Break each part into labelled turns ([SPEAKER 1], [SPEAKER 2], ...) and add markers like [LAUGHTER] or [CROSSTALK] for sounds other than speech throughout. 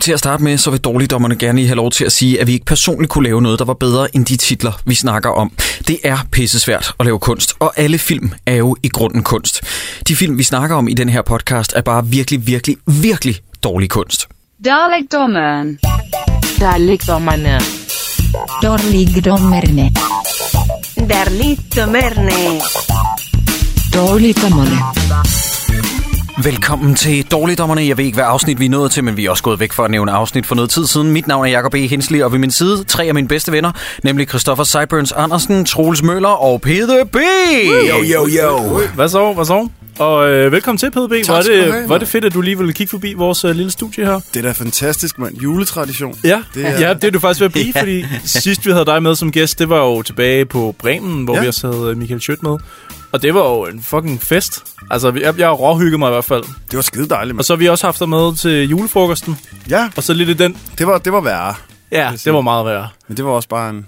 [SPEAKER 1] Til at starte med, så vil dårligdommerne gerne lige have lov til at sige, at vi ikke personligt kunne lave noget, der var bedre end de titler, vi snakker om. Det er pissesvært at lave kunst, og alle film er jo i grunden kunst. De film, vi snakker om i den her podcast, er bare virkelig, virkelig, virkelig dårlig kunst.
[SPEAKER 2] Dalekdommeren.
[SPEAKER 3] Dalekdommerne.
[SPEAKER 4] Dårligdommerne.
[SPEAKER 5] Darligdommerne.
[SPEAKER 3] Dårligdommerne.
[SPEAKER 1] Velkommen til Dårligdommerne. Jeg ved ikke, hvad afsnit vi er nået til, men vi er også gået væk for at nævne afsnit for noget tid siden. Mit navn er Jakob E. Hensli, og ved min side tre af mine bedste venner, nemlig Christoffer Seiburns Andersen, Troels Møller og Peder B.
[SPEAKER 6] Yo, yo, yo.
[SPEAKER 7] Hvad så? Hvad så? Og øh, velkommen til, PDB. Hvor er
[SPEAKER 6] skal du have,
[SPEAKER 7] det, hvor er det
[SPEAKER 6] mand.
[SPEAKER 7] fedt, at du lige ville kigge forbi vores øh, lille studie her.
[SPEAKER 6] Det er da fantastisk, mand. Juletradition.
[SPEAKER 7] Ja,
[SPEAKER 6] Det
[SPEAKER 7] det
[SPEAKER 6] er-
[SPEAKER 7] er, ja, det er du faktisk ved at blive, fordi sidst vi havde dig med som gæst, det var jo tilbage på Bremen, hvor
[SPEAKER 6] Ja.
[SPEAKER 7] ja. vi også havde øh, Michael Schødt med. Og det var jo en fucking fest. Altså, jeg, jeg råhyggede mig i hvert fald.
[SPEAKER 6] Det var skide dejligt,
[SPEAKER 7] Og
[SPEAKER 6] mand.
[SPEAKER 7] så har vi også haft dig med til julefrokosten.
[SPEAKER 6] Ja,
[SPEAKER 7] Og så lidt i den.
[SPEAKER 6] det var, det var værre.
[SPEAKER 7] Ja, det var meget værre.
[SPEAKER 6] Men det var også bare en...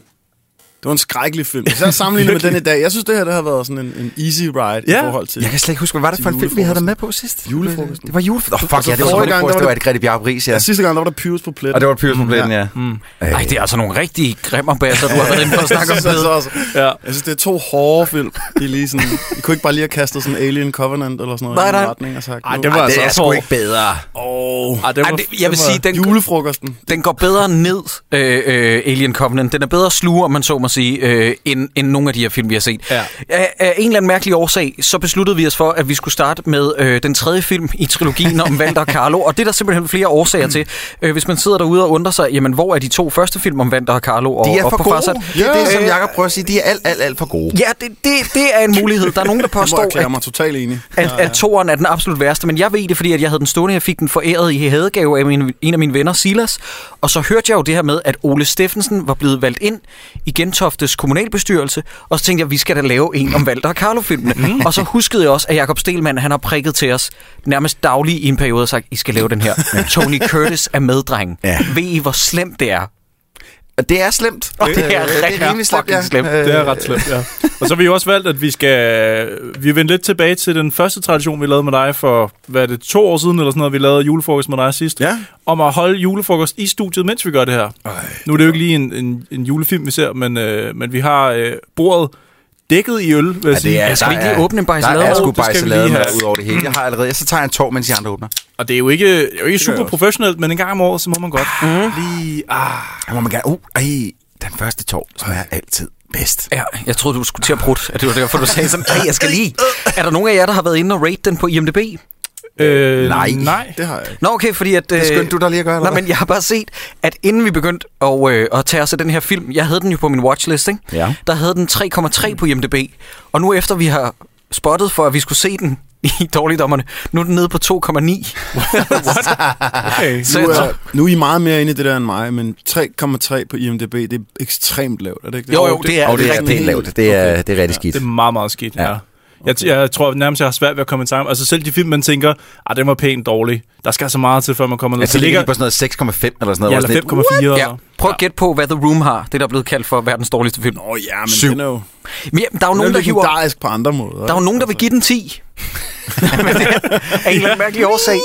[SPEAKER 6] Det var en skrækkelig film. Hvis jeg
[SPEAKER 7] [LAUGHS]
[SPEAKER 6] sammenligner med den i dag, jeg synes, det her det har været sådan en, en easy ride i
[SPEAKER 7] Ja.
[SPEAKER 6] forhold til...
[SPEAKER 8] Jeg kan slet ikke huske, hvad var det
[SPEAKER 6] Til
[SPEAKER 8] for en film, vi havde dig
[SPEAKER 6] julefrokosten.
[SPEAKER 8] med på sidst?
[SPEAKER 6] Julefrokosten.
[SPEAKER 8] Det var julefrokosten. Oh,
[SPEAKER 6] Og
[SPEAKER 8] fuck,
[SPEAKER 6] så
[SPEAKER 8] ja, det var
[SPEAKER 6] forrige gang,
[SPEAKER 8] julefrokosten.
[SPEAKER 6] der
[SPEAKER 8] Det
[SPEAKER 6] var
[SPEAKER 8] var et Grete Bjarpe Riis, ja.
[SPEAKER 6] Ja, sidste gang, der var der Pyrus på pletten.
[SPEAKER 8] Og det var Pyrus på pletten,
[SPEAKER 6] Ja. Øh.
[SPEAKER 8] ja.
[SPEAKER 1] Ej, det er altså nogle rigtig grimmerbaser, du har været inde på at
[SPEAKER 6] jeg [LAUGHS]
[SPEAKER 1] snakke om.
[SPEAKER 6] synes, altså
[SPEAKER 1] Peder.
[SPEAKER 6] også,
[SPEAKER 7] Ja.
[SPEAKER 6] jeg synes, det er to hårde film. De er lige sådan, I kunne ikke bare lige have kastet sådan Alien Covenant eller sådan noget
[SPEAKER 1] Nej,
[SPEAKER 6] i
[SPEAKER 1] nej.
[SPEAKER 6] en retning og sagt...
[SPEAKER 7] Ej,
[SPEAKER 6] nu-
[SPEAKER 7] det var
[SPEAKER 8] Ej,
[SPEAKER 7] altså
[SPEAKER 8] det er sgu
[SPEAKER 7] hård.
[SPEAKER 8] ikke bedre.
[SPEAKER 6] Åh,
[SPEAKER 7] Ej, det
[SPEAKER 1] Ej,
[SPEAKER 7] var,
[SPEAKER 1] det, jeg vil
[SPEAKER 7] den var-
[SPEAKER 1] sige, den,
[SPEAKER 6] julefrokosten.
[SPEAKER 1] den går bedre ned, øh, øh, Alien Covenant. Den er bedre sluger, om man så må sige, øh, end, end nogle af de her film, vi har set.
[SPEAKER 7] Ja.
[SPEAKER 1] Af, af en eller anden mærkelig årsag, så besluttede vi os for, at vi skulle starte med øh, den tredje film i trilogien om Walter og Carlo. Og det er der simpelthen flere årsager til. Øh, hvis man sidder derude og undrer sig, jamen, hvor er de to første film om Walter og Carlo? Og,
[SPEAKER 8] De er
[SPEAKER 1] og
[SPEAKER 8] for
[SPEAKER 1] på Farsat?
[SPEAKER 8] gode. Det er det, som
[SPEAKER 1] Øh,
[SPEAKER 8] Jacob prøver at sige. De er alt, alt, alt for gode.
[SPEAKER 1] Ja, det, det, det er en mulighed. Der er nogen, der
[SPEAKER 6] Jeg [LAUGHS] må
[SPEAKER 1] påstår, at
[SPEAKER 6] erklære mig totalt enig.
[SPEAKER 1] at, at toeren er den absolut værste, men jeg ved det, fordi at jeg havde den stående, jeg fik den foræret i hadegave af min, en af mine venner, Silas. Og så hørte jeg jo det her med, at Ole Steffensen var blevet valgt ind i Gentoftes kommunalbestyrelse, og så tænkte jeg, vi skal da lave en om Walter og
[SPEAKER 6] Mhm.
[SPEAKER 1] Carlo-filmene. og så huskede jeg også, at Jakob Stelmann, han har prikket til os nærmest daglig i en periode og sagt, I skal lave den her. Tony Curtis er meddreng.
[SPEAKER 8] Ja.
[SPEAKER 1] Ved I, hvor slemt det er?
[SPEAKER 8] Og det er slemt.
[SPEAKER 1] Og det er rigtig fucking slemt.
[SPEAKER 8] Øh.
[SPEAKER 7] Det er ret slemt, ja. Og så har vi jo også valgt, at vi skal... Vi vendte lidt tilbage til den første tradition, vi lavede med dig for, hvad er det, to år siden eller sådan noget, vi lavede julefrokost med dig sidst.
[SPEAKER 6] Ja.
[SPEAKER 7] Om at holde julefrokost i studiet, mens vi gør det her. Ej, nu er det jo ikke lige en, en, en julefilm, vi ser, men, øh, men vi har øh, bordet dækket i øl, vil jeg ja, sige.
[SPEAKER 1] er- Jeg skal ikke lige åbne en bajs
[SPEAKER 8] Der
[SPEAKER 1] lademål.
[SPEAKER 8] er sgu
[SPEAKER 1] Det
[SPEAKER 7] skal vi lige
[SPEAKER 8] bajsalade med
[SPEAKER 7] have.
[SPEAKER 8] ud over det hele. Jeg har allerede. Så tager jeg en tår, mens de andre åbner.
[SPEAKER 7] Og det er jo ikke, det er jo ikke super professionelt, men en gang om året, så må man godt. Mm. Lige, ah,
[SPEAKER 8] Der må man gerne... Uh, ej, den første tår smager altid bedst.
[SPEAKER 1] Ja, jeg troede, du skulle til at prutte, at det var derfor, du sagde sådan, hey, jeg skal lige. Er der nogen af jer, der har været inde og rate den på IMDb?
[SPEAKER 7] øh,
[SPEAKER 8] nej.
[SPEAKER 7] nej.
[SPEAKER 6] [LAUGHS] Det har jeg ikke.
[SPEAKER 1] Nå, okay, fordi at... øh,
[SPEAKER 8] Det skyndte du dig lige at gøre, eller
[SPEAKER 1] Nej, men jeg har bare set, at inden vi begyndte at, øh, at tage os af den her film, jeg havde den jo på min watchlist, ikke?
[SPEAKER 8] Ja.
[SPEAKER 1] der havde den 3,3 på IMDb, og nu efter vi har spottet for, at vi skulle se den [LAUGHS] i dårligdommerne, nu er den nede på 2,9.
[SPEAKER 7] [LAUGHS] Okay.
[SPEAKER 1] Så
[SPEAKER 6] Nu
[SPEAKER 1] jeg tror,
[SPEAKER 6] er, nu er I meget mere inde i det der end mig, men 3,3 på IMDb, det er ekstremt lavt, er det ikke det?
[SPEAKER 1] Jo, jo, det er-
[SPEAKER 8] Og det er
[SPEAKER 1] rigtig
[SPEAKER 8] rigtig lavt. Det er, det er rigtig skidt.
[SPEAKER 7] Det er meget, meget skidt,
[SPEAKER 8] Ja.
[SPEAKER 7] ja. Jeg, t- jeg tror nærmest, jeg har svært ved at komme i tanke. Altså selv de film, man tænker, ah, den var pænt dårlig. Der skal så meget til, før man kommer ned.
[SPEAKER 8] Altså,
[SPEAKER 7] Det
[SPEAKER 8] det ligger
[SPEAKER 7] ligger
[SPEAKER 8] de på sådan noget 6,5 eller sådan noget.
[SPEAKER 7] ja,
[SPEAKER 8] hvor sådan uh, lidt,
[SPEAKER 7] eller 5,4.
[SPEAKER 1] Ja,
[SPEAKER 7] Ja.
[SPEAKER 1] prøv at gætte på, hvad The Room har. Det, der er blevet kaldt for verdens dårligste film.
[SPEAKER 6] Nå ja, men
[SPEAKER 1] Syv.
[SPEAKER 6] den er jo
[SPEAKER 1] Men ja, der er jo
[SPEAKER 6] den er
[SPEAKER 1] nogen, der hiver...
[SPEAKER 6] legendarisk på andre måder.
[SPEAKER 1] Der er jo nogen, der vil give den 10. [LAUGHS] Men det er af en eller anden mærkelig årsag.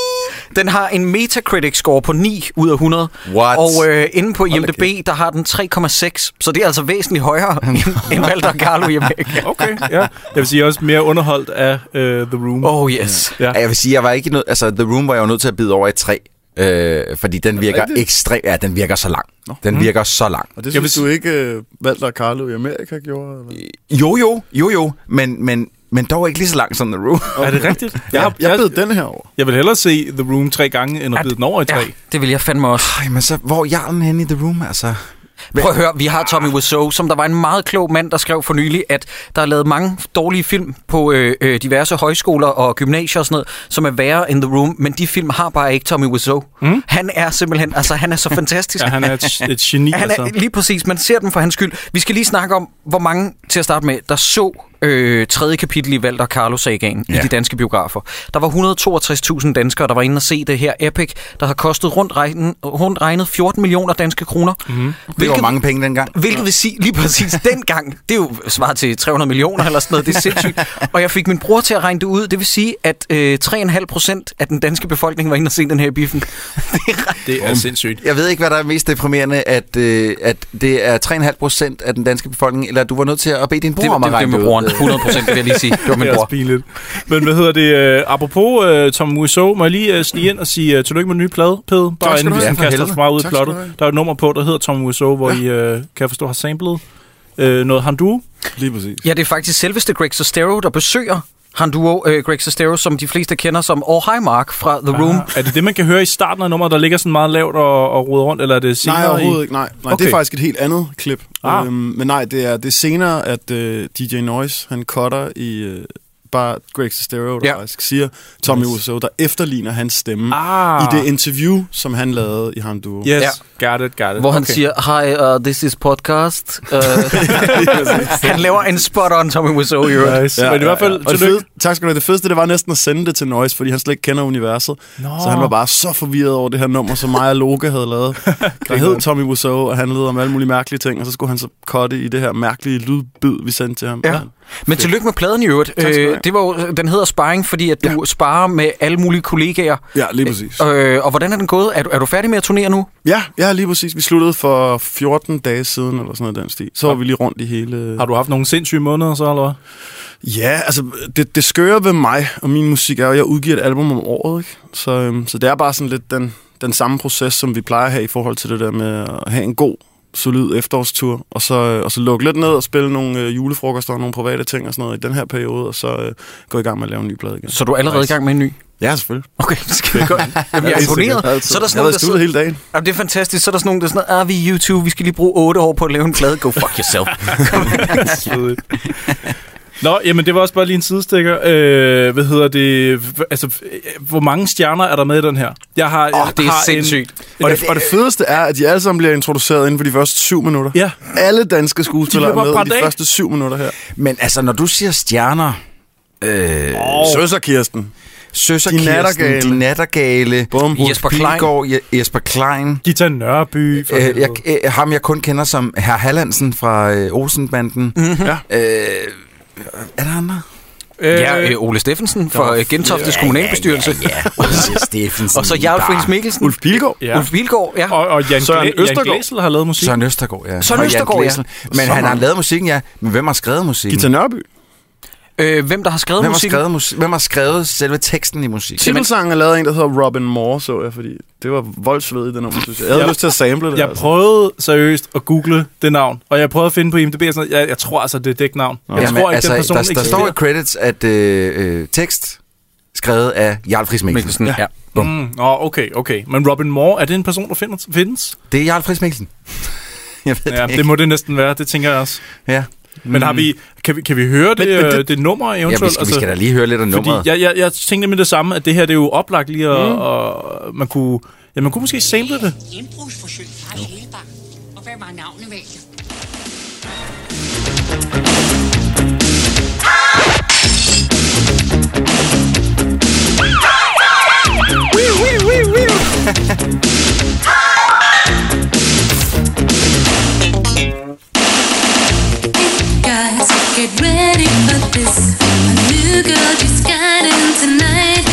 [SPEAKER 1] Den har en Metacritic-score på 9 ud af 100.
[SPEAKER 8] What?
[SPEAKER 1] Og øh, inde på IMDb, der har den 3,6. Så det er altså væsentligt højere end- end Walter Carlo i Amerika.
[SPEAKER 7] Okay, ja. Jeg vil sige, jeg er også mere underholdt af uh, The Room.
[SPEAKER 1] Oh yes.
[SPEAKER 7] Ja.
[SPEAKER 8] Ja, jeg vil sige, jeg var ikke nød, altså The Room var jeg jo nødt til at bide over i tre. Øh, fordi den virker
[SPEAKER 6] rigtigt? Mhm.
[SPEAKER 8] ekstrem, ja, den virker så lang. Den virker så lang.
[SPEAKER 6] Og det
[SPEAKER 7] Jeg vil
[SPEAKER 6] synes du ikke, øh, Walter og Carlo i Amerika gjorde? Eller?
[SPEAKER 8] Jo, jo, jo, jo, men, men, men dog ikke lige så lang som The
[SPEAKER 6] [LAUGHS]
[SPEAKER 8] Room.
[SPEAKER 7] Er det rigtigt? Jeg, har,
[SPEAKER 6] Jeg
[SPEAKER 7] jeg,
[SPEAKER 6] bed den her over.
[SPEAKER 7] jeg vil hellere se The Room tre gange, end at bide den over i tre.
[SPEAKER 1] Ja, det vil jeg fandme også.
[SPEAKER 8] Ej, men så, hvor er jarlen henne i The Room, altså?
[SPEAKER 1] Prøv at høre, vi har Tommy Wiseau, som der var en meget klog mand, der skrev for nylig, at der er lavet mange dårlige film på øh, øh, diverse højskoler og gymnasier og sådan noget, som er værre end The Room, men de film har bare ikke Tommy Wiseau. Mm. Han er simpelthen, altså han er
[SPEAKER 7] [LAUGHS]
[SPEAKER 1] så fantastisk.
[SPEAKER 7] Ja, han er et, et geni,
[SPEAKER 1] Han er,
[SPEAKER 7] altså.
[SPEAKER 1] lige præcis, man ser dem for hans skyld. Vi skal lige snakke om, hvor mange til at starte med, der så øh, tredje kapitel i Valder Carlos sagaen ja. i
[SPEAKER 8] Ja.
[SPEAKER 1] de danske biografer. Der var 162.000 danskere, der var inde og se det her epic, der har kostet rundt regnet, rundt regnet 14 millioner danske kroner. Mm.
[SPEAKER 8] Mhm. Det var mange penge dengang.
[SPEAKER 1] Hvilket vil sige, lige præcis [LAUGHS] dengang, det er jo svaret til 300 millioner eller sådan noget, det er sindssygt. Og jeg fik min bror til at regne det ud, det vil sige, at øh, 3,5 procent af den danske befolkning var inde og se den her i biffen.
[SPEAKER 7] Det er sindssygt.
[SPEAKER 8] Jeg ved ikke, hvad der er mest deprimerende, at, øh, at det er 3,5 procent af den danske befolkning, eller du var nødt til at bede din bror
[SPEAKER 1] Det,
[SPEAKER 8] om at
[SPEAKER 1] det, det
[SPEAKER 8] regne
[SPEAKER 1] med
[SPEAKER 8] ud.
[SPEAKER 1] broren, 100 procent, det vil jeg lige sige. [LAUGHS] Det var min
[SPEAKER 7] Det er også
[SPEAKER 1] bror.
[SPEAKER 7] pinligt. Men hvad hedder det? Uh, apropos uh, Tom Wiseau, må jeg lige uh, snige ind og sige uh, tillykke med den nye plade, Pede? Bare
[SPEAKER 6] skal du
[SPEAKER 7] inden vi
[SPEAKER 6] have.
[SPEAKER 7] sådan
[SPEAKER 8] Ja, for
[SPEAKER 7] kaster
[SPEAKER 8] helvede.
[SPEAKER 7] for meget ud i
[SPEAKER 6] Tak skal
[SPEAKER 7] plottet.
[SPEAKER 6] du have.
[SPEAKER 7] Der er et nummer på, der hedder Tom Wiseau, hvor I, uh, kan jeg forstå, har samlet uh, noget handu.
[SPEAKER 6] Lige præcis.
[SPEAKER 1] Ja, det er faktisk selveste Greg Sestero, der besøger han duo øh, Greg Sestero, som de fleste kender som Oh Hi Mark fra The Room.
[SPEAKER 7] Er det det, man kan høre i starten af nummeret, der ligger sådan meget lavt og, og roder rundt, eller er det senere
[SPEAKER 6] Nej, overhovedet
[SPEAKER 7] i...
[SPEAKER 6] ikke. Nej, nej okay. det
[SPEAKER 7] Okay.
[SPEAKER 6] er faktisk et helt andet klip.
[SPEAKER 7] Ah.
[SPEAKER 6] Ah. Øhm, men nej, det er, det er senere, at øh, DJ Noise, han cutter i øh, bare Greg Sestero, der
[SPEAKER 1] Ja.
[SPEAKER 6] ja. faktisk siger, Tommy yes. Wiseau, der efterligner hans stemme ah.
[SPEAKER 7] Ah.
[SPEAKER 6] i det interview, som han lavede i Ham Duo.
[SPEAKER 7] Yes, ja. got it, got it.
[SPEAKER 1] Hvor han siger, hi, uh, this is [LAUGHS] podcast. Uh, han laver en spot-on Tommy Wiseau i øvrigt.
[SPEAKER 7] Nice. Men i hvert fald,
[SPEAKER 6] Og det
[SPEAKER 7] tillykke.
[SPEAKER 6] fede, tak skal du have. Det fedeste, det var næsten at sende det til Noise, fordi han slet ikke kender universet.
[SPEAKER 7] Nå.
[SPEAKER 6] Så han var bare så forvirret over det her nummer, som mig og Loke havde lavet.
[SPEAKER 7] [LAUGHS]
[SPEAKER 6] Der hed Tommy Wiseau, og han led om alle mulige mærkelige ting, og så skulle han så cutte i det her mærkelige lydbid, vi sendte til ham.
[SPEAKER 1] Ja. Men tillykke med pladen i øvrigt.
[SPEAKER 6] skal du
[SPEAKER 1] Øh,
[SPEAKER 6] have.
[SPEAKER 1] det var jo, den hedder sparring, fordi at du ja. sparer med alle mulige kollegaer.
[SPEAKER 6] ja lige præcis.
[SPEAKER 1] Øh, og hvordan er den gået? Er du, er du færdig med at turnere nu?
[SPEAKER 6] Ja, ja, lige præcis. Vi sluttede for 14 dage siden, eller sådan noget i den stil. Så var vi lige rundt i hele...
[SPEAKER 7] Har du haft nogle sindssyge måneder så, eller hvad?
[SPEAKER 6] Ja, altså, det, det skøre ved mig og min musik er jo, at jeg udgiver et album om året, ikke? Så, øhm, så det er bare sådan lidt den, den samme proces, som vi plejer at have i forhold til det der med at have en god, solid efterårstur, og så, øh, og så lukke lidt ned og spille nogle øh, julefrokoster og nogle private ting og sådan noget i den her periode, og så øh, gå i gang med at lave en ny plade igen.
[SPEAKER 1] Så du er allerede i gang med en ny?
[SPEAKER 6] Ja, selvfølgelig.
[SPEAKER 1] Okay, skal vi gå? Jamen, jeg er
[SPEAKER 6] Helt sikkert.
[SPEAKER 1] imponeret.
[SPEAKER 6] Altid.
[SPEAKER 1] Så er der sådan
[SPEAKER 6] jeg har
[SPEAKER 1] nogen,
[SPEAKER 6] været
[SPEAKER 1] der
[SPEAKER 6] i studiet
[SPEAKER 1] sidder,
[SPEAKER 6] hele dagen.
[SPEAKER 1] jamen, det er fantastisk. Så er der sådan nogen, der er sådan, ah, vi er YouTube, vi skal lige bruge otte år på at lave en plade. Go fuck yourself.
[SPEAKER 7] Svedigt. Nå, jamen det var også bare lige en sidestikker. Øh, hvad hedder det? H- Altså, øh, hvor mange stjerner er der med i den her? Jeg har,
[SPEAKER 1] Åh,
[SPEAKER 7] jeg
[SPEAKER 1] det er
[SPEAKER 7] har
[SPEAKER 1] sindssygt.
[SPEAKER 7] En,
[SPEAKER 6] Og det, og det fedeste er, at de alle sammen bliver introduceret inden for de første syv minutter.
[SPEAKER 7] Ja.
[SPEAKER 6] Alle danske skuespillere
[SPEAKER 7] De
[SPEAKER 6] er
[SPEAKER 7] bliver
[SPEAKER 6] med
[SPEAKER 7] bare
[SPEAKER 6] i de
[SPEAKER 7] brændt af.
[SPEAKER 6] første syv minutter her.
[SPEAKER 8] Men altså, når du siger stjerner, øh,
[SPEAKER 6] Oh. Søsser Kirsten.
[SPEAKER 8] Søsser
[SPEAKER 6] De
[SPEAKER 8] Kirsten,
[SPEAKER 6] nattergale.
[SPEAKER 8] De Nattergale,
[SPEAKER 6] Bum.
[SPEAKER 1] Jesper Klein.
[SPEAKER 8] Pilgaard, Je- Jesper Klein,
[SPEAKER 7] Gita Nørby. for
[SPEAKER 8] øh,
[SPEAKER 7] helvede.
[SPEAKER 8] jeg, øh, ham jeg kun kender som Herr Hallandsen fra øh, Olsenbanden. Mm-hmm.
[SPEAKER 7] Mhm.
[SPEAKER 6] Ja.
[SPEAKER 8] Øh, er der andre?
[SPEAKER 7] Øh,
[SPEAKER 1] Ja, øh, Ole Steffensen fra øh, Gentoftes kommunalbestyrelse.
[SPEAKER 8] Ja, ja, ja. Ole Steffensen.
[SPEAKER 1] Og så Jarl
[SPEAKER 8] der.
[SPEAKER 1] Friis Mikkelsen.
[SPEAKER 6] Ulf Pilgaard.
[SPEAKER 7] ja.
[SPEAKER 1] Ulf Bilgaard, ja.
[SPEAKER 7] Og, og Jan,
[SPEAKER 6] Søren
[SPEAKER 7] Glæ- Jan
[SPEAKER 6] Østergaard.
[SPEAKER 7] Glæsel har lavet musik.
[SPEAKER 8] Søren Østergaard, ja.
[SPEAKER 1] Søren
[SPEAKER 8] Og Jan
[SPEAKER 1] Østergaard, ja.
[SPEAKER 8] Glesel. Men
[SPEAKER 6] Så
[SPEAKER 8] han har
[SPEAKER 6] mange.
[SPEAKER 8] lavet musikken, ja. Men hvem har skrevet musikken?
[SPEAKER 6] Gita Nørby.
[SPEAKER 1] Øh, hvem der har skrevet
[SPEAKER 8] Hvem har,
[SPEAKER 1] musikken?
[SPEAKER 8] skrevet musik? Hvem har skrevet selve teksten i musikken?
[SPEAKER 6] Titelsangen er lavet af en, der hedder Robin Moore, så jeg, fordi det var voldsved i den nummer, synes jeg. Jeg havde
[SPEAKER 7] Jeg-
[SPEAKER 6] lyst til at sample det. altså.
[SPEAKER 7] Jeg prøvede seriøst at google det navn, og jeg prøvede at finde på IMDb, og sådan noget. jeg, jeg tror altså, det er dæknavn. Jeg
[SPEAKER 8] Jamen,
[SPEAKER 7] tror ikke,
[SPEAKER 8] altså,
[SPEAKER 7] den person
[SPEAKER 8] der, der
[SPEAKER 7] eksisterer.
[SPEAKER 8] står i credits, at øh, øh, tekst skrevet af Jarl Friis Mikkelsen.
[SPEAKER 1] Mikkelsen, ja.
[SPEAKER 8] Bum.
[SPEAKER 7] Mm, nå, okay, okay. Men Robin Moore, er det en person, der findes? findes?
[SPEAKER 8] Det er Jarl Friis Mikkelsen. [LAUGHS] Jeg ved
[SPEAKER 7] Ja,
[SPEAKER 8] det ikke.
[SPEAKER 7] det må det næsten være, det tænker jeg også.
[SPEAKER 8] Ja.
[SPEAKER 7] Men har vi, kan, vi, kan vi høre det, men,
[SPEAKER 6] men
[SPEAKER 7] det,
[SPEAKER 6] det-
[SPEAKER 7] øh, det nummer
[SPEAKER 8] Ja,
[SPEAKER 7] eventuelt?
[SPEAKER 8] vi skal, vi skal da lige høre lidt af
[SPEAKER 7] altså, fordi
[SPEAKER 8] nummeret.
[SPEAKER 7] jeg, jeg, jeg tænkte nemlig det samme, at det her det er jo oplagt lige, og, mm. og man, kunne, ja, man kunne måske sample det.
[SPEAKER 4] Indbrugsforsøg fra det hele bare. Og hvad var navnet valgt?
[SPEAKER 5] Guys, get ready for this. A new girl just got in tonight.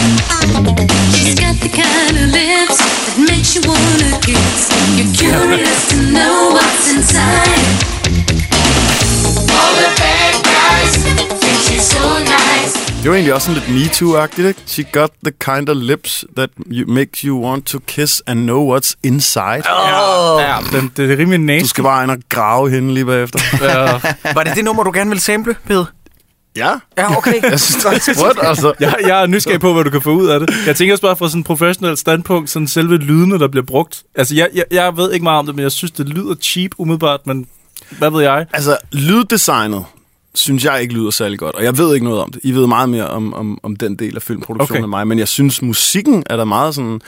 [SPEAKER 5] She's got the kind of lips that makes you wanna kiss. You're curious to know what's inside. All the bad guys think she's so nice.
[SPEAKER 6] Det var egentlig også sådan lidt MeToo-agtigt, ikke? She got the kind of lips that you, makes you want to kiss and know what's inside.
[SPEAKER 7] Oh. Ja, den, det er rimelig
[SPEAKER 6] Du
[SPEAKER 7] næst.
[SPEAKER 6] skal bare ind og grave hende lige
[SPEAKER 7] [LAUGHS]
[SPEAKER 6] bagefter.
[SPEAKER 7] Ja.
[SPEAKER 1] Var det det nummer, du gerne ville sample, Pede?
[SPEAKER 6] [LAUGHS] ja.
[SPEAKER 1] Ja, okay.
[SPEAKER 6] Jeg synes, det er sprødt, altså.
[SPEAKER 7] Jeg, jeg er nysgerrig på, hvad du kan få ud af det. Jeg tænker også bare fra sådan et professionelt standpunkt, sådan selve lydene, der bliver brugt. Altså, jeg, jeg, jeg ved ikke meget om det, men jeg synes, det lyder cheap umiddelbart, men hvad ved jeg?
[SPEAKER 6] Altså, lyddesignet synes jeg ikke lyder særlig godt, og jeg ved ikke noget om det. I ved meget mere om, om, om den del af filmproduktionen
[SPEAKER 7] Okay.
[SPEAKER 6] okay. end mig, men jeg synes, musikken er da meget sådan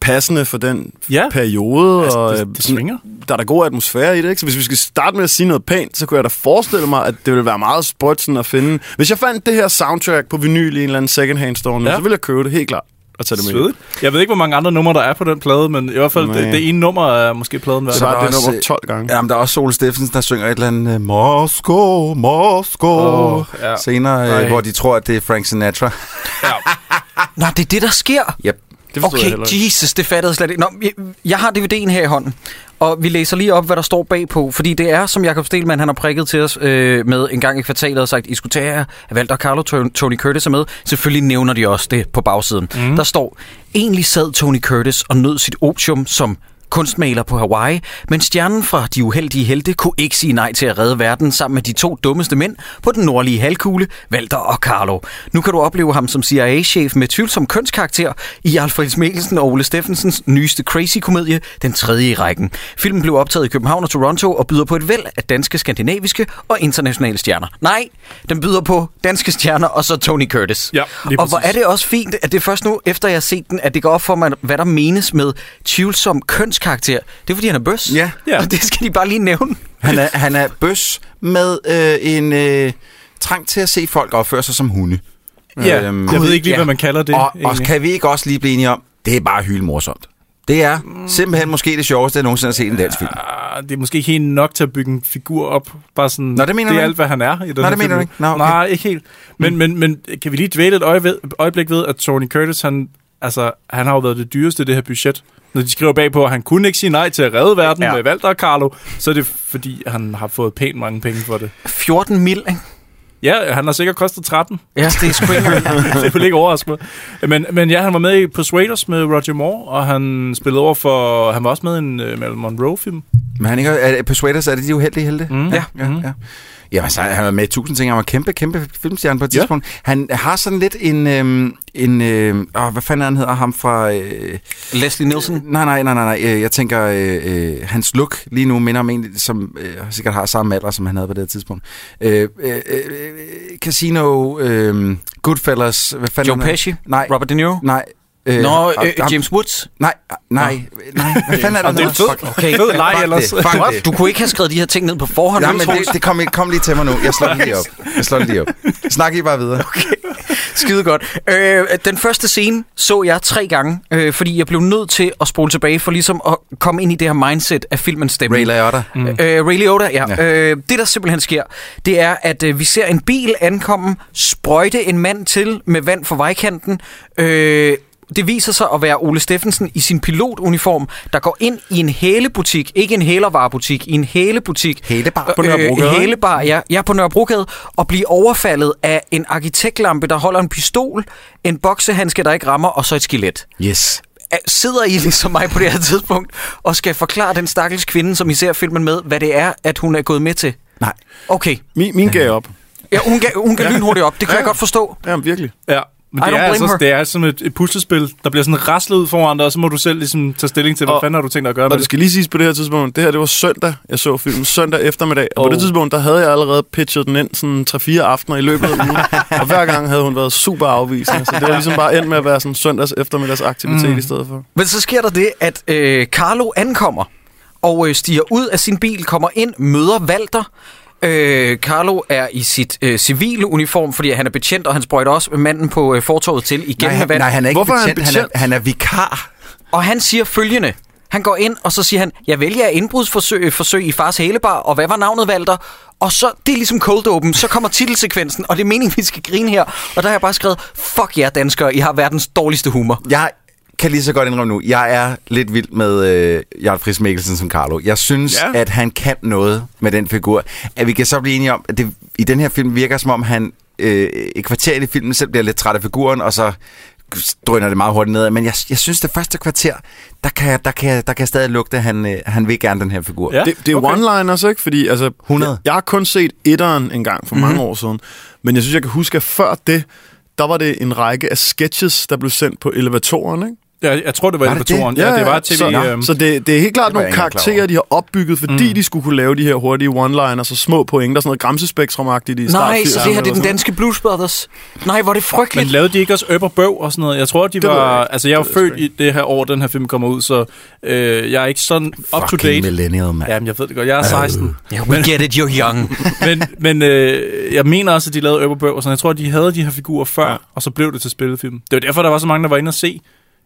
[SPEAKER 6] passende for den
[SPEAKER 7] Ja.
[SPEAKER 6] periode.
[SPEAKER 7] Altså,
[SPEAKER 6] og,
[SPEAKER 7] det-
[SPEAKER 6] øh,
[SPEAKER 7] det
[SPEAKER 6] sådan-
[SPEAKER 7] svinger.
[SPEAKER 6] der er da god atmosfære i det, ikke? Så hvis vi skal starte med at sige noget pænt, så kunne jeg da forestille mig, at det ville være meget sprødt sådan at finde. Hvis jeg fandt det her soundtrack på vinyl i en eller anden secondhand store nu,
[SPEAKER 7] Ja.
[SPEAKER 6] ja. så ville jeg købe det helt klart og tage det med.
[SPEAKER 7] Svedigt. Jeg ved ikke, hvor mange andre numre, der er på den plade, men i hvert fald det,
[SPEAKER 6] Nej.
[SPEAKER 7] det ene nummer er måske pladen værd.
[SPEAKER 6] Så
[SPEAKER 8] er der
[SPEAKER 6] var det
[SPEAKER 8] også,
[SPEAKER 6] nummer
[SPEAKER 8] øh,
[SPEAKER 6] 12 gange.
[SPEAKER 8] Jamen, der er også Sol Steffensen, der synger et eller andet øh, Mosko, Mosko
[SPEAKER 7] Åh,
[SPEAKER 8] oh,
[SPEAKER 7] ja.
[SPEAKER 8] ja. senere,
[SPEAKER 7] Nej.
[SPEAKER 8] øh, hvor de tror, at det er Frank Sinatra.
[SPEAKER 1] Nå, det er det, der sker.
[SPEAKER 8] Yep.
[SPEAKER 6] Det forstod jeg
[SPEAKER 1] Okay,
[SPEAKER 6] heller ikke.
[SPEAKER 1] Jesus, det fattede jeg slet ikke. Nå, jeg, jeg har DVD'en her i hånden, og vi læser lige op, hvad der står bagpå, fordi det er, som Jakob Stelmann han har prikket til os øh, med en gang i kvartalet og sagt, I skulle tage jer, at Walter Carlo Ton- Tony Curtis er med. Selvfølgelig nævner de også det på bagsiden.
[SPEAKER 6] Mhm.
[SPEAKER 1] Mm. Der står, egentlig sad Tony Curtis og nød sit opium som kunstmaler på Hawaii, men stjernen fra De Uheldige Helte kunne ikke sige nej til at redde verden sammen med de to dummeste mænd på den nordlige halvkugle, Walter og Carlo. Nu kan du opleve ham som CIA-chef med tvivlsom kønskarakter i Alfred Mikkelsen og Ole Steffensens nyeste crazy-komedie, Den tredje i rækken. Filmen blev optaget i København og Toronto og byder på et væld af danske, skandinaviske og internationale stjerner. Nej, den byder på danske stjerner og så Tony Curtis.
[SPEAKER 7] Ja, lige
[SPEAKER 1] og hvor
[SPEAKER 7] præcis.
[SPEAKER 1] er det også fint, at det er først nu, efter jeg har set den, at det går op for mig, hvad der menes med tvivlsom kønskarakter. Det er, fordi han er bøs.
[SPEAKER 8] Ja.
[SPEAKER 7] Ja.
[SPEAKER 1] Og det skal de bare lige nævne.
[SPEAKER 8] Han, er, han er bøs med øh, en øh, trang til at se folk opføre sig som hunde.
[SPEAKER 7] Ja,
[SPEAKER 8] Øhm,
[SPEAKER 7] jeg ved ikke lige,
[SPEAKER 1] ja.
[SPEAKER 7] hvad man kalder det.
[SPEAKER 8] og, og
[SPEAKER 7] egentlig.
[SPEAKER 8] kan vi ikke også lige blive enige om, det er bare hylmorsomt. Det er simpelthen måske det sjoveste, jeg nogensinde har set i en dansk film.
[SPEAKER 7] Ah, det er måske ikke helt nok til at bygge en figur op. Bare sådan,
[SPEAKER 8] Nå, det mener
[SPEAKER 7] det
[SPEAKER 8] du
[SPEAKER 7] er
[SPEAKER 8] ikke?
[SPEAKER 7] alt, hvad han er i den
[SPEAKER 8] Nå,
[SPEAKER 7] her
[SPEAKER 8] det mener
[SPEAKER 7] film.
[SPEAKER 8] du ikke? Nå, okay.
[SPEAKER 7] Nej, ikke helt. Men, men, men kan vi lige dvæle et øje ved, øjeblik ved, at Tony Curtis, han, altså, han har jo været det dyreste i det her budget. Når de skriver bagpå, at han kunne ikke sige nej til at redde verden ja.
[SPEAKER 1] Ja.
[SPEAKER 7] med Walter og Carlo, så er det fordi, han har fået pænt mange penge for det.
[SPEAKER 1] 14 mil, ikke?
[SPEAKER 7] Ja, han har sikkert kostet
[SPEAKER 8] [LAUGHS]
[SPEAKER 7] 13.
[SPEAKER 1] Ja, det er sgu ikke engang-
[SPEAKER 7] [LAUGHS] det vil ikke overraske mig. Men, men ja, han var med i Persuaders med Roger Moore, og han spillede over for... Han var også med i en uh, Marilyn Monroe-film.
[SPEAKER 8] Men han ikke, er, er Persuaders, er det de uheldige helte? Mm. Ja, ja, ja. Jamen, så han var med i tusind ting. Han var kæmpe, kæmpe filmstjerne på et
[SPEAKER 7] Ja.
[SPEAKER 8] tidspunkt. Han har sådan lidt en... Øhm, en øhm, åh, hvad fanden er han hedder ham fra... Øh,
[SPEAKER 1] Leslie Nielsen.
[SPEAKER 8] nej, nej, nej, nej, nej. øh, Jeg tænker, øh, øh, hans look lige nu minder om en, som øh, sikkert har samme alder, som han havde på det her tidspunkt. Øh, øh, øh, øh, Casino, øh, Goodfellas... Hvad fanden
[SPEAKER 1] Joe
[SPEAKER 8] er han?
[SPEAKER 1] Pesci.
[SPEAKER 8] Nej,
[SPEAKER 1] Robert De Niro.
[SPEAKER 8] nej. Øh,
[SPEAKER 1] Nå,
[SPEAKER 8] ham-
[SPEAKER 1] øh, James Woods.
[SPEAKER 8] Nej, øh, nej, nej. Hvad fanden er det?
[SPEAKER 7] Jamen, det er fedt.
[SPEAKER 1] Okay.
[SPEAKER 7] Fed leg
[SPEAKER 8] Fuck
[SPEAKER 7] ellers.
[SPEAKER 8] det, fuck det.
[SPEAKER 1] Du kunne ikke have skrevet de her ting ned på forhånd.
[SPEAKER 8] Ja,
[SPEAKER 1] vel,
[SPEAKER 8] men
[SPEAKER 1] Troels?
[SPEAKER 8] det, det kom, kom lige til mig nu. Jeg slår det lige op. Jeg slår det lige op. Snak I bare videre.
[SPEAKER 1] Skide godt. Øh, den første scene så jeg tre gange, øh, fordi jeg blev nødt til at spole tilbage for ligesom at komme ind i det her mindset af filmens stemning.
[SPEAKER 8] Ray Liotta.
[SPEAKER 1] Mm. Øh, Ray Liotta, ja.
[SPEAKER 8] Ja.
[SPEAKER 1] ja. Øh, det, der simpelthen sker, det er, at øh, vi ser en bil ankomme, sprøjte en mand til med vand fra vejkanten. Øh, det viser sig at være Ole Steffensen i sin pilotuniform, der går ind i en hælebutik. Ikke en hælervarebutik, i en hælebutik.
[SPEAKER 8] Hælebar.
[SPEAKER 1] På Nørrebrogade. Øh, hælebar, ja. Jeg er på Nørrebrogade og bliver overfaldet af en arkitektlampe, der holder en pistol, en boksehandske, der ikke rammer, og så et skelet
[SPEAKER 8] Yes.
[SPEAKER 1] sidder I ligesom mig på det her tidspunkt, og skal forklare den stakkels kvinde, som I ser filmen med, hvad det er, at hun er gået med til?
[SPEAKER 8] Nej.
[SPEAKER 1] Okay.
[SPEAKER 6] Min, min gav op.
[SPEAKER 1] Ja, hun, gav, hun kan lynhurtigt op. Det kan jeg godt forstå.
[SPEAKER 6] Jamen, virkelig.
[SPEAKER 7] Ja, men
[SPEAKER 1] I
[SPEAKER 7] det
[SPEAKER 1] don't
[SPEAKER 7] er,
[SPEAKER 1] blame
[SPEAKER 7] altså,
[SPEAKER 1] her.
[SPEAKER 7] det er som et, et puslespil, der bliver sådan raslet ud foran dig, og så må du selv ligesom tage stilling til, hvad
[SPEAKER 6] Og-
[SPEAKER 7] fanden har du tænkt dig at gøre
[SPEAKER 6] Og
[SPEAKER 7] med
[SPEAKER 6] det
[SPEAKER 7] det.
[SPEAKER 6] skal lige siges på det her tidspunkt, det her det var søndag, jeg så filmen søndag eftermiddag, og oh.
[SPEAKER 7] Oh.
[SPEAKER 6] på det tidspunkt, der havde jeg allerede pitchet den ind sådan 3-4 aftener i løbet af ugen, og hver gang havde hun været super afvisende, så det var ligesom bare endt med at være sådan søndags eftermiddags aktivitet mm. i stedet for.
[SPEAKER 1] Men så sker der det, at øh, Carlo ankommer og øh, stiger ud af sin bil, kommer ind, møder Walter. Øh, Carlo er i sit øh, civile uniform, fordi han er betjent, og han sprøjter også manden på øh, fortovet til igen
[SPEAKER 8] Nej,
[SPEAKER 1] med
[SPEAKER 8] han,
[SPEAKER 1] vand.
[SPEAKER 8] nej, han er ikke
[SPEAKER 6] Hvorfor er han
[SPEAKER 8] betjent. Han er, han er vikar.
[SPEAKER 1] Og han siger følgende. Han går ind, og så siger han, jeg vælger indbrudsforsøg forsøg i fars hælebar, og hvad var navnet, Valter? Og så, det er ligesom cold open, så kommer titelsekvensen, og det er meningen, vi skal grine her. Og der har jeg bare skrevet, fuck jer yeah, danskere, I har verdens dårligste humor.
[SPEAKER 8] Jeg kan lige så godt indrømme nu, jeg er lidt vild med øh, Jarl Friis Mikkelsen som Carlo. Jeg synes,
[SPEAKER 7] Ja.
[SPEAKER 8] ja. at han kan noget med den figur. At vi kan så blive enige om, at det i den her film virker som om, han øh, et kvarter ind i filmen selv bliver lidt træt af figuren, og så drøner det meget hurtigt ned. Men jeg, jeg synes, det første kvarter, der kan, jeg- der kan, jeg- der kan jeg stadig lugte, at han, øh, han vil gerne den her figur.
[SPEAKER 7] Ja.
[SPEAKER 6] Det, det er okay. one-liners, ikke? Fordi altså,
[SPEAKER 8] 100.
[SPEAKER 6] Jeg, jeg har kun set etteren en gang for mm-hmm. mange år siden, men jeg synes, jeg kan huske, at før det, der var det en række af sketches, der blev sendt på elevatoren, ikke?
[SPEAKER 7] Jeg, jeg tror, det var,
[SPEAKER 8] Var
[SPEAKER 7] var det
[SPEAKER 8] det det?
[SPEAKER 7] Ja, ja, det var tv.
[SPEAKER 6] Så,
[SPEAKER 7] øhm,
[SPEAKER 6] så det, det er helt klart
[SPEAKER 8] Det var jeg
[SPEAKER 6] nogle
[SPEAKER 8] ikke klar
[SPEAKER 6] karakterer,
[SPEAKER 8] over.
[SPEAKER 6] de har opbygget, fordi mm. de skulle kunne lave de her hurtige one-liners og små pointer, sådan noget gramsespektrum-agtigt i start
[SPEAKER 1] Nej, så det her det er den
[SPEAKER 6] danske...
[SPEAKER 1] danske Blues Brothers. Nej, hvor er det
[SPEAKER 7] Men
[SPEAKER 1] frygteligt.
[SPEAKER 7] lavede de ikke også Øb og Bøv og sådan noget? Jeg tror, de
[SPEAKER 6] ved jeg
[SPEAKER 7] var...
[SPEAKER 6] ikke.
[SPEAKER 7] altså, jeg er
[SPEAKER 6] Det ved jeg
[SPEAKER 7] født i det her år, den her film kommer ud, så øh, jeg er ikke sådan up to
[SPEAKER 8] Fucking
[SPEAKER 7] date.
[SPEAKER 8] millennial, mand.
[SPEAKER 7] Jamen, jeg ved det godt. Jeg er 16.
[SPEAKER 1] Yeah, we get it, you're young.
[SPEAKER 7] men men øh, jeg mener også, at de lavede Øb og Bøv og sådan Jeg tror, de havde de her figurer før, ja. og så blev det til spillefilm. Det var derfor, der var så mange, der var inde og se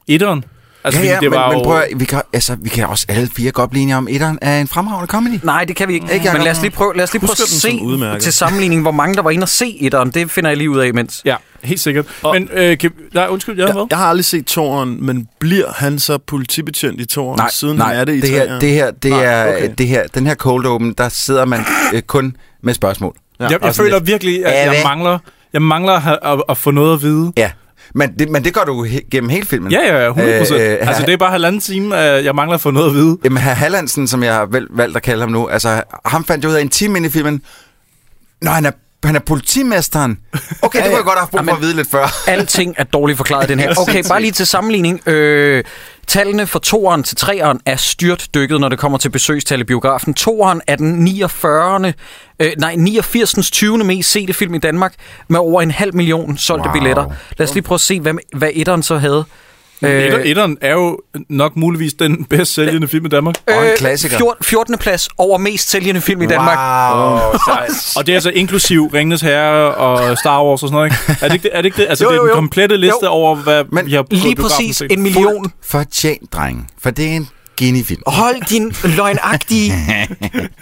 [SPEAKER 7] etteren.
[SPEAKER 8] Ja, ja,
[SPEAKER 7] altså, fordi
[SPEAKER 8] det men, men prøv at, vi kan, altså, vi kan også alle fire godt blive enige om, etteren er en fremragende comedy.
[SPEAKER 1] Nej, det kan vi ikke.
[SPEAKER 8] Ikke,
[SPEAKER 1] ikke
[SPEAKER 8] Jacob?
[SPEAKER 1] Men lad os lige prøve, lad os lige prøve
[SPEAKER 6] Husker
[SPEAKER 1] at
[SPEAKER 6] den som
[SPEAKER 1] se
[SPEAKER 6] udmærket.
[SPEAKER 1] til sammenligning, hvor mange der var inde og se etteren. Det finder jeg lige ud af imens.
[SPEAKER 7] Ja, helt sikkert. Og, men øh, kan, nej, undskyld, jeg har
[SPEAKER 6] Jeg,
[SPEAKER 7] været.
[SPEAKER 6] jeg har aldrig set toren, men bliver han så politibetjent i toren, siden han er det i
[SPEAKER 8] det her,
[SPEAKER 6] træerne?
[SPEAKER 8] det her, det
[SPEAKER 6] Nej,
[SPEAKER 8] er,
[SPEAKER 6] okay.
[SPEAKER 8] det her, den her cold open, der sidder man øh, kun med spørgsmål.
[SPEAKER 7] Ja, jeg, jeg
[SPEAKER 8] Og sådan
[SPEAKER 7] føler
[SPEAKER 8] lidt.
[SPEAKER 7] virkelig, at
[SPEAKER 8] Ja,
[SPEAKER 7] jeg
[SPEAKER 8] hvad? Mm.
[SPEAKER 7] mangler, jeg mangler at, have- at, at få noget at vide.
[SPEAKER 8] Ja, men det, men det gør du he- gennem hele filmen.
[SPEAKER 7] Ja, ja, 100 procent.
[SPEAKER 8] Øh, øh,
[SPEAKER 7] altså,
[SPEAKER 8] her-
[SPEAKER 7] det er bare halvanden time, øh, jeg mangler at få noget at vide.
[SPEAKER 8] Jamen, herr Hallandsen, som jeg har vel, valgt at kalde ham nu, altså, ham fandt jeg ud af en time ind i filmen, når han er, han er politimesteren. Okay, det kunne jeg godt have haft brug for at vide lidt før.
[SPEAKER 1] Alting er dårligt forklaret i den her. Okay, bare lige til sammenligning. Øh, tallene fra toeren til treeren er styrt dykket, når det kommer til besøgstal i biografen. Toeren er den 49. Øh, nej, 89. 20. mest sete film i Danmark, med over en halv million solgte wow.
[SPEAKER 8] Wow.
[SPEAKER 1] billetter. Lad os lige prøve at se, hvad, hvad etteren så havde. Øh,
[SPEAKER 8] Øh.
[SPEAKER 7] Etter, etteren er jo nok muligvis den bedst sælgende film i Danmark.
[SPEAKER 8] Og en klassiker.
[SPEAKER 1] 14. 14. plads øh, over mest sælgende film i Danmark.
[SPEAKER 8] Wow, sejt.
[SPEAKER 7] Og det er altså inklusiv Ringenes Herre og Star Wars og sådan noget, ikke? Er det ikke det? Er det, ikke det? Altså,
[SPEAKER 8] [LAUGHS] Jo,
[SPEAKER 7] jo, jo, jo.
[SPEAKER 8] jo,
[SPEAKER 7] det er
[SPEAKER 8] jo.
[SPEAKER 7] den komplette liste
[SPEAKER 8] Jo.
[SPEAKER 7] over, hvad
[SPEAKER 8] Men
[SPEAKER 7] vi har på
[SPEAKER 1] Lige
[SPEAKER 7] biografen
[SPEAKER 1] præst
[SPEAKER 7] set.
[SPEAKER 1] en million.
[SPEAKER 8] Fortjent, dreng. For det er en genifilm.
[SPEAKER 1] Hold din løgnagtige...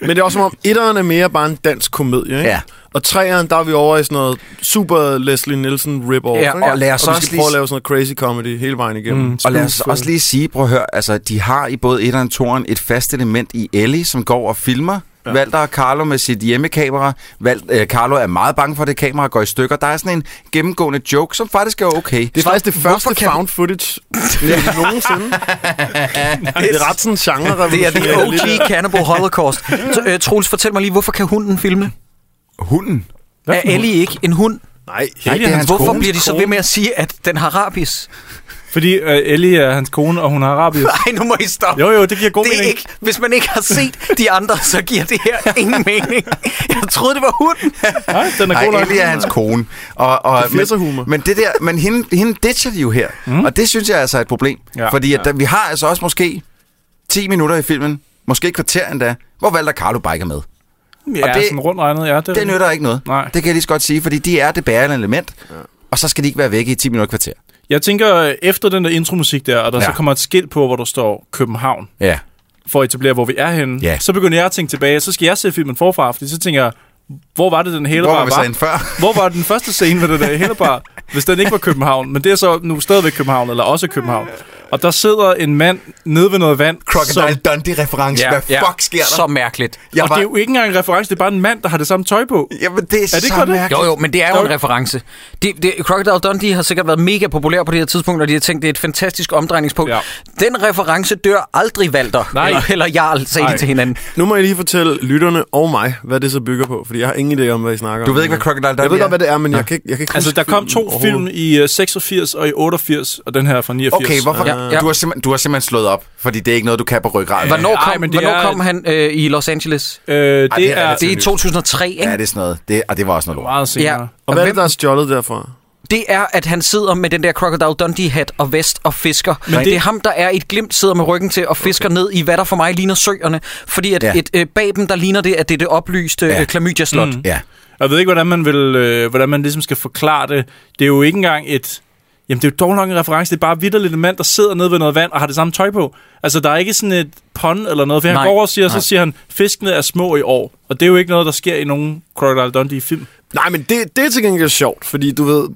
[SPEAKER 6] Men det er også som om, etteren er mere bare en dansk komedie, ikke?
[SPEAKER 8] Ja.
[SPEAKER 6] Og treeren, der er vi over i sådan noget super Leslie Nielsen rip-off,
[SPEAKER 1] Ja,
[SPEAKER 6] ikke?
[SPEAKER 8] og lad os
[SPEAKER 6] og vi
[SPEAKER 8] også
[SPEAKER 6] skal
[SPEAKER 8] lige-
[SPEAKER 6] prøve at lave sådan noget crazy comedy hele vejen igennem. Mm.
[SPEAKER 8] Og lad os også lige sige, prøv at høre, altså, de har i både et og toren et fast element i Ellie, som går og filmer. Ja. Valter og Carlo med sit hjemmekamera. Val, øh, Carlo er meget bange for, at det kamera går i stykker. Der er sådan en gennemgående joke, som faktisk er okay.
[SPEAKER 6] Det er faktisk det første
[SPEAKER 1] kan-
[SPEAKER 6] found footage ja.
[SPEAKER 8] [LAUGHS]
[SPEAKER 6] nogensinde. det er ret sådan genre
[SPEAKER 1] Det er det OG Cannibal Holocaust. Så, øh, Troels, fortæl mig lige, hvorfor kan hunden filme?
[SPEAKER 8] Hunden?
[SPEAKER 7] Hvad
[SPEAKER 1] Er
[SPEAKER 7] for en
[SPEAKER 1] Ellie ikke en hund?
[SPEAKER 6] Nej,
[SPEAKER 8] Nej, det er hans
[SPEAKER 1] Hvorfor
[SPEAKER 8] kone.
[SPEAKER 1] bliver de så ved med at sige, at den har rabies?
[SPEAKER 7] Fordi øh, Ellie er hans kone, og hun har rabies.
[SPEAKER 1] Nej, nu må I stoppe.
[SPEAKER 7] Jo, jo, det giver god
[SPEAKER 1] det er
[SPEAKER 7] mening.
[SPEAKER 1] ikke, hvis man ikke har set de andre, så giver det her [LAUGHS] ingen mening. Jeg troede, det var hunden.
[SPEAKER 7] Nej, den er
[SPEAKER 8] Nej,
[SPEAKER 7] god nok.
[SPEAKER 8] Ellie er hans kone. Og, og,
[SPEAKER 6] Det er firserhumor.
[SPEAKER 8] Men, men, det der, men hende, hende ditcher de jo her. Mm. Og det synes jeg altså er et problem.
[SPEAKER 7] Ja.
[SPEAKER 8] Ja. Fordi at der, vi har altså også måske 10 minutter i filmen, måske et kvarter endda, hvor Valter og Carlo bare ikke er med.
[SPEAKER 7] Ja,
[SPEAKER 8] og det-
[SPEAKER 7] sådan rundt regnet, ja. Det,
[SPEAKER 8] Det nytter ikke noget.
[SPEAKER 7] Nej.
[SPEAKER 8] Det kan jeg lige så godt sige, fordi de er det bærende element, ja. og så skal de ikke være væk i 10 minutter og kvarter.
[SPEAKER 7] Jeg tænker, øh, efter den der intromusik der, og der ja. så
[SPEAKER 8] Ja.
[SPEAKER 7] kommer et skilt på, hvor der står København,
[SPEAKER 8] Ja.
[SPEAKER 7] for at etablere, hvor vi er henne,
[SPEAKER 8] Ja.
[SPEAKER 7] så begynder jeg at tænke tilbage, så skal jeg se filmen forfra, fordi så tænker jeg, hvor var det, den hele
[SPEAKER 8] Hvor
[SPEAKER 7] bar
[SPEAKER 8] var vi så inde før? [LAUGHS]
[SPEAKER 7] Hvor var den første scene med den der hele bar, hvis den ikke var København? Men det er så nu stadigvæk København, eller også København. Og der sidder en mand nede ved noget vand, som,
[SPEAKER 8] Crocodile Dundee-reference. Ja, Hvad fuck sker der?
[SPEAKER 1] Så mærkeligt.
[SPEAKER 8] jeg
[SPEAKER 7] og det er jo ikke engang en reference, det er bare en mand, der har det samme tøj på.
[SPEAKER 8] Jamen, det er,
[SPEAKER 7] det ikke
[SPEAKER 8] så
[SPEAKER 7] godt, det?
[SPEAKER 8] mærkeligt.
[SPEAKER 1] Jo, jo, men det er jo en
[SPEAKER 7] Jo.
[SPEAKER 1] reference. Det, det, Crocodile Dundee har sikkert været mega populær på det her tidspunkt, og de har tænkt, det er et fantastisk omdrejningspunkt.
[SPEAKER 7] Ja.
[SPEAKER 1] Ja. Den reference dør aldrig Valter.
[SPEAKER 7] Nej.
[SPEAKER 1] Eller, eller Jarl, sagde
[SPEAKER 7] Nej.
[SPEAKER 1] de til hinanden.
[SPEAKER 6] Nu må jeg lige fortælle lytterne og mig, hvad det så bygger på, fordi jeg har ingen idé om, hvad I snakker
[SPEAKER 8] Du
[SPEAKER 6] om.
[SPEAKER 8] ved ikke, hvad Crocodile Dundee
[SPEAKER 6] Jeg ved
[SPEAKER 8] er?
[SPEAKER 6] godt, hvad det er, men jeg kan ikke, jeg kan ikke
[SPEAKER 7] Altså,
[SPEAKER 6] huske
[SPEAKER 7] der kom
[SPEAKER 6] filmen
[SPEAKER 7] to
[SPEAKER 6] overhovedet.
[SPEAKER 7] film i øh, 86 og i 88, og den her er fra 89.
[SPEAKER 8] Okay, hvorfor?
[SPEAKER 1] Ja, ja.
[SPEAKER 8] Du, har simpelthen, du har simpelthen slået op, fordi det er ikke noget, du kan på ryggraden.
[SPEAKER 1] Hvornår
[SPEAKER 7] Ej,
[SPEAKER 1] kom,
[SPEAKER 7] men det
[SPEAKER 1] hvornår
[SPEAKER 7] er-
[SPEAKER 1] kom han øh, i Los Angeles?
[SPEAKER 7] Øh, det,
[SPEAKER 8] det er
[SPEAKER 7] er,
[SPEAKER 8] relativt
[SPEAKER 1] Det er i
[SPEAKER 8] nyt.
[SPEAKER 1] 2003, ikke?
[SPEAKER 8] Ja, det er sådan noget. Det, og det var også noget lort.
[SPEAKER 7] meget senere.
[SPEAKER 1] Ja.
[SPEAKER 6] Og hvad er
[SPEAKER 1] Hvem-
[SPEAKER 6] det, der er stjålet derfra?
[SPEAKER 1] Det er, at han sidder med den der Crocodile Dundee-hat og vest og fisker. Men det...
[SPEAKER 7] det-
[SPEAKER 1] det er ham, der er i et glimt, sidder med ryggen til og fisker okay. ned i, hvad der for mig ligner søerne. Fordi at ja.
[SPEAKER 8] Ja.
[SPEAKER 1] et, øh, bag dem, der ligner det, at det er det oplyste ja.
[SPEAKER 8] Ja.
[SPEAKER 1] øh, Chlamydia-slot. Mm.
[SPEAKER 8] Ja.
[SPEAKER 7] Jeg ved ikke, hvordan man, vil, øh, hvordan man ligesom skal forklare det. Det er jo ikke engang et... Jamen, det er jo dog nok en reference. Det er bare vidderligt en mand, der sidder nede ved noget vand og har det samme tøj på. Altså, der er ikke sådan et pun eller noget. For han
[SPEAKER 1] Nej,
[SPEAKER 7] går over og siger,
[SPEAKER 1] nej.
[SPEAKER 7] så siger han, fiskene er små i år. Og det er jo ikke noget, der sker i nogen Crocodile Dundee-film.
[SPEAKER 6] Nej, men det, det er til gengæld sjovt, fordi du ved,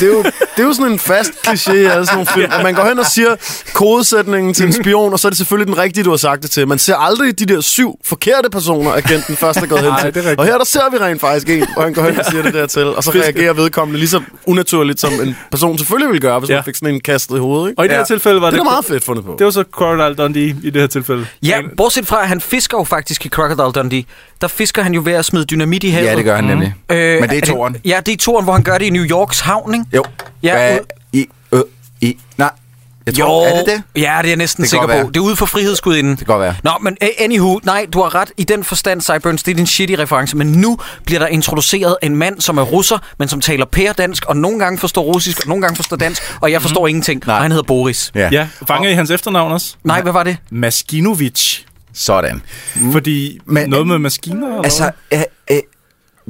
[SPEAKER 6] det er jo, det er jo sådan en fast kliché i alle sådan nogle
[SPEAKER 7] [LAUGHS]
[SPEAKER 6] film. At man går hen og siger kodesætningen til en spion, og så er det selvfølgelig den rigtige, du har sagt det til. Man ser aldrig de der syv forkerte personer, agenten først er gået hen
[SPEAKER 7] [LAUGHS] Nej, det er
[SPEAKER 6] til.
[SPEAKER 7] rigtigt.
[SPEAKER 6] Og her der ser vi rent faktisk en, og han går
[SPEAKER 7] [LAUGHS]
[SPEAKER 6] hen og siger det dertil, og så reagerer vedkommende lige så unaturligt, som en person selvfølgelig ville gøre, hvis
[SPEAKER 7] Ja.
[SPEAKER 6] ja. man fik sådan en kastet i hovedet. Ikke?
[SPEAKER 7] Og i ja. det her
[SPEAKER 8] Ja.
[SPEAKER 7] tilfælde var
[SPEAKER 6] Det
[SPEAKER 7] det...
[SPEAKER 6] er da meget fedt fundet på.
[SPEAKER 7] Det var så Crocodile Dundee i det her tilfælde.
[SPEAKER 1] Ja,
[SPEAKER 7] Men-
[SPEAKER 1] bortset fra, at han fisker jo faktisk i Crocodile Dundee. Der fisker han jo ved at smide dynamit i havet.
[SPEAKER 8] ja, det gør han nemlig.
[SPEAKER 1] Øh,
[SPEAKER 8] Men det er toren.
[SPEAKER 1] Ja, det er toren, hvor han gør det i New Yorks havn, ikke?
[SPEAKER 8] Jo.
[SPEAKER 1] Ja,
[SPEAKER 8] Hvad-
[SPEAKER 1] ud-
[SPEAKER 8] I, ø, i, nej. Jeg tror, er det
[SPEAKER 1] Ja,
[SPEAKER 8] det?
[SPEAKER 1] det er jeg næsten
[SPEAKER 8] Det kan
[SPEAKER 1] sikker på.
[SPEAKER 8] godt være.
[SPEAKER 1] Det er ude for frihedsgudinden.
[SPEAKER 8] Det kan godt være.
[SPEAKER 1] Nå, men a- anywho, nej, du har ret i den forstand, Cyburns, det er din shitty reference, men nu bliver der introduceret en mand, som er russer, men som taler pæredansk, og nogle gange forstår russisk, og nogle gange forstår dansk, og jeg forstår mm. ingenting, nej. og han hedder Boris.
[SPEAKER 8] Mhm. Ja. ja.
[SPEAKER 7] Ja, fanget i hans efternavn også.
[SPEAKER 1] Nej, hvad var det?
[SPEAKER 7] Maskinovic.
[SPEAKER 8] Sådan.
[SPEAKER 7] Fordi
[SPEAKER 8] Men-
[SPEAKER 7] Men, noget med maskiner? Eller
[SPEAKER 8] Altså,
[SPEAKER 7] hvad?
[SPEAKER 8] øh, øh,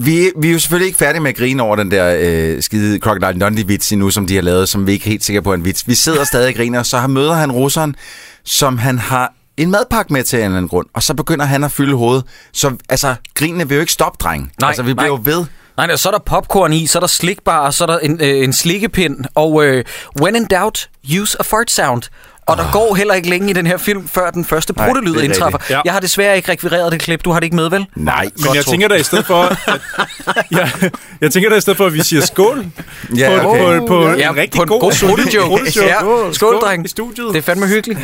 [SPEAKER 8] vi, vi er jo selvfølgelig ikke færdige med at grine over den der øh, skide Crocodile Dundee-vits endnu, som de har lavet, som vi ikke er helt sikre på er en vits. Vi
[SPEAKER 7] [LAUGHS]
[SPEAKER 8] sidder stadig og griner, så har møder han russeren, som han har en madpakke med til af en eller anden grund, og så begynder han at fylde hovedet. Så altså, grinene vil jo ikke stoppe, dreng.
[SPEAKER 1] Nej,
[SPEAKER 8] altså, vi
[SPEAKER 1] nej.
[SPEAKER 8] bliver jo ved.
[SPEAKER 1] Nej, nej, så er der popcorn i, så er der slikbar, og så er der en, øh, en slikkepind, og øh, when in doubt, use a fart sound. Og der går heller ikke længe i den her film, før den første
[SPEAKER 8] Ah. Nej,
[SPEAKER 1] pruttelyd
[SPEAKER 8] det er
[SPEAKER 1] indtræffer.
[SPEAKER 8] rigtigt.
[SPEAKER 7] Ja.
[SPEAKER 1] Jeg har desværre ikke rekvireret det klip, du har det ikke med, vel?
[SPEAKER 8] Nej,
[SPEAKER 7] Men jeg tænker da i stedet for, at, ja, jeg tænker da i stedet for, at vi siger skål
[SPEAKER 8] Ja,
[SPEAKER 7] på,
[SPEAKER 8] okay.
[SPEAKER 7] på, på en rigtig god, solid
[SPEAKER 1] pruttejoke.
[SPEAKER 7] prutteshow.
[SPEAKER 1] Ja, skål, skål, dreng.
[SPEAKER 7] i studiet.
[SPEAKER 1] Det er fandme hyggeligt.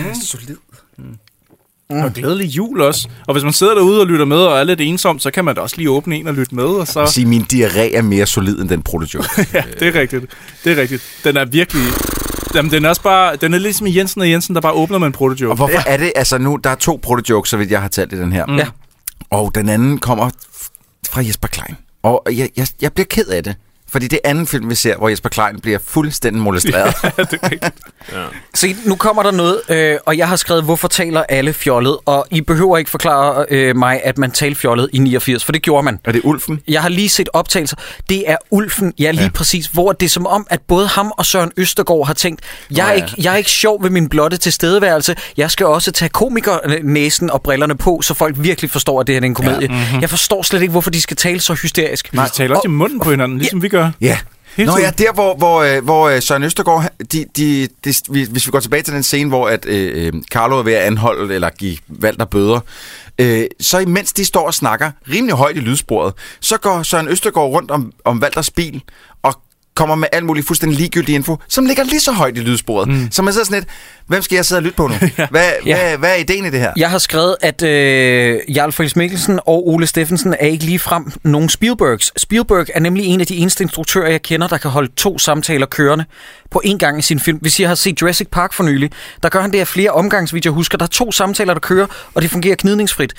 [SPEAKER 7] Og glædelig jul også. Og hvis man sidder derude og lytter med og er lidt ensom, så kan man da også lige åbne en og lytte med. Og så,
[SPEAKER 8] sige, min diarré er mere solid end den prototype.
[SPEAKER 7] ja, det er rigtigt. Det er rigtigt. Den er virkelig... Jamen, den er også bare... Den er ligesom i Jensen og Jensen, der bare åbner med en
[SPEAKER 8] Og
[SPEAKER 7] protojoke.
[SPEAKER 8] hvorfor er det, altså nu, der er to protojokes, så vidt jeg har talt i den her.
[SPEAKER 1] Ja.
[SPEAKER 8] Og den anden kommer f- fra Jesper Klein. Og jeg, jeg, jeg bliver ked af det. Fordi det er anden film, vi ser, hvor Jesper Klein bliver fuldstændig molesteret.
[SPEAKER 7] Ja, det er rigtigt.
[SPEAKER 1] Se, nu kommer der noget, øh, og jeg har skrevet, hvorfor taler alle fjollet? Og I behøver ikke forklare øh, mig, at man talte fjollet i 89, for det gjorde man.
[SPEAKER 8] er det Ulfen?
[SPEAKER 1] Jeg har lige set optagelser. Det er Ulfen, ja lige ja. præcis, hvor det er som om, at både ham og Søren Østergaard har tænkt, jeg er, ikke, jeg er ikke sjov ved min blotte tilstedeværelse, jeg skal også tage komikernæsen og brillerne på, så folk virkelig forstår, at det her er en komedie. Ja. Mm-hmm. Jeg forstår slet ikke, hvorfor de skal tale så hysterisk.
[SPEAKER 7] mhm. De taler også i munden på hinanden, ligesom vi gør.
[SPEAKER 8] Ja.
[SPEAKER 7] Hele
[SPEAKER 8] Nå ja,
[SPEAKER 7] tiden.
[SPEAKER 8] der hvor, hvor, øh, hvor øh, Søren Østergaard, han- de, de, de, vi- hvis vi går tilbage til den scene, hvor at, øh, øh, Carlo er ved at anholde eller give Valter bøder, øh, så imens de står og snakker rimelig højt i lydsporet, så går Søren Østergaard rundt om, om Valters bil og kommer med alt muligt fuldstændig ligegyldig info, som ligger lige så højt i lydsporet. Mm. Så man sidder sådan lidt, hvem skal jeg sidde og lytte på nu? Hvad, [LAUGHS] ja. hvad, hvad er ideen i det her?
[SPEAKER 1] Jeg har skrevet, at øh, Jarl Friis Mikkelsen og Ole Steffensen er ikke ligefrem nogen Spielbergs. Spielberg er nemlig en af de eneste instruktører, jeg kender, der kan holde to samtaler kørende på én gang i sin film. Hvis jeg har set Jurassic Park for nylig, der gør han det her flere omgangsvideoer. Jeg husker, der er to samtaler, der kører, og det fungerer gnidningsfrit.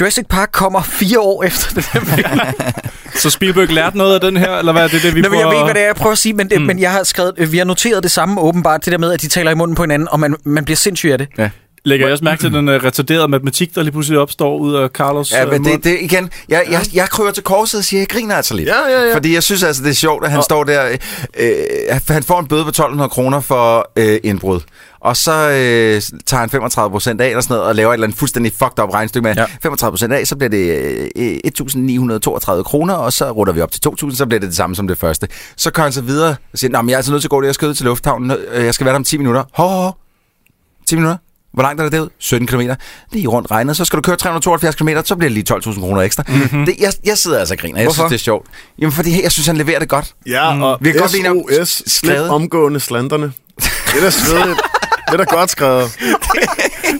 [SPEAKER 1] Jurassic Park kommer fire år efter den her film.
[SPEAKER 7] Så Spielberg lærte noget af den her, eller hvad er [LAUGHS] det, det vi
[SPEAKER 1] Nå, men jeg
[SPEAKER 7] prøver-
[SPEAKER 1] ved ikke, hvad det er, jeg prøver at sige, men, det, mm. men jeg har skrevet, øh, vi har noteret det samme åbenbart, det der med, at de taler i munden på hinanden, og man, man bliver sindssyg af det.
[SPEAKER 8] Ja.
[SPEAKER 7] Lægger jeg også mærke til den uh, retarderede matematik, der lige pludselig opstår ud af Carlos
[SPEAKER 8] Ja,
[SPEAKER 7] øh,
[SPEAKER 8] men
[SPEAKER 7] mund?
[SPEAKER 8] det, det igen, jeg, jeg, jeg kryber til korset og siger, jeg griner altså lidt.
[SPEAKER 6] Ja, ja, ja.
[SPEAKER 8] Fordi jeg synes altså, det er sjovt, at han og... står der, øh, øh, han får en bøde på 1200 kroner for øh, indbrud. Og så øh, tager han 35 procent af eller sådan noget, og laver et eller andet fuldstændig fucked up regnstykke med. Ja. 35 procent af, så bliver det øh, 1932 kroner, og så rutter vi op til 2000, så bliver det det samme som det første. Så kører han så videre og siger, Nå, men jeg er altså nødt til at gå det, jeg skal ud til lufthavnen, øh, jeg skal være der om 10 minutter. Hov, hov, hov. 10 minutter. Hvor langt er det derud? 17 km. Lige rundt regnet. Så skal du køre 372 km, så bliver det lige 12.000 kroner ekstra.
[SPEAKER 7] Mhm.
[SPEAKER 8] Mm-hmm. Det, jeg, jeg sidder altså og griner. Jeg
[SPEAKER 1] Hvorfor?
[SPEAKER 8] synes, det er sjovt. Jamen, fordi jeg synes, han leverer det godt.
[SPEAKER 6] Ja,
[SPEAKER 7] Mm.
[SPEAKER 6] og
[SPEAKER 8] Vi kan godt blive enige om-
[SPEAKER 6] SOS, slip
[SPEAKER 8] skrevet.
[SPEAKER 6] omgående slanderne. Det er da [LAUGHS] svedigt. Det er da godt skrevet.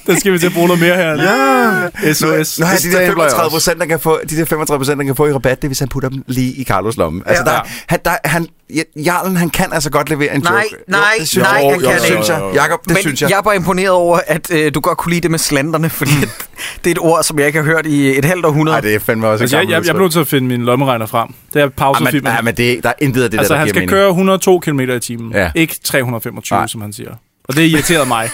[SPEAKER 7] Den skal vi til at bruge noget mere her.
[SPEAKER 6] Ah.
[SPEAKER 7] Ja. SOS.
[SPEAKER 8] Nå, ja,
[SPEAKER 6] det
[SPEAKER 8] de der
[SPEAKER 6] stabler jeg
[SPEAKER 8] 35
[SPEAKER 6] også.
[SPEAKER 8] procent, der kan få, de der 35 procent, der kan få i rabat, det er, hvis han putter dem lige i Carlos lomme. Altså,
[SPEAKER 1] Ja.
[SPEAKER 8] ja. der, han, der, han, ja, Jarlen, han kan altså godt levere en
[SPEAKER 1] Nej,
[SPEAKER 8] joke.
[SPEAKER 1] nej,
[SPEAKER 8] det synes
[SPEAKER 1] nej,
[SPEAKER 8] jeg.
[SPEAKER 1] han kan
[SPEAKER 8] det synes
[SPEAKER 6] ikke.
[SPEAKER 8] jeg. Jakob, det
[SPEAKER 1] Men
[SPEAKER 8] synes jeg.
[SPEAKER 1] jeg Mm. var imponeret over, at øh, du godt kunne lide det med slanderne, fordi at [LAUGHS] det er et ord, som jeg ikke har hørt i et halvt århundrede.
[SPEAKER 8] Nej, det er fandme også
[SPEAKER 7] Altså, jeg, jeg, jeg blev nødt til at finde min lommeregner frem. Det er
[SPEAKER 8] ah, men,
[SPEAKER 7] pausefilmen.
[SPEAKER 8] ah, men det, der er intet af det,
[SPEAKER 7] altså,
[SPEAKER 8] der,
[SPEAKER 7] han
[SPEAKER 8] der giver
[SPEAKER 7] skal
[SPEAKER 8] mening.
[SPEAKER 7] køre 102 km i timen.
[SPEAKER 8] Ja.
[SPEAKER 7] Ja. Ikke 325,
[SPEAKER 8] Nej.
[SPEAKER 7] Nej. som han siger. Og det irriterede
[SPEAKER 8] [LAUGHS]
[SPEAKER 7] mig.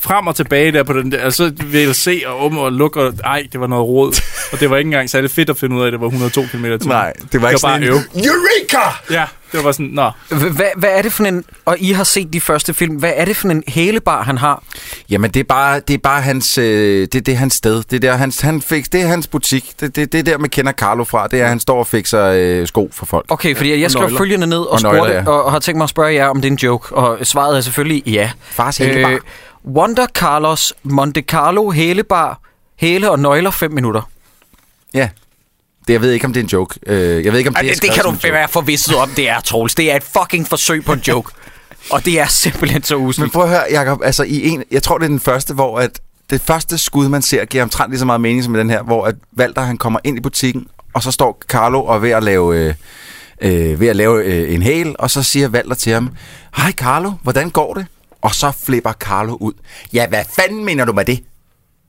[SPEAKER 7] Frem og tilbage der på den der, altså, og så VLC og om og lukke, og ej, det var noget råd. Og det var ikke engang særlig fedt at finde ud af, at det var 102 km i timen.
[SPEAKER 8] Nej, det var ikke
[SPEAKER 7] det var
[SPEAKER 8] sådan
[SPEAKER 7] bare
[SPEAKER 8] en-
[SPEAKER 7] øv.
[SPEAKER 8] Eureka!
[SPEAKER 7] Ja, det var bare sådan, nå.
[SPEAKER 1] Hvad, hvad er det for en, og I har set de første film, hvad er det for en hælebar, han har?
[SPEAKER 8] Jamen det er bare det er bare hans øh, det, det er hans sted. Det er der hans han fik det er hans butik. Det det, det er der man kender Carlo fra. Det er at han står og fikser øh, sko for folk.
[SPEAKER 1] Okay, fordi jeg skrev
[SPEAKER 8] nøgler.
[SPEAKER 1] følgende ned og,
[SPEAKER 8] Og nøgler,
[SPEAKER 1] spurgte,
[SPEAKER 8] ja.
[SPEAKER 1] og, og har tænkt mig at spørge jer, om det er en joke. Og svaret er selvfølgelig ja.
[SPEAKER 8] Fars hælebar.
[SPEAKER 1] Wonder Carlos Monte Carlo hælebar, hæle og nøgler 5 minutter.
[SPEAKER 8] Ja. Det jeg ved ikke om det er en joke. Øh, jeg ved ikke om
[SPEAKER 1] Ej,
[SPEAKER 8] det er
[SPEAKER 1] det, det
[SPEAKER 8] skrevet
[SPEAKER 1] kan
[SPEAKER 8] som
[SPEAKER 1] du
[SPEAKER 8] en joke.
[SPEAKER 1] være forvisset om, det er, Troels. Det er et fucking forsøg på en joke. [LAUGHS] Og det er simpelthen så
[SPEAKER 8] Men
[SPEAKER 1] usligt.
[SPEAKER 8] prøv at høre Jacob, altså i en jeg tror det er den første hvor at det første skud man ser giver omtrent lige så meget mening som i den her, hvor at Walter han kommer ind i butikken og så står Carlo og er ved at lave øh, øh, ved at lave øh, en hæl, og så siger Walter til ham, Hej Carlo, hvordan går det? Og så flipper Carlo ud. Ja, hvad fanden mener du med det?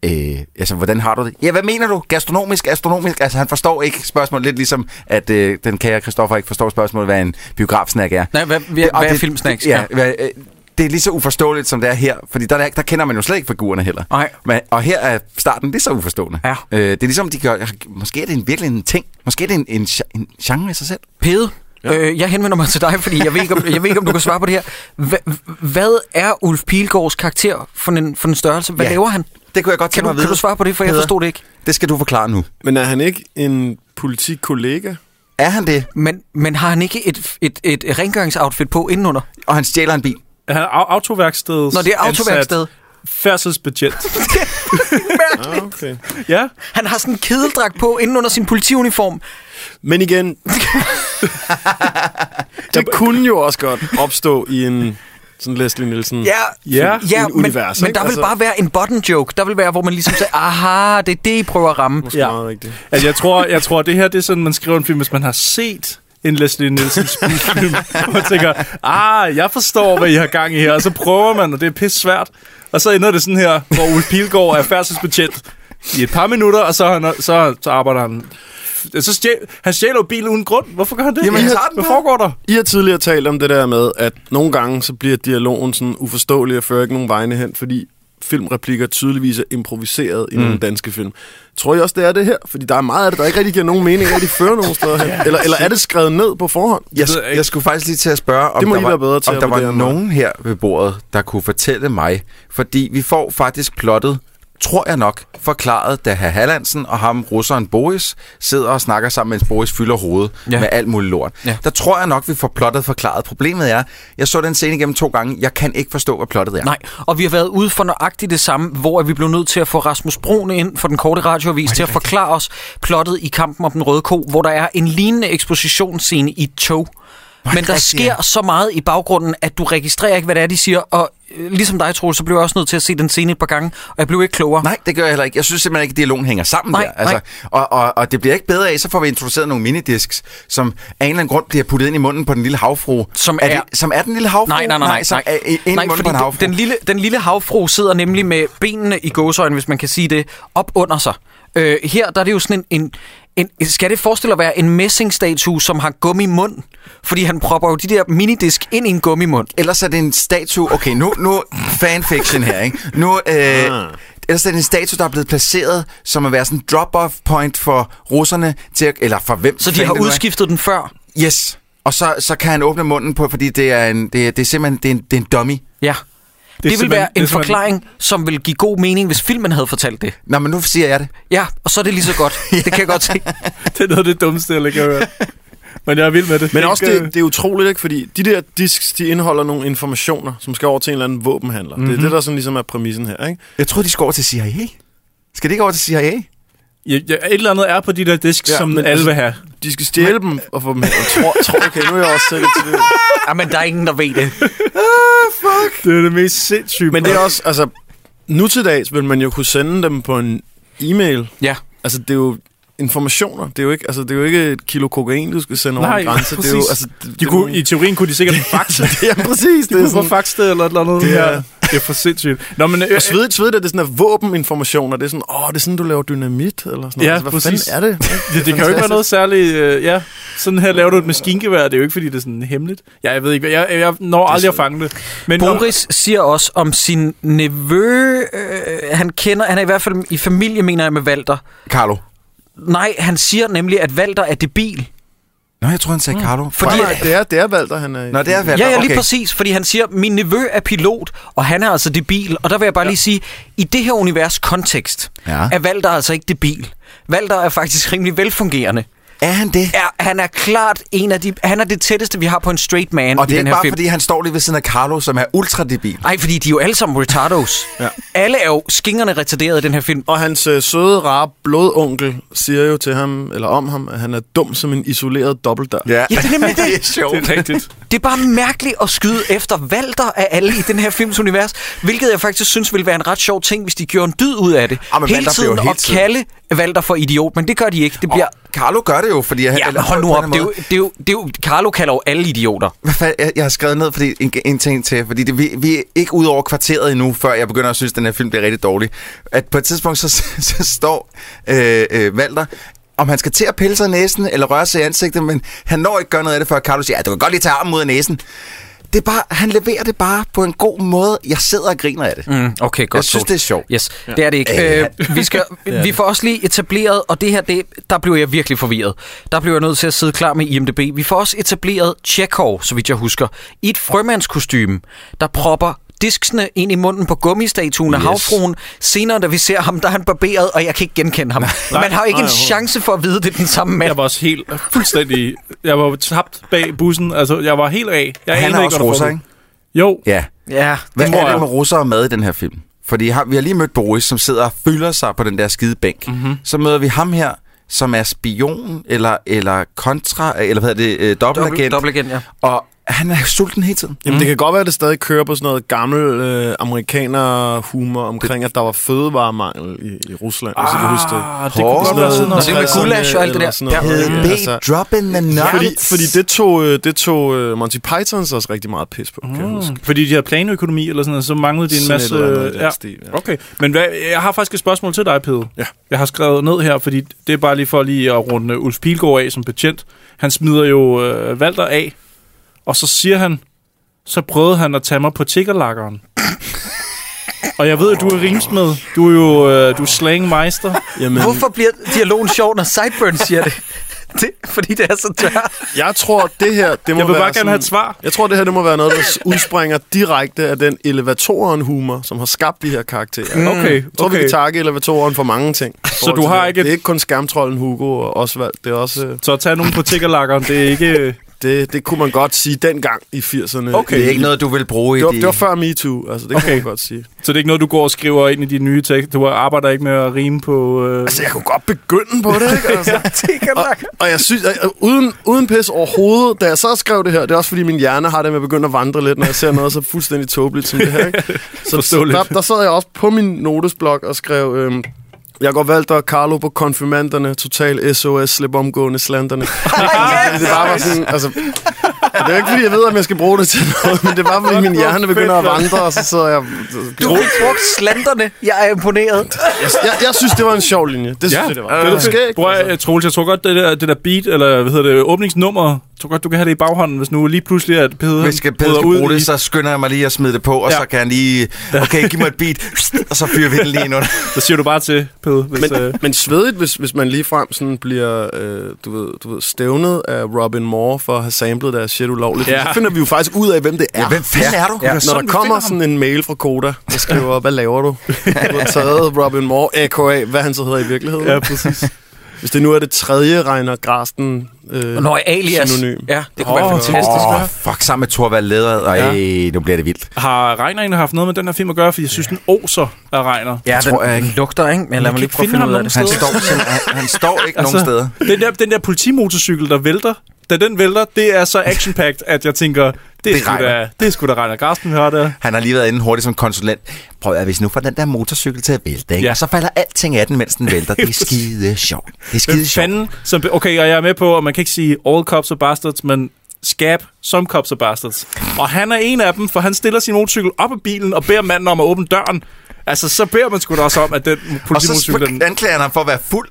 [SPEAKER 8] Øh, altså, hvordan har du det? Ja, hvad mener du? Gastronomisk, astronomisk? Altså, han forstår ikke spørgsmålet. Lidt ligesom, at øh, den kære Christoffer ikke forstår spørgsmålet, hvad en biografsnack er.
[SPEAKER 1] Nej, hvad- hvad-
[SPEAKER 8] Det- og
[SPEAKER 1] hvad er
[SPEAKER 8] det-
[SPEAKER 1] filmsnacks?
[SPEAKER 8] Ja,
[SPEAKER 1] Ja.
[SPEAKER 8] hvad, øh, det er lige så uforståeligt, som det er her. Fordi der, der kender man jo slet ikke figurerne heller.
[SPEAKER 1] Nej.
[SPEAKER 8] Men, og her er starten lige så uforstående.
[SPEAKER 1] Ja.
[SPEAKER 8] Øh, det er ligesom, de gør... Måske er det en, virkelig en ting. Måske er det en, en, gen- en genre i sig selv.
[SPEAKER 1] Pede, ja. øh, jeg henvender mig til dig, fordi jeg ved ikke, om, jeg ved ikke, om du kan svare på det her. Hva, hvad er Ulf Pilgaards karakter for en, for en størrelse? Hvad ja.
[SPEAKER 8] Ja.
[SPEAKER 1] laver han?
[SPEAKER 8] Det kunne jeg godt
[SPEAKER 1] Kan
[SPEAKER 8] tænke
[SPEAKER 1] du,
[SPEAKER 8] mig at vide.
[SPEAKER 1] kan du svare på det, for jeg
[SPEAKER 8] Peder?
[SPEAKER 1] forstod det ikke.
[SPEAKER 8] Det skal du forklare nu.
[SPEAKER 6] Men er han ikke en politikollega?
[SPEAKER 8] Er han det?
[SPEAKER 1] Men, men har han ikke et, et, et, et rengøringsoutfit på indenunder?
[SPEAKER 8] Og han stjæler en bil.
[SPEAKER 7] Han er au- autoværksted.
[SPEAKER 1] Når det er autoværksted.
[SPEAKER 7] Færdselsbetjent.
[SPEAKER 6] Ah, okay.
[SPEAKER 7] ja.
[SPEAKER 1] Han har sådan en kedeldragt på indenunder sin politiuniform.
[SPEAKER 6] Men [LAUGHS] igen, det kunne jo også godt opstå i en sådan Leslie Nielsen.
[SPEAKER 7] Ja.
[SPEAKER 1] ja
[SPEAKER 6] i
[SPEAKER 1] men,
[SPEAKER 6] universet,
[SPEAKER 1] men
[SPEAKER 6] ikke?
[SPEAKER 1] der vil
[SPEAKER 6] Altså-
[SPEAKER 1] bare være en button joke. Der vil være, hvor man ligesom siger, aha, det er det, I prøver at ramme.
[SPEAKER 6] Måske
[SPEAKER 7] Ja.
[SPEAKER 6] ja. meget rigtigt.
[SPEAKER 7] Altså, jeg tror, jeg tror, det her det er sådan, man skriver en film, hvis man har set en Leslie Nielsen film, [LAUGHS] og tænker, ah, jeg forstår, hvad I har gang i her, og så prøver man, og det er pisse svært. Og så ender det sådan her, hvor Ulf Pilgaard er færdselsbetjent i et par minutter, og så, er han, så, så arbejder han. Så stjæl, han stjæler jo bilen uden grund. Hvorfor gør han det?
[SPEAKER 8] Jamen, han tager den
[SPEAKER 7] Hvad
[SPEAKER 8] bare.
[SPEAKER 7] foregår der?
[SPEAKER 6] I har tidligere talt om det der med, at nogle gange så bliver dialogen sådan uforståelig og fører ikke nogen vegne hen, fordi filmreplikker tydeligvis er improviseret i mm. nogle danske film. Tror I også, det er det her? Fordi der er meget af det, der ikke rigtig giver nogen mening, rigtig fører nogen steder [LAUGHS] hen. Eller, eller er det skrevet ned på forhånd?
[SPEAKER 8] Jeg,
[SPEAKER 7] ved jeg ikke.
[SPEAKER 8] jeg skulle faktisk lige til at spørge, om
[SPEAKER 6] Det må
[SPEAKER 8] der
[SPEAKER 6] I
[SPEAKER 8] var,
[SPEAKER 6] være bedre til
[SPEAKER 8] om
[SPEAKER 6] at
[SPEAKER 8] der var
[SPEAKER 6] vurdere mig.
[SPEAKER 8] nogen her ved bordet, der kunne fortælle mig. Fordi vi får faktisk plottet, tror jeg nok, forklaret, da herr Hallandsen og ham, russeren Boris, sidder og snakker sammen, mens Boris fylder hovedet
[SPEAKER 1] Ja.
[SPEAKER 8] ja. med alt muligt lort.
[SPEAKER 1] Ja.
[SPEAKER 8] Ja. Der tror jeg nok, vi får plottet forklaret. Problemet er, jeg så den scene igennem to gange. Jeg kan ikke forstå, hvad plottet er.
[SPEAKER 1] Nej, og vi har været ude for nøjagtigt det samme, hvor at vi blev nødt til at få Rasmus Brune ind for den korte radioavis til at forklare os plottet i kampen om den røde ko, hvor der er en lignende ekspositionsscene i et tog. Men der
[SPEAKER 8] rigtigt,
[SPEAKER 1] sker
[SPEAKER 8] ja.
[SPEAKER 1] så meget i baggrunden, at du registrerer ikke, hvad det er, de siger. Og øh, ligesom dig, Troels, så blev jeg også nødt til at se den scene et par gange, og jeg blev ikke klogere.
[SPEAKER 8] Nej, det gør jeg heller ikke. Jeg synes simpelthen ikke, at dialogen hænger sammen
[SPEAKER 1] Nej,
[SPEAKER 8] der. Altså, og, og, og det bliver ikke bedre af, så får vi introduceret nogle minidisks, som af en eller anden grund bliver puttet ind i munden på den lille havfru.
[SPEAKER 1] Som
[SPEAKER 8] det,
[SPEAKER 1] er-
[SPEAKER 8] som er den lille havfru?
[SPEAKER 1] Nej, nej, nej.
[SPEAKER 8] nej som
[SPEAKER 1] nej.
[SPEAKER 8] Er, ind
[SPEAKER 1] nej
[SPEAKER 8] i munden på en
[SPEAKER 1] den-
[SPEAKER 8] havfru.
[SPEAKER 1] Den, lille, den lille havfru sidder nemlig med benene i gåsøjne, hvis man kan sige det, op under sig. Øh, her der er det jo sådan en, en, en... Skal det forestille at være en messingstatue, som har gummimund? Fordi han propper jo de der minidisk ind i en gummimund.
[SPEAKER 8] Ellers er det en statue... Okay, nu, nu fanfiction her, ikke? Nu, øh, Ellers er det en statue, der er blevet placeret som at være sådan en drop-off point for russerne, til at, eller for hvem
[SPEAKER 1] Så de
[SPEAKER 8] fanden
[SPEAKER 1] har
[SPEAKER 8] det nu er.
[SPEAKER 1] udskiftet den før.
[SPEAKER 8] Yes, og så, så kan han åbne munden på, fordi det er, en, det, er- det er simpelthen det er en, det er en dummy.
[SPEAKER 1] Ja. Det, det vil
[SPEAKER 7] simpelthen-
[SPEAKER 1] være en
[SPEAKER 7] det er simpelthen-
[SPEAKER 1] forklaring, som vil give god mening, hvis filmen havde fortalt det.
[SPEAKER 8] Nå, men nu siger jeg det.
[SPEAKER 1] Ja, og så er det lige så
[SPEAKER 8] [LAUGHS]
[SPEAKER 1] godt. Det kan jeg godt se.
[SPEAKER 7] Det er noget af det dummeste, jeg lige har hørt. Men jeg er vild med det.
[SPEAKER 6] Men også, det,
[SPEAKER 7] Ikke,
[SPEAKER 6] det er utroligt, ikke? Fordi de der disks, de indeholder nogle informationer, som skal over til en eller anden våbenhandler. Mm-hmm. Det
[SPEAKER 7] Mhm.
[SPEAKER 6] er det, der sådan ligesom er præmissen her, ikke?
[SPEAKER 8] Jeg tror, de skal over til CIA. Skal de ikke over til CIA?
[SPEAKER 7] øh, ja, ja, et eller andet er på de der disk, ja,
[SPEAKER 6] Ja,
[SPEAKER 7] som
[SPEAKER 6] men
[SPEAKER 7] alle
[SPEAKER 6] altså-
[SPEAKER 7] vil have.
[SPEAKER 6] De skal stjæle dem og få dem hen. Jeg tror, tror, okay, nu er jeg også selv til
[SPEAKER 7] [LAUGHS]
[SPEAKER 6] det.
[SPEAKER 1] [LAUGHS] Ja, men der er ingen, der ved det.
[SPEAKER 7] Det er det mest sindssyge.
[SPEAKER 6] Men det er også, altså, nu til dags vil man jo kunne sende dem på en e-mail.
[SPEAKER 1] Ja.
[SPEAKER 6] Altså, det er jo informationer. Det er jo ikke, altså, det er jo ikke et kilo kokain, du skal sende over
[SPEAKER 7] Nej,
[SPEAKER 6] en grænse. Det er jo,
[SPEAKER 7] præcis.
[SPEAKER 6] altså, det,
[SPEAKER 7] De
[SPEAKER 6] det
[SPEAKER 7] kunne, I teorien kunne de sikkert
[SPEAKER 6] [LAUGHS]
[SPEAKER 7] faxe.
[SPEAKER 6] ja, præcis. Det
[SPEAKER 7] de
[SPEAKER 6] er
[SPEAKER 7] kunne få
[SPEAKER 6] sådan,
[SPEAKER 7] faxet eller et eller andet.
[SPEAKER 6] Det er-
[SPEAKER 7] Ja, det er for sindssygt. Nå, men, øh,
[SPEAKER 6] og svedigt, svedigt, at det er sådan er våbeninformationer. Det er sådan, åh, det er sådan, du laver dynamit, eller sådan
[SPEAKER 7] Ja,
[SPEAKER 6] noget. Altså, Hvad
[SPEAKER 7] præcis. [LAUGHS]
[SPEAKER 6] fanden er det?
[SPEAKER 7] det, det kan jo ikke være noget særligt... Øh, ja, sådan her laver du et maskingevær. Det er jo ikke, fordi det er sådan hemmeligt. Ja, jeg ved ikke. hvad- Jeg, jeg når aldrig at fange det. Men,
[SPEAKER 1] Boris siger også om sin nevø, øh, han kender, han er i hvert fald i familie, mener jeg, med Valter.
[SPEAKER 8] Carlo.
[SPEAKER 1] Nej, han siger nemlig, at Valter er debil.
[SPEAKER 8] Nå, jeg tror, han sagde Carlo.
[SPEAKER 1] Fordi-
[SPEAKER 6] Nej, nej, det er, det er Valter, han er i.
[SPEAKER 8] Nå, det er Valder.
[SPEAKER 1] Ja, ja, lige
[SPEAKER 8] Altså, okay.
[SPEAKER 1] præcis, fordi han siger, min nevø er pilot, og han er altså debil. Og der vil jeg bare lige sige, i det her univers kontekst,
[SPEAKER 8] Ja.
[SPEAKER 1] er Valter altså ikke debil. Valter er faktisk rimelig velfungerende.
[SPEAKER 8] Er han det?
[SPEAKER 1] Er, han er klart en af de, han er det tætteste, vi har på en straight man
[SPEAKER 8] Og det
[SPEAKER 1] i
[SPEAKER 8] er
[SPEAKER 1] den
[SPEAKER 8] ikke
[SPEAKER 1] her
[SPEAKER 8] bare,
[SPEAKER 1] film.
[SPEAKER 8] fordi han står lige ved siden af Carlo, som er ultradebil.
[SPEAKER 1] Nej, fordi de er jo alle sammen retardos. ja. Alle er jo skingerne retarderede i den her film.
[SPEAKER 6] Og hans øh, søde, rare blodonkel siger jo til ham, eller om ham, at han er dum som en isoleret dobbeltdør.
[SPEAKER 1] [LAUGHS] Ja, det er nemlig det.
[SPEAKER 8] det er sjovt.
[SPEAKER 7] [LAUGHS] Det er rigtigt.
[SPEAKER 1] Det er bare mærkeligt at skyde efter valter af alle i den her films univers, hvilket jeg faktisk synes ville være en ret sjov ting, hvis de gjorde en dyd ud af det.
[SPEAKER 8] Ah, men
[SPEAKER 1] hele
[SPEAKER 8] Walter bliver jo
[SPEAKER 1] tiden
[SPEAKER 8] hele
[SPEAKER 1] at
[SPEAKER 8] tiden-
[SPEAKER 1] kalde Valter for idiot, men det gør de ikke. Det bliver...
[SPEAKER 8] Carlo gør det jo, fordi... Han,
[SPEAKER 1] Ja,
[SPEAKER 8] eller
[SPEAKER 1] men hold nu
[SPEAKER 8] på
[SPEAKER 1] op.
[SPEAKER 8] en
[SPEAKER 1] Det
[SPEAKER 8] eller
[SPEAKER 1] er,
[SPEAKER 8] anden
[SPEAKER 1] jo,
[SPEAKER 8] måde-
[SPEAKER 1] det, er jo, det er jo, Carlo kalder jo alle idioter.
[SPEAKER 8] Hvad fanden, jeg, jeg har skrevet ned fordi en, en ting til, fordi det, vi, vi er ikke ud over kvarteret endnu, før jeg begynder at synes, at den her film bliver rigtig dårlig. At på et tidspunkt, så, [LAUGHS] så står øh, øh, Walter, om han skal til at pille sig i næsen eller røre sig i ansigtet, men han når ikke gøre noget af det, før Carlo siger, ja, du kan godt lige tage armen ud af næsen. Det er bare, han leverer det bare på en god måde. Jeg sidder og griner af det.
[SPEAKER 1] Mm, okay, godt.
[SPEAKER 8] Jeg synes,
[SPEAKER 1] Troels.
[SPEAKER 8] det er sjovt.
[SPEAKER 1] Yes, ja. det er det ikke. Øh, vi,
[SPEAKER 7] [LAUGHS]
[SPEAKER 1] skal, vi får også lige etableret, og det her, det, der blev jeg virkelig forvirret. Der blev jeg nødt til at sidde klar med IMDB. Vi får også etableret Chekhov, så vidt jeg husker, i et frømandskostyme, der propper disksene ind i munden på gummistatuen af yes. havfruen. Senere, da vi ser ham, der er han barberet, og jeg kan ikke genkende ham. Nej, [LAUGHS] Man har ikke
[SPEAKER 7] nej,
[SPEAKER 1] en
[SPEAKER 7] overhovedet.
[SPEAKER 1] chance for at vide, det er den samme mand.
[SPEAKER 7] Jeg var også helt fuldstændig... Jeg var tabt bag bussen. Altså, jeg var helt af. Jeg
[SPEAKER 8] Han
[SPEAKER 7] anede
[SPEAKER 8] er
[SPEAKER 7] ikke,
[SPEAKER 8] også
[SPEAKER 7] hvad der
[SPEAKER 8] russer,
[SPEAKER 7] foregik.
[SPEAKER 8] ikke?
[SPEAKER 7] Jo,
[SPEAKER 8] Ja.
[SPEAKER 1] Ja,
[SPEAKER 8] Hvad
[SPEAKER 7] Det må
[SPEAKER 8] er det
[SPEAKER 7] jeg.
[SPEAKER 8] med russere med i den her film? Fordi har, vi har lige mødt Boris, som sidder og fylder sig på den der skide bænk.
[SPEAKER 1] Mhm.
[SPEAKER 8] Mm-hmm. Så møder vi ham her, som er spion, eller, eller kontra, eller hvad hedder det, øh, dobbeltagent.
[SPEAKER 1] dobbelt igen, ja.
[SPEAKER 8] Og han er sulten hele tiden.
[SPEAKER 6] Jamen, mm. det kan godt være, at det stadig kører på sådan noget gammel øh, amerikaner-humor omkring, at der var fødevaremangel i, i Rusland, ah, hvis I kan huske det.
[SPEAKER 7] Ah, det kunne godt være sådan
[SPEAKER 1] Nå,
[SPEAKER 7] noget.
[SPEAKER 1] det er med
[SPEAKER 6] Sådan,
[SPEAKER 1] gulasch og alt det
[SPEAKER 6] eller
[SPEAKER 1] der.
[SPEAKER 6] sådan noget.
[SPEAKER 8] Hedde
[SPEAKER 6] Ja,
[SPEAKER 8] B,
[SPEAKER 6] altså-
[SPEAKER 8] dropping the nuts.
[SPEAKER 6] Fordi, fordi det tog, øh, det tog øh, Monty Pythons også rigtig meget pis på, kan jeg huske.
[SPEAKER 7] Fordi de havde planøkonomi eller sådan noget, så manglede de en
[SPEAKER 6] Mm. Sådan
[SPEAKER 7] masse...
[SPEAKER 6] et eller andet i den
[SPEAKER 7] ja.
[SPEAKER 6] stil, ja.
[SPEAKER 7] Okay, men hvad, jeg har faktisk et spørgsmål til dig, Pede.
[SPEAKER 6] Ja.
[SPEAKER 7] Jeg har skrevet ned her, fordi det er bare lige for lige at runde Ulf Pilgaard af som betjent. Han smider jo øh, Valter af, og så siger han, så prøvede han at tage mig på
[SPEAKER 6] [LAUGHS]
[SPEAKER 7] tiggerlakkeren. og jeg ved, at du er rimsmed. Du er jo øh, du er slangmeister.
[SPEAKER 6] Jamen,
[SPEAKER 1] Hvorfor bliver dialogen sjov, når Sideburn siger det? [LAUGHS] det er, fordi det er så tørt.
[SPEAKER 6] [LAUGHS] jeg tror, det her... Det må
[SPEAKER 7] Jeg vil
[SPEAKER 6] være
[SPEAKER 7] bare
[SPEAKER 6] sådan,
[SPEAKER 7] gerne have et svar.
[SPEAKER 6] Jeg tror, det her det må være noget, der udspringer direkte af den elevatoren-humor, som har skabt de her karakterer. Mm.
[SPEAKER 7] Okay,
[SPEAKER 6] Jeg tror, okay. vi
[SPEAKER 7] okay.
[SPEAKER 6] kan takke elevatoren for mange ting.
[SPEAKER 7] Så du har ikke
[SPEAKER 6] Det
[SPEAKER 7] et-
[SPEAKER 6] er ikke kun skærmtrollen Hugo og Osvald. Det, er også, øh,
[SPEAKER 7] Så at tage nogen på tiggerlakkeren, det er ikke... øh,
[SPEAKER 6] det, det kunne man godt sige dengang i 80'erne.
[SPEAKER 7] Okay.
[SPEAKER 8] Det er ikke noget, du vil bruge
[SPEAKER 6] Det var,
[SPEAKER 8] i
[SPEAKER 6] det var før MeToo, altså det kan
[SPEAKER 7] Okay.
[SPEAKER 6] man godt sige.
[SPEAKER 7] Så det er ikke noget, du går og skriver ind i dine nye tekster. Du arbejder ikke med at rime på... Øh...
[SPEAKER 6] Altså, jeg kunne godt begynde på det, ikke? [LAUGHS] Altså. og, og jeg synes, at uden, uden pis overhovedet, da jeg så skrev det her, det er også fordi, min hjerne har det med at begynde at vandre lidt, når jeg ser noget så fuldstændig tåbeligt som det her, [LAUGHS] ikke? Så, så
[SPEAKER 7] Forståeligt.
[SPEAKER 6] der, der sad jeg også på min notesblok og skrev... Øhm, jeg går valgt og Carlo på konfirmanderne, total SOS, slip omgående [LAUGHS] slanderne. yes! Det bare var sådan, altså, det er jo ikke fordi, jeg ved, om jeg skal bruge det til noget, men det var fordi, min hjerne begynder at vandre, og så sidder jeg...
[SPEAKER 1] Du fik brugt slanterne. Jeg er imponeret.
[SPEAKER 6] Jeg, jeg, jeg synes, det var en sjov linje. Det synes jeg, det var. altså. det
[SPEAKER 7] det,
[SPEAKER 6] var
[SPEAKER 7] det, det,
[SPEAKER 6] skægt.
[SPEAKER 7] Bror,
[SPEAKER 8] altså.
[SPEAKER 7] jeg, øh, Troels, jeg tror godt, det der, det der beat, eller hvad hedder det, åbningsnummer, jeg tror godt, du kan have det i baghånden, hvis nu lige pludselig, at Peder
[SPEAKER 8] [LAUGHS] Hvis jeg skal
[SPEAKER 7] bryder
[SPEAKER 8] bruge
[SPEAKER 7] i-
[SPEAKER 8] det, så skynder jeg mig lige at smide det på, og
[SPEAKER 7] Ja.
[SPEAKER 8] så kan han lige...
[SPEAKER 6] [LAUGHS]
[SPEAKER 8] Okay, giv mig et beat, og så fyrer vi den lige ind under.
[SPEAKER 7] Så siger du bare til, Peder. Hvis,
[SPEAKER 6] Men,
[SPEAKER 7] øh,
[SPEAKER 6] men svedigt, hvis, hvis man ligefrem sådan bliver øh, du ved, du ved, stævnet af Robin Moore for at have samlet deres shit ulovligt,
[SPEAKER 7] Ja.
[SPEAKER 6] ja. så finder vi jo faktisk ud af, hvem det er.
[SPEAKER 8] Ja, hvem fanden er du?
[SPEAKER 1] Ja.
[SPEAKER 8] Det er
[SPEAKER 6] Når
[SPEAKER 8] sådan,
[SPEAKER 6] der
[SPEAKER 8] vi
[SPEAKER 6] kommer
[SPEAKER 8] finder ham.
[SPEAKER 6] sådan en mail fra Koda, der skriver, hvad laver du? Du har taget Robin Moore, a.k.a. hvad han så hedder i virkeligheden.
[SPEAKER 7] ja, præcis.
[SPEAKER 6] Hvis det nu er det tredje, regner Grasten øh,
[SPEAKER 1] Nå, alias.
[SPEAKER 6] synonym.
[SPEAKER 1] Ja, det kunne oh, være
[SPEAKER 7] Åh,
[SPEAKER 1] fantastisk.
[SPEAKER 7] fantastisk,
[SPEAKER 8] Åh, oh,
[SPEAKER 7] hva'?
[SPEAKER 8] fuck, sammen med Thorvald Leder. Ej, nu bliver det vildt.
[SPEAKER 7] Har Regner egentlig haft noget med den her film at gøre? Fordi jeg synes, den oser af Regner.
[SPEAKER 1] Ja, den
[SPEAKER 8] tror jeg ikke.
[SPEAKER 1] lugter, ikke? Men lad mig
[SPEAKER 7] kan
[SPEAKER 1] lige
[SPEAKER 7] ikke
[SPEAKER 1] prøve at
[SPEAKER 7] finde
[SPEAKER 1] finde
[SPEAKER 7] ham
[SPEAKER 1] ud af
[SPEAKER 7] nogen
[SPEAKER 1] det.
[SPEAKER 8] Han
[SPEAKER 7] steder.
[SPEAKER 8] står, simpelthen- han, han står ikke nogen steder.
[SPEAKER 7] Altså, Den der, den der politimotorcykel, der vælter, da den vælter, det er så action at jeg tænker, det er,
[SPEAKER 8] Det
[SPEAKER 7] sgu
[SPEAKER 8] regner.
[SPEAKER 7] da, det er sgu da Regner Garsten, vi har der.
[SPEAKER 8] Han har lige været inde hurtigt som konsulent. Prøv at hvis nu får den der motorcykel til at vælte, ikke?
[SPEAKER 7] Ja.
[SPEAKER 8] Ja. og så falder alting af den, mens den vælter.
[SPEAKER 7] [LAUGHS]
[SPEAKER 8] Det er skide sjovt. Det er skide
[SPEAKER 7] Hvem
[SPEAKER 8] sjovt.
[SPEAKER 7] fanden, som, okay, og jeg er med på, at man kan ikke sige all cops are bastards, men Scab som cops are bastards. Og han er en af dem, for han stiller sin motorcykel op af bilen og beder manden om at åbne døren. Altså, så beder man sgu da også om, at den
[SPEAKER 8] Og så
[SPEAKER 7] politimotorcykel... Den,
[SPEAKER 8] sp- anklager han ham for at være fuld.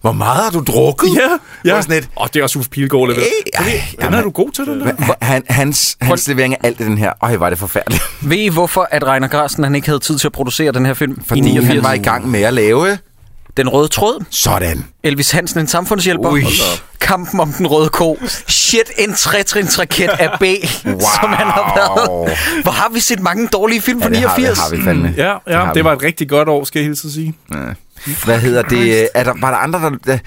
[SPEAKER 8] Hvor meget har du drukket?
[SPEAKER 7] ja,
[SPEAKER 8] Hvor
[SPEAKER 7] ja.
[SPEAKER 8] sådan et,
[SPEAKER 7] Og det er også Uffe Pilgaard levet.
[SPEAKER 8] Ej, ej,
[SPEAKER 7] Den er du god til, den der.
[SPEAKER 8] men han, hans, hans levering af alt det den her, øj, var det forfærdeligt.
[SPEAKER 1] Ved I, hvorfor at Reiner Grassen han ikke havde tid til at producere den her film i
[SPEAKER 8] Fordi han
[SPEAKER 1] 89?
[SPEAKER 8] var i gang med at lave
[SPEAKER 1] Den røde tråd,
[SPEAKER 8] sådan.
[SPEAKER 1] Elvis Hansen, en samfundshjælper,
[SPEAKER 8] Ui.
[SPEAKER 1] kampen om den røde ko, shit, en trætrins raket af B, wow. som han har været. Hvor har vi set mange dårlige film fra
[SPEAKER 8] Ja, det har,
[SPEAKER 1] 89?
[SPEAKER 8] det har vi fandme.
[SPEAKER 7] Ja, ja,
[SPEAKER 8] har
[SPEAKER 7] det
[SPEAKER 8] vi.
[SPEAKER 7] var et rigtig godt år, skal jeg hilse at sige.
[SPEAKER 8] Hvad hedder det? Er der, var der andre, der... der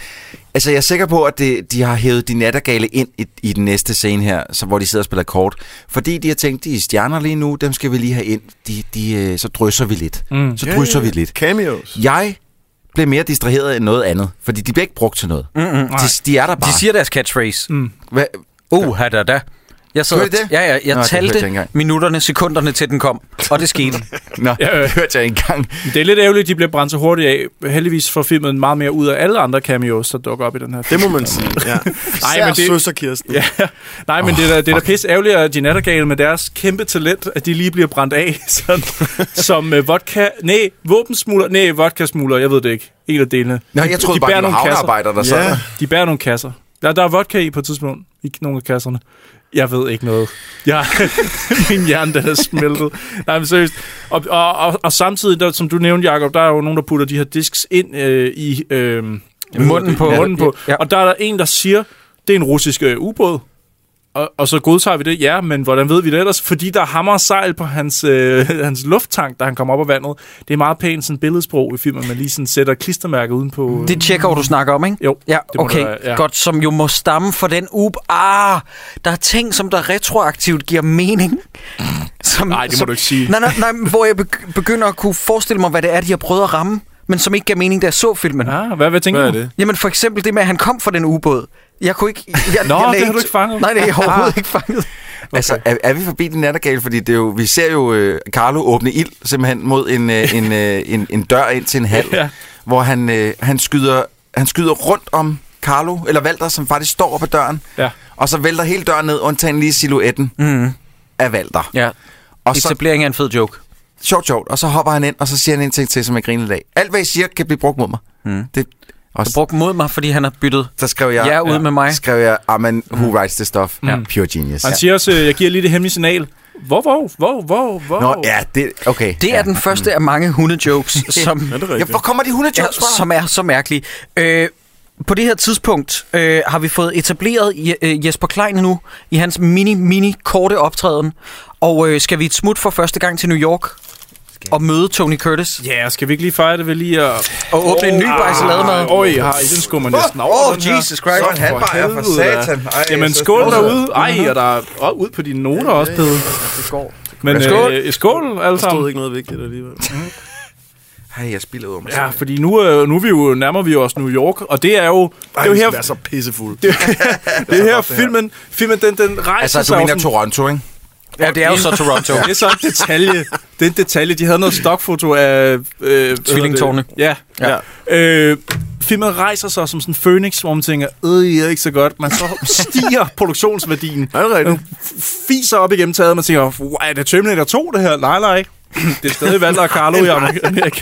[SPEAKER 8] altså, jeg er sikker på, at det, de har hævet de nattergale ind i, i den næste scene her, så, hvor de sidder og spiller kort. Fordi de har tænkt, de er stjerner lige nu, dem skal vi lige have ind. De, de, øh, så drysser vi lidt. Mm. Så drysser vi lidt.
[SPEAKER 6] cameos.
[SPEAKER 8] Jeg blev mere distraheret end noget andet, fordi de bliver ikke brugt til noget. Mm-hmm. De, de er der bare.
[SPEAKER 1] De siger deres catchphrase. Mm.
[SPEAKER 8] Hva,
[SPEAKER 1] Uh, da da. Jeg sad,
[SPEAKER 8] Gjorde I det?
[SPEAKER 1] Ja, ja, jeg
[SPEAKER 8] Nå,
[SPEAKER 1] Nå,
[SPEAKER 8] det hørte jeg
[SPEAKER 1] talte
[SPEAKER 8] ikke engang.
[SPEAKER 1] minutterne, sekunderne til den kom, og det skete.
[SPEAKER 8] Nå,
[SPEAKER 7] Ja,
[SPEAKER 8] ja,
[SPEAKER 7] øh.
[SPEAKER 8] øh. hørte jeg engang.
[SPEAKER 7] Det er lidt ærgerligt, at de bliver brændt så hurtigt af. Heldigvis får filmen meget mere ud af alle andre cameos, der dukker op i den her film.
[SPEAKER 6] Det må man sige,
[SPEAKER 8] [LAUGHS]
[SPEAKER 6] ja. Især
[SPEAKER 7] men det-
[SPEAKER 6] søster Kirsten.
[SPEAKER 7] Ja, nej, men oh, det er da, det er da pisse ærgerligt, at Gina Gale med deres kæmpe talent, at de lige bliver brændt af [LAUGHS] sådan, som uh, vodka... Nej, våbensmugler... Nej, vodkasmugler, jeg ved det ikke. En af delene.
[SPEAKER 8] Nå, jeg troede bare, det var havnearbejder, der sad.
[SPEAKER 6] Ja.
[SPEAKER 8] Ja.
[SPEAKER 7] De bærer nogle kasser. Der, der er vodka i på et tidspunkt, i nogle af kasserne. Jeg ved ikke noget. Jeg, [LAUGHS] min hjerne, den er smeltet. Nej, men seriøst. Og, og, og, og samtidig, der, som du nævnte, Jacob, der er jo nogen, der putter de her disks ind øh, i... Øh,
[SPEAKER 1] Munden på.
[SPEAKER 7] munden på.
[SPEAKER 1] Ja.
[SPEAKER 7] Ja. Og der er der en, der siger, det er en russisk øh, ubåd. Og, og så godtager vi det, ja, men hvordan ved vi det ellers? Fordi der er hammer og sejl på hans, øh, [LAUGHS] hans lufttank, da han kommer op af vandet. Det er meget pænt sådan billedsprog i filmen, man lige sådan sætter klistermærket udenpå. Øh.
[SPEAKER 1] Det tjekker, du snakker om, ikke?
[SPEAKER 7] Jo,
[SPEAKER 1] Ja,
[SPEAKER 7] det må
[SPEAKER 1] okay.
[SPEAKER 7] det være, ja.
[SPEAKER 1] Godt, som jo må stamme for den up. Ah, der er ting, som der retroaktivt giver mening. Som,
[SPEAKER 7] Mm. Nej, det må
[SPEAKER 1] som,
[SPEAKER 7] du ikke sige.
[SPEAKER 1] Nej, nej, nej, men hvor jeg beg- begynder at kunne forestille mig, hvad det er, de har prøvet at ramme, men som ikke gav mening, da jeg så filmen. Ja.
[SPEAKER 7] Ah, hvad, hvad tænker
[SPEAKER 6] Hvad er
[SPEAKER 7] du?
[SPEAKER 6] det?
[SPEAKER 1] Jamen for eksempel det med, at han kom fra den ubåd. Jeg kunne ikke... Jeg,
[SPEAKER 7] Nå,
[SPEAKER 1] jeg
[SPEAKER 7] det
[SPEAKER 1] lagde
[SPEAKER 7] har du ikke Ah. fanget.
[SPEAKER 1] Nej, det er jeg overhovedet ikke fanget.
[SPEAKER 8] Okay. Altså, er, er vi forbi den nattergale? Fordi det er jo, vi ser jo øh, Carlo åbne ild simpelthen mod en, øh,
[SPEAKER 1] [LAUGHS]
[SPEAKER 8] en, øh, en, en dør ind til en hal,
[SPEAKER 7] Ja.
[SPEAKER 8] ja. hvor han, øh, han, skyder, han skyder rundt om Carlo, eller Valter, som faktisk står oppe ad døren,
[SPEAKER 7] Ja.
[SPEAKER 8] og så vælter hele døren ned, undtagen lige silhuetten mm. af Valter.
[SPEAKER 1] Mhm. Ja,
[SPEAKER 8] Og så,
[SPEAKER 1] etablering er en fed joke.
[SPEAKER 8] sjovt, sjovt, og så hopper han ind, og så siger han en ting til, som jeg griner lidt af. Alt, hvad I siger, kan blive brugt mod mig.
[SPEAKER 1] Mhm.
[SPEAKER 8] Mm. Det, og
[SPEAKER 1] Jeg brugte mod mig, fordi han har byttet
[SPEAKER 8] så skrev jeg,
[SPEAKER 1] jer ud med mig. Mhm.
[SPEAKER 8] skrev jeg, ah, men who writes this stuff? Mm. Pure genius.
[SPEAKER 7] Han siger også, øh, jeg giver lige det hemmelige signal. Hvor, hvor, hvor, hvor, hvor?
[SPEAKER 8] Nå, ja, det, okay.
[SPEAKER 1] Det er den første af mange hundejokes,
[SPEAKER 7] [LAUGHS]
[SPEAKER 1] som,
[SPEAKER 6] Er det
[SPEAKER 8] Ja,
[SPEAKER 6] rigtigt?
[SPEAKER 8] hvor kommer de
[SPEAKER 1] ja,
[SPEAKER 8] hundejokes fra?
[SPEAKER 1] som er så mærkelige. Øh, på det her tidspunkt øh, har vi fået etableret Je- øh, Jesper Klein nu i hans mini-mini-korte optræden. Og øh, skal vi et smut for første gang til New York og møde Tony Curtis?
[SPEAKER 7] Ja, skal vi ikke lige fejre det ved lige at...
[SPEAKER 1] Og åbne en ny bajsalademad?
[SPEAKER 7] Øj, har I, den skummer næsten
[SPEAKER 8] Åh,
[SPEAKER 7] over.
[SPEAKER 8] åh,
[SPEAKER 7] den her.
[SPEAKER 8] Jesus Christ,
[SPEAKER 7] Så
[SPEAKER 8] en halvbajer for
[SPEAKER 7] helvede,
[SPEAKER 8] satan.
[SPEAKER 7] da.
[SPEAKER 8] Ej,
[SPEAKER 7] Jamen,
[SPEAKER 8] så
[SPEAKER 7] skål
[SPEAKER 8] smukt.
[SPEAKER 7] derude. Ej, og der er og ud på dine noter også, Pede. Men
[SPEAKER 8] Skål.
[SPEAKER 7] skål, øh, skål alle
[SPEAKER 6] Der stod
[SPEAKER 7] sammen.
[SPEAKER 6] ikke noget vigtigt alligevel.
[SPEAKER 8] Hey, jeg spiller ud om mig.
[SPEAKER 7] Ja, fordi nu, øh, nu er vi jo, nærmer vi os New York, og det er jo... Det er jo her,
[SPEAKER 6] er så pissefuld.
[SPEAKER 7] [LAUGHS] det er her filmen, filmen den, den rejser
[SPEAKER 8] Altså, du
[SPEAKER 7] sig jo
[SPEAKER 8] mener
[SPEAKER 7] sådan-
[SPEAKER 6] [LAUGHS]
[SPEAKER 8] Toronto, ikke?
[SPEAKER 1] Ja, det er jo så Toronto.
[SPEAKER 7] Det er så en detalje. Det er en detalje. De havde noget stokfoto af... Øh,
[SPEAKER 1] Tvillingetårne.
[SPEAKER 7] hvad hedder det? Ja. ja. Øh, filmen rejser sig som sådan en phoenix, hvor man tænker, øh, jeg er ikke så godt. Man så stiger [LAUGHS] produktionsværdien.
[SPEAKER 6] Er det rigtigt?
[SPEAKER 7] Den fiser op igennem taget, og man tænker, "Wow, er det Terminator 2, det her? Nej, nej. Det er stadig Valder og Carlo i Amerika.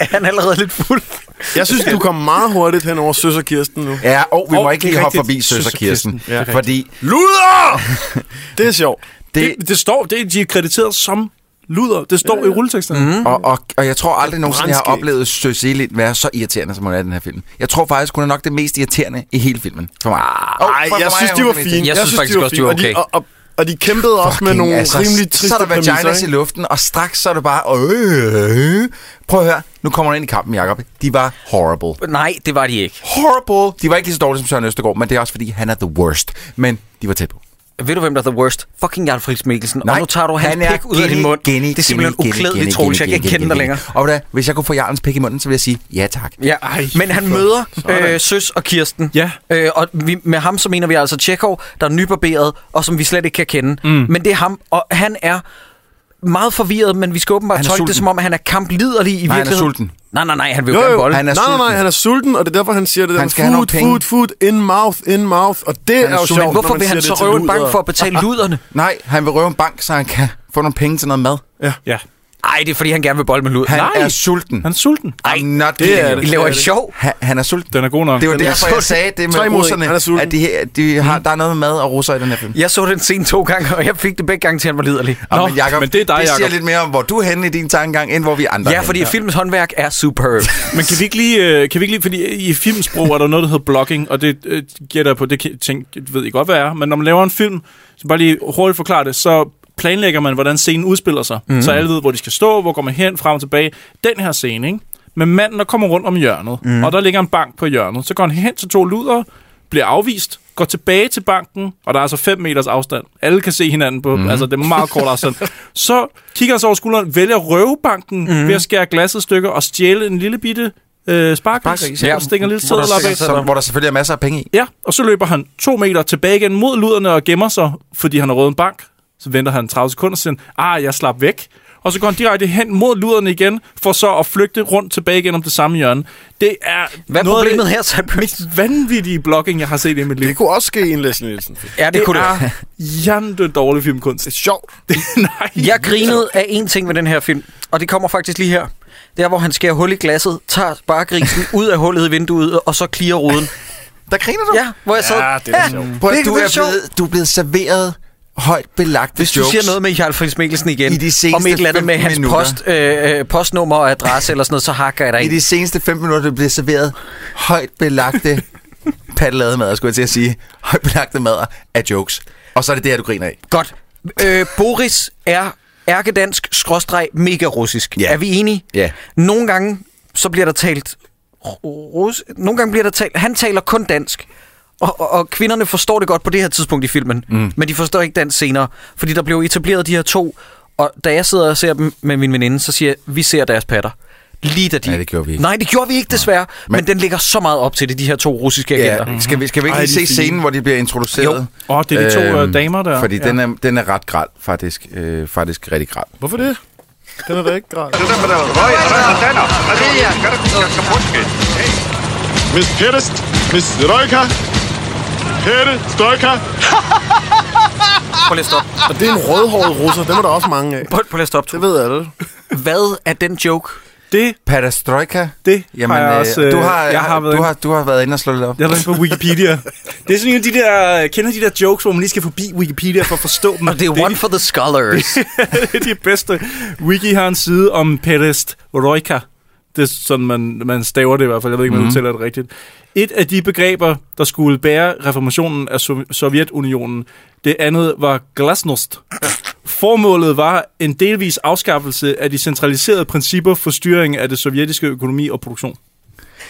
[SPEAKER 1] Han er allerede lidt fuld.
[SPEAKER 6] Jeg synes, du kom meget hurtigt hen over søster Kirsten nu.
[SPEAKER 8] Ja, og vi
[SPEAKER 7] Og
[SPEAKER 8] må ikke
[SPEAKER 7] det er
[SPEAKER 8] lige hoppe
[SPEAKER 7] rigtigt.
[SPEAKER 8] forbi Søster
[SPEAKER 7] Søster
[SPEAKER 8] Kirsten.
[SPEAKER 7] Kirsten. Ja,
[SPEAKER 8] Ja,
[SPEAKER 7] rigtigt.
[SPEAKER 8] fordi
[SPEAKER 6] Luder! Det er sjovt.
[SPEAKER 8] det...
[SPEAKER 7] Det, det står, det, de er krediteret som luder. Det står i rulleteksterne. Mm.
[SPEAKER 8] Og, og, og jeg tror aldrig nogensinde, jeg har
[SPEAKER 6] brandskægt.
[SPEAKER 8] oplevet Søs Elin være så irriterende, som hun er i den her film. Jeg tror faktisk, hun er nok det mest irriterende i hele filmen. For mig. Oh,
[SPEAKER 6] Nej, Ah, jeg synes, de var fine.
[SPEAKER 1] Jeg synes faktisk også, de var okay.
[SPEAKER 6] Og de, og, og, og de kæmpede også med nogle rimelig triste
[SPEAKER 8] Altså, Så er der vaginas
[SPEAKER 6] præmisser,
[SPEAKER 8] i
[SPEAKER 6] ikke?
[SPEAKER 8] luften, og straks så er det bare... Øh, øh. Prøv at høre, nu kommer hun ind i kampen, Jacob. De var
[SPEAKER 1] [LAUGHS]
[SPEAKER 8] horrible.
[SPEAKER 1] Nej, det var de ikke.
[SPEAKER 8] Horrible! De var ikke lige så dårlige som Søren Østergaard, men det er også fordi, han er the worst. Men de var tæt på.
[SPEAKER 1] Ved du, hvem der er the worst? Fucking Jarl Friis Mikkelsen.
[SPEAKER 8] Nej,
[SPEAKER 1] og nu tager du hans
[SPEAKER 8] er
[SPEAKER 1] pik ud af din mund.
[SPEAKER 8] Guinea,
[SPEAKER 1] det er simpelthen
[SPEAKER 8] Guinea, Guinea,
[SPEAKER 1] uklædeligt,
[SPEAKER 8] Guinea,
[SPEAKER 1] Troels. Jeg
[SPEAKER 8] Guinea,
[SPEAKER 1] kan ikke kende
[SPEAKER 8] Guinea,
[SPEAKER 1] dig længere.
[SPEAKER 8] Guinea. Og da, hvis jeg kunne få Jarlens pik i munden, så ville jeg sige, ja tak.
[SPEAKER 1] Ja,
[SPEAKER 7] Ej,
[SPEAKER 1] men han møder øh, Søs og Kirsten.
[SPEAKER 7] Ja.
[SPEAKER 1] Øh, og vi, med ham så mener vi altså Tjekov, der er nybarberet, og som vi slet ikke kan kende. Mm. Men det er ham, og han er meget forvirret, men vi skal åbenbart
[SPEAKER 8] Han er
[SPEAKER 1] tolke det
[SPEAKER 8] sulten.
[SPEAKER 1] som om, at han er kampliderlig i
[SPEAKER 8] han er
[SPEAKER 1] virkeligheden.
[SPEAKER 8] sulten.
[SPEAKER 1] Nej, nej, nej, han vil jo,
[SPEAKER 6] Jo,
[SPEAKER 1] jo gerne
[SPEAKER 6] jo,
[SPEAKER 1] bolle.
[SPEAKER 8] han er
[SPEAKER 6] nej, nej, nej,
[SPEAKER 8] sulten.
[SPEAKER 6] han er sulten, og det er derfor, han siger det der.
[SPEAKER 8] Han skal have nogle
[SPEAKER 6] food,
[SPEAKER 8] penge.
[SPEAKER 6] food, food, in mouth, in mouth. Og det
[SPEAKER 8] Han er
[SPEAKER 6] er jo
[SPEAKER 8] sulten.
[SPEAKER 6] sjovt,
[SPEAKER 8] Men
[SPEAKER 6] når
[SPEAKER 1] Hvorfor
[SPEAKER 6] man
[SPEAKER 1] vil han
[SPEAKER 6] siger
[SPEAKER 1] så
[SPEAKER 6] det til
[SPEAKER 1] røve en bank
[SPEAKER 6] ludere.
[SPEAKER 1] for at betale luderne?
[SPEAKER 8] Nej, han vil røve en bank, så han kan få nogle penge til noget mad.
[SPEAKER 7] Ja.
[SPEAKER 1] Nej, det er fordi, han gerne vil bolle med luder.
[SPEAKER 8] Han
[SPEAKER 1] nej,
[SPEAKER 8] er sulten.
[SPEAKER 7] Han er sulten.
[SPEAKER 8] I'm not
[SPEAKER 6] det er
[SPEAKER 1] I
[SPEAKER 8] kidding. you.
[SPEAKER 6] det.
[SPEAKER 1] laver
[SPEAKER 6] er
[SPEAKER 1] ikke sjov.
[SPEAKER 8] Han, han er sulten.
[SPEAKER 7] Den er god nok.
[SPEAKER 8] Det var
[SPEAKER 6] Den er
[SPEAKER 8] derfor, jeg
[SPEAKER 6] sulten.
[SPEAKER 8] sagde det
[SPEAKER 6] Tre
[SPEAKER 8] med
[SPEAKER 6] mod en. Han er
[SPEAKER 8] russerne,
[SPEAKER 6] sulten.
[SPEAKER 8] at de, her, de har,
[SPEAKER 1] Mm.
[SPEAKER 8] der er noget med mad og russer i den her film.
[SPEAKER 1] Jeg så den scene to gange, og jeg fik det begge gange til, at han var liderlig.
[SPEAKER 8] Nå,
[SPEAKER 7] Nå,
[SPEAKER 8] men, Jacob,
[SPEAKER 7] men det er dig,
[SPEAKER 8] det siger
[SPEAKER 7] Jacob.
[SPEAKER 8] lidt mere om, hvor du er henne i din tankegang, end hvor vi andre
[SPEAKER 1] Ja,
[SPEAKER 8] er
[SPEAKER 1] fordi
[SPEAKER 8] henne.
[SPEAKER 1] filmens håndværk er superb.
[SPEAKER 7] Men kan vi ikke lige, øh, kan vi ikke lige fordi i filmsprog er der noget, der hedder blogging, og det øh, gætter jeg på, det kan- tænk, ved I godt, hvad er, men når man laver en film, så bare lige hurtigt forklare det, så planlægger man, hvordan scenen udspiller sig, mm. så alle ved, hvor de skal stå, hvor går man hen, frem og tilbage. Den her scene, ikke? Med manden, der kommer rundt om hjørnet, mm. og der ligger en bank på hjørnet, så går han hen til to luder, bliver afvist, går tilbage til banken, og der er altså 5 meters afstand. Alle kan se hinanden på, mm. altså det er meget kort afstand. Så kigger han så over skulderen, vælger at røve banken mm. ved at skære glasset i stykker og stjæle en lille bitte øh,
[SPEAKER 8] Sparkris,
[SPEAKER 7] sparkris,
[SPEAKER 8] ja.
[SPEAKER 7] ja. stinger en lille
[SPEAKER 8] Hvor
[SPEAKER 7] sædel op
[SPEAKER 8] der,
[SPEAKER 7] af.
[SPEAKER 8] som, hvor der selvfølgelig er masser af penge i.
[SPEAKER 7] Ja, og så løber han to meter tilbage igen mod luderne og gemmer sig, fordi han har røget en bank. Så venter han 30 sekunder og siger, ah, jeg slap væk. Og så går han direkte hen mod luderne igen, for så at flygte rundt tilbage igen om det samme hjørne. Det er
[SPEAKER 1] Hvad er
[SPEAKER 7] noget af
[SPEAKER 1] problemet
[SPEAKER 7] det
[SPEAKER 1] her, Sam Prince?
[SPEAKER 7] mest vanvittige blocking, jeg har set i mit liv.
[SPEAKER 6] Det kunne også ske i en Leslie Nielsen. Det
[SPEAKER 1] Ja, det, det kunne det.
[SPEAKER 7] er jante dårlig filmkunst.
[SPEAKER 6] er sjovt.
[SPEAKER 7] [LAUGHS] Det, nej.
[SPEAKER 1] Jeg grinede af en ting med den her film, og det kommer faktisk lige her. Der, hvor han skærer hul i glasset, tager sparkrisen ud af hullet i vinduet, og så klirer ruden.
[SPEAKER 8] Der griner du.
[SPEAKER 1] Ja, hvor jeg sad.
[SPEAKER 6] Ja, det er sjovt.
[SPEAKER 8] Prøv,
[SPEAKER 1] Det
[SPEAKER 8] at,
[SPEAKER 1] er
[SPEAKER 8] du, er
[SPEAKER 1] sjovt.
[SPEAKER 8] blevet, du er blevet serveret højt belagte
[SPEAKER 1] Hvis du
[SPEAKER 8] jokes.
[SPEAKER 1] siger noget med Jarl Friis Mikkelsen igen,
[SPEAKER 8] I de seneste
[SPEAKER 1] om et eller andet med
[SPEAKER 8] 15
[SPEAKER 1] hans
[SPEAKER 8] minutter.
[SPEAKER 1] post, øh, øh, postnummer og adresse eller sådan noget, så hakker jeg dig
[SPEAKER 8] I
[SPEAKER 1] ind.
[SPEAKER 8] de seneste 5 minutter, du bliver serveret højt
[SPEAKER 7] [LAUGHS]
[SPEAKER 8] belagte paddelademader, skulle jeg til at sige. Højt belagte mader af jokes. Og så er det det her, du griner af.
[SPEAKER 1] Godt. Øh, Boris er ærkedansk, skråstreg, mega russisk.
[SPEAKER 8] Ja.
[SPEAKER 1] Er vi enige?
[SPEAKER 8] Ja.
[SPEAKER 1] Nogle gange, så bliver der talt... ru- Rus... Nogle gange bliver der talt... Han taler kun dansk. Og, og, og kvinderne forstår det godt på det her tidspunkt i filmen. Mm. Men de forstår ikke dansk senere. Fordi der blev etableret de her to. Og da jeg sidder og ser dem med min veninde, så siger jeg, vi ser deres patter. Lige da de...
[SPEAKER 8] Nej, det gjorde vi ikke.
[SPEAKER 1] Nej, det gjorde vi ikke desværre. Men, men den ligger så meget op til det, de her to russiske agenter.
[SPEAKER 8] Ja, skal vi, skal vi ikke
[SPEAKER 6] Ej,
[SPEAKER 8] lige
[SPEAKER 6] de er
[SPEAKER 8] se
[SPEAKER 6] fine.
[SPEAKER 8] scenen, hvor de bliver introduceret? Øhm,
[SPEAKER 7] Jo. Åh, det er de to, øh, damer der.
[SPEAKER 8] Fordi
[SPEAKER 7] Ja.
[SPEAKER 8] den, er, den er ret græld, faktisk. Øh, faktisk rigtig græld.
[SPEAKER 6] Hvorfor det? Den er da ikke grad.
[SPEAKER 9] Miss Perest, Miss Royka, Perestroika.
[SPEAKER 1] Prøv lige at stoppe.
[SPEAKER 6] Og det er en rødhåret russer. Dem er der også mange af.
[SPEAKER 1] Prøv, prøv lige at stoppe.
[SPEAKER 6] Det ved alle.
[SPEAKER 1] Hvad er den joke?
[SPEAKER 7] Det,
[SPEAKER 8] Perestroika.
[SPEAKER 7] det Jamen, har jeg også...
[SPEAKER 8] øh,
[SPEAKER 7] øh,
[SPEAKER 8] du, har,
[SPEAKER 7] jeg har været
[SPEAKER 8] du,
[SPEAKER 7] inde-
[SPEAKER 8] har, du har været inde og slå lidt op.
[SPEAKER 7] Jeg er derinde på Wikipedia. det er sådan en af de der... Kender de der jokes, hvor man lige skal forbi Wikipedia for at forstå dem?
[SPEAKER 1] Og det er one for the scholars.
[SPEAKER 7] [LAUGHS] det er de bedste. Wiki har en side om Perest Roika. Det er sådan, man, man staver det i hvert fald. Jeg ved ikke, om man udtaler det rigtigt. Et af de begreber, der skulle bære reformationen af Sov- Sovjetunionen, det andet var glasnost. Formålet var en delvis afskaffelse af de centraliserede principper for styring af det sovjetiske økonomi og produktion.
[SPEAKER 1] [LAUGHS]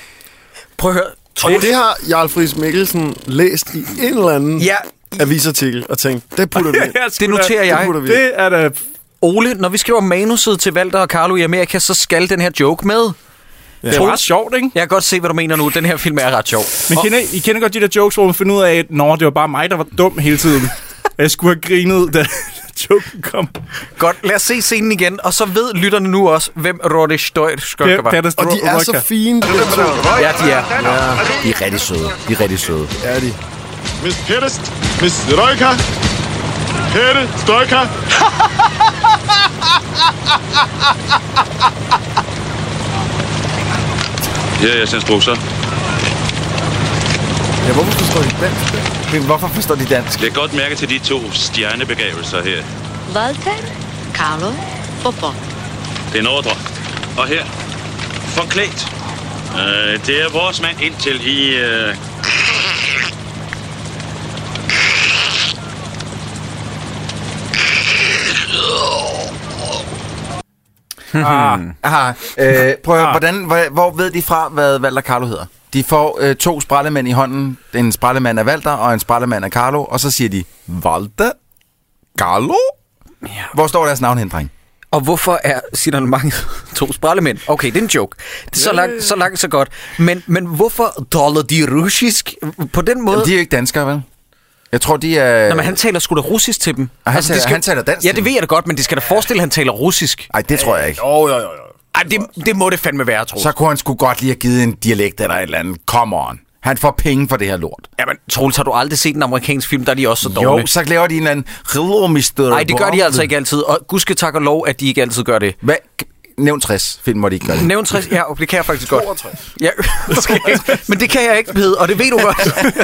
[SPEAKER 1] Prøv at høre.
[SPEAKER 6] Og det har Jarl Friis Mikkelsen læst i en eller anden
[SPEAKER 1] Ja,
[SPEAKER 6] avisartikel og tænkt, det putter vi [LAUGHS] ind.
[SPEAKER 1] det noterer
[SPEAKER 6] Det
[SPEAKER 1] jeg.
[SPEAKER 6] putter vi ind.
[SPEAKER 7] Det er da...
[SPEAKER 1] Ole, når vi skriver manuset til Valter og Carlo i Amerika, så skal den her joke med.
[SPEAKER 7] Det er ret sjovt, ikke?
[SPEAKER 1] Jeg kan godt se, hvad du mener nu. Den her film er ret sjov.
[SPEAKER 7] Men kender, I kender godt de der jokes, hvor man finder ud af, at Nå, det var bare mig, der var dum hele tiden. Og jeg skulle have grinet, da joken kom.
[SPEAKER 1] Godt, lad os se scenen igen. Og så ved lytterne nu også, hvem Roddy Støjtskog
[SPEAKER 7] Det,
[SPEAKER 1] var.
[SPEAKER 7] det, det,
[SPEAKER 6] Og de er så fine. de der to.
[SPEAKER 1] Ja, de er.
[SPEAKER 8] De er rigtig søde. De er rigtig søde.
[SPEAKER 6] Er de.
[SPEAKER 9] Miss Perest, Miss Royka, Perestroika. Ja, jeg synes bukser.
[SPEAKER 6] Ja, hvorfor forstår de dansk?
[SPEAKER 8] Men hvorfor forstår de dansk?
[SPEAKER 9] Læg godt mærke til de to stjernebegavelser her.
[SPEAKER 5] Walter, Carlo, Bobon.
[SPEAKER 9] Det er en ordre. Og her. Forklædt. Øh, det er vores mand indtil I... Øh...
[SPEAKER 1] Ah.
[SPEAKER 8] Hmm. Aha. Øh, prøv at høre, hvordan, hvor, hvor ved de fra, hvad Valter Carlo hedder? De får øh, to sprællemænd i hånden. En sprællemand af Valter og en sprællemand af Carlo. Og så siger de, Valter? Carlo? Ja. Hvor står deres navn hen, dreng?
[SPEAKER 1] Og hvorfor er, siger der mange [LAUGHS] to sprællemænd? Okay, det er en joke. Det er så langt, så, langt, så godt. Men, men hvorfor dollar de russisk? På den måde...
[SPEAKER 8] Jamen, de er jo ikke danskere, vel? Jeg tror, de er...
[SPEAKER 1] Nå, men han taler sgu da russisk til dem.
[SPEAKER 8] Ah,
[SPEAKER 1] Altså,
[SPEAKER 8] han
[SPEAKER 1] det
[SPEAKER 8] taler- han taler dansk
[SPEAKER 1] Ja,
[SPEAKER 8] til dem.
[SPEAKER 1] det ved jeg da godt, men det skal da forestille, at han taler russisk.
[SPEAKER 8] Ej, det
[SPEAKER 1] Øh,
[SPEAKER 8] tror jeg ikke.
[SPEAKER 6] Jo, jo, jo, jo.
[SPEAKER 1] Ej, det, det må det fandme være, tror jeg.
[SPEAKER 8] Så kunne han sgu godt lige have givet en dialekt eller et eller andet. Come on. Han får penge for det her lort.
[SPEAKER 1] Jamen, Troels, har du aldrig set en amerikansk film, der er de også så dårlige?
[SPEAKER 8] Jo, så laver de en eller anden... Rillermister.
[SPEAKER 1] Nej, det gør de altså ikke altid, og gudske tak og lov, at de ikke altid gør det.
[SPEAKER 8] Hvad? Nævn 60 film, hvor de ikke gør det.
[SPEAKER 1] Nævn 60, ja, det kan jeg faktisk godt. Ja, [LAUGHS] det skal jeg ikke. men det kan jeg ikke, Pede, og det ved du godt.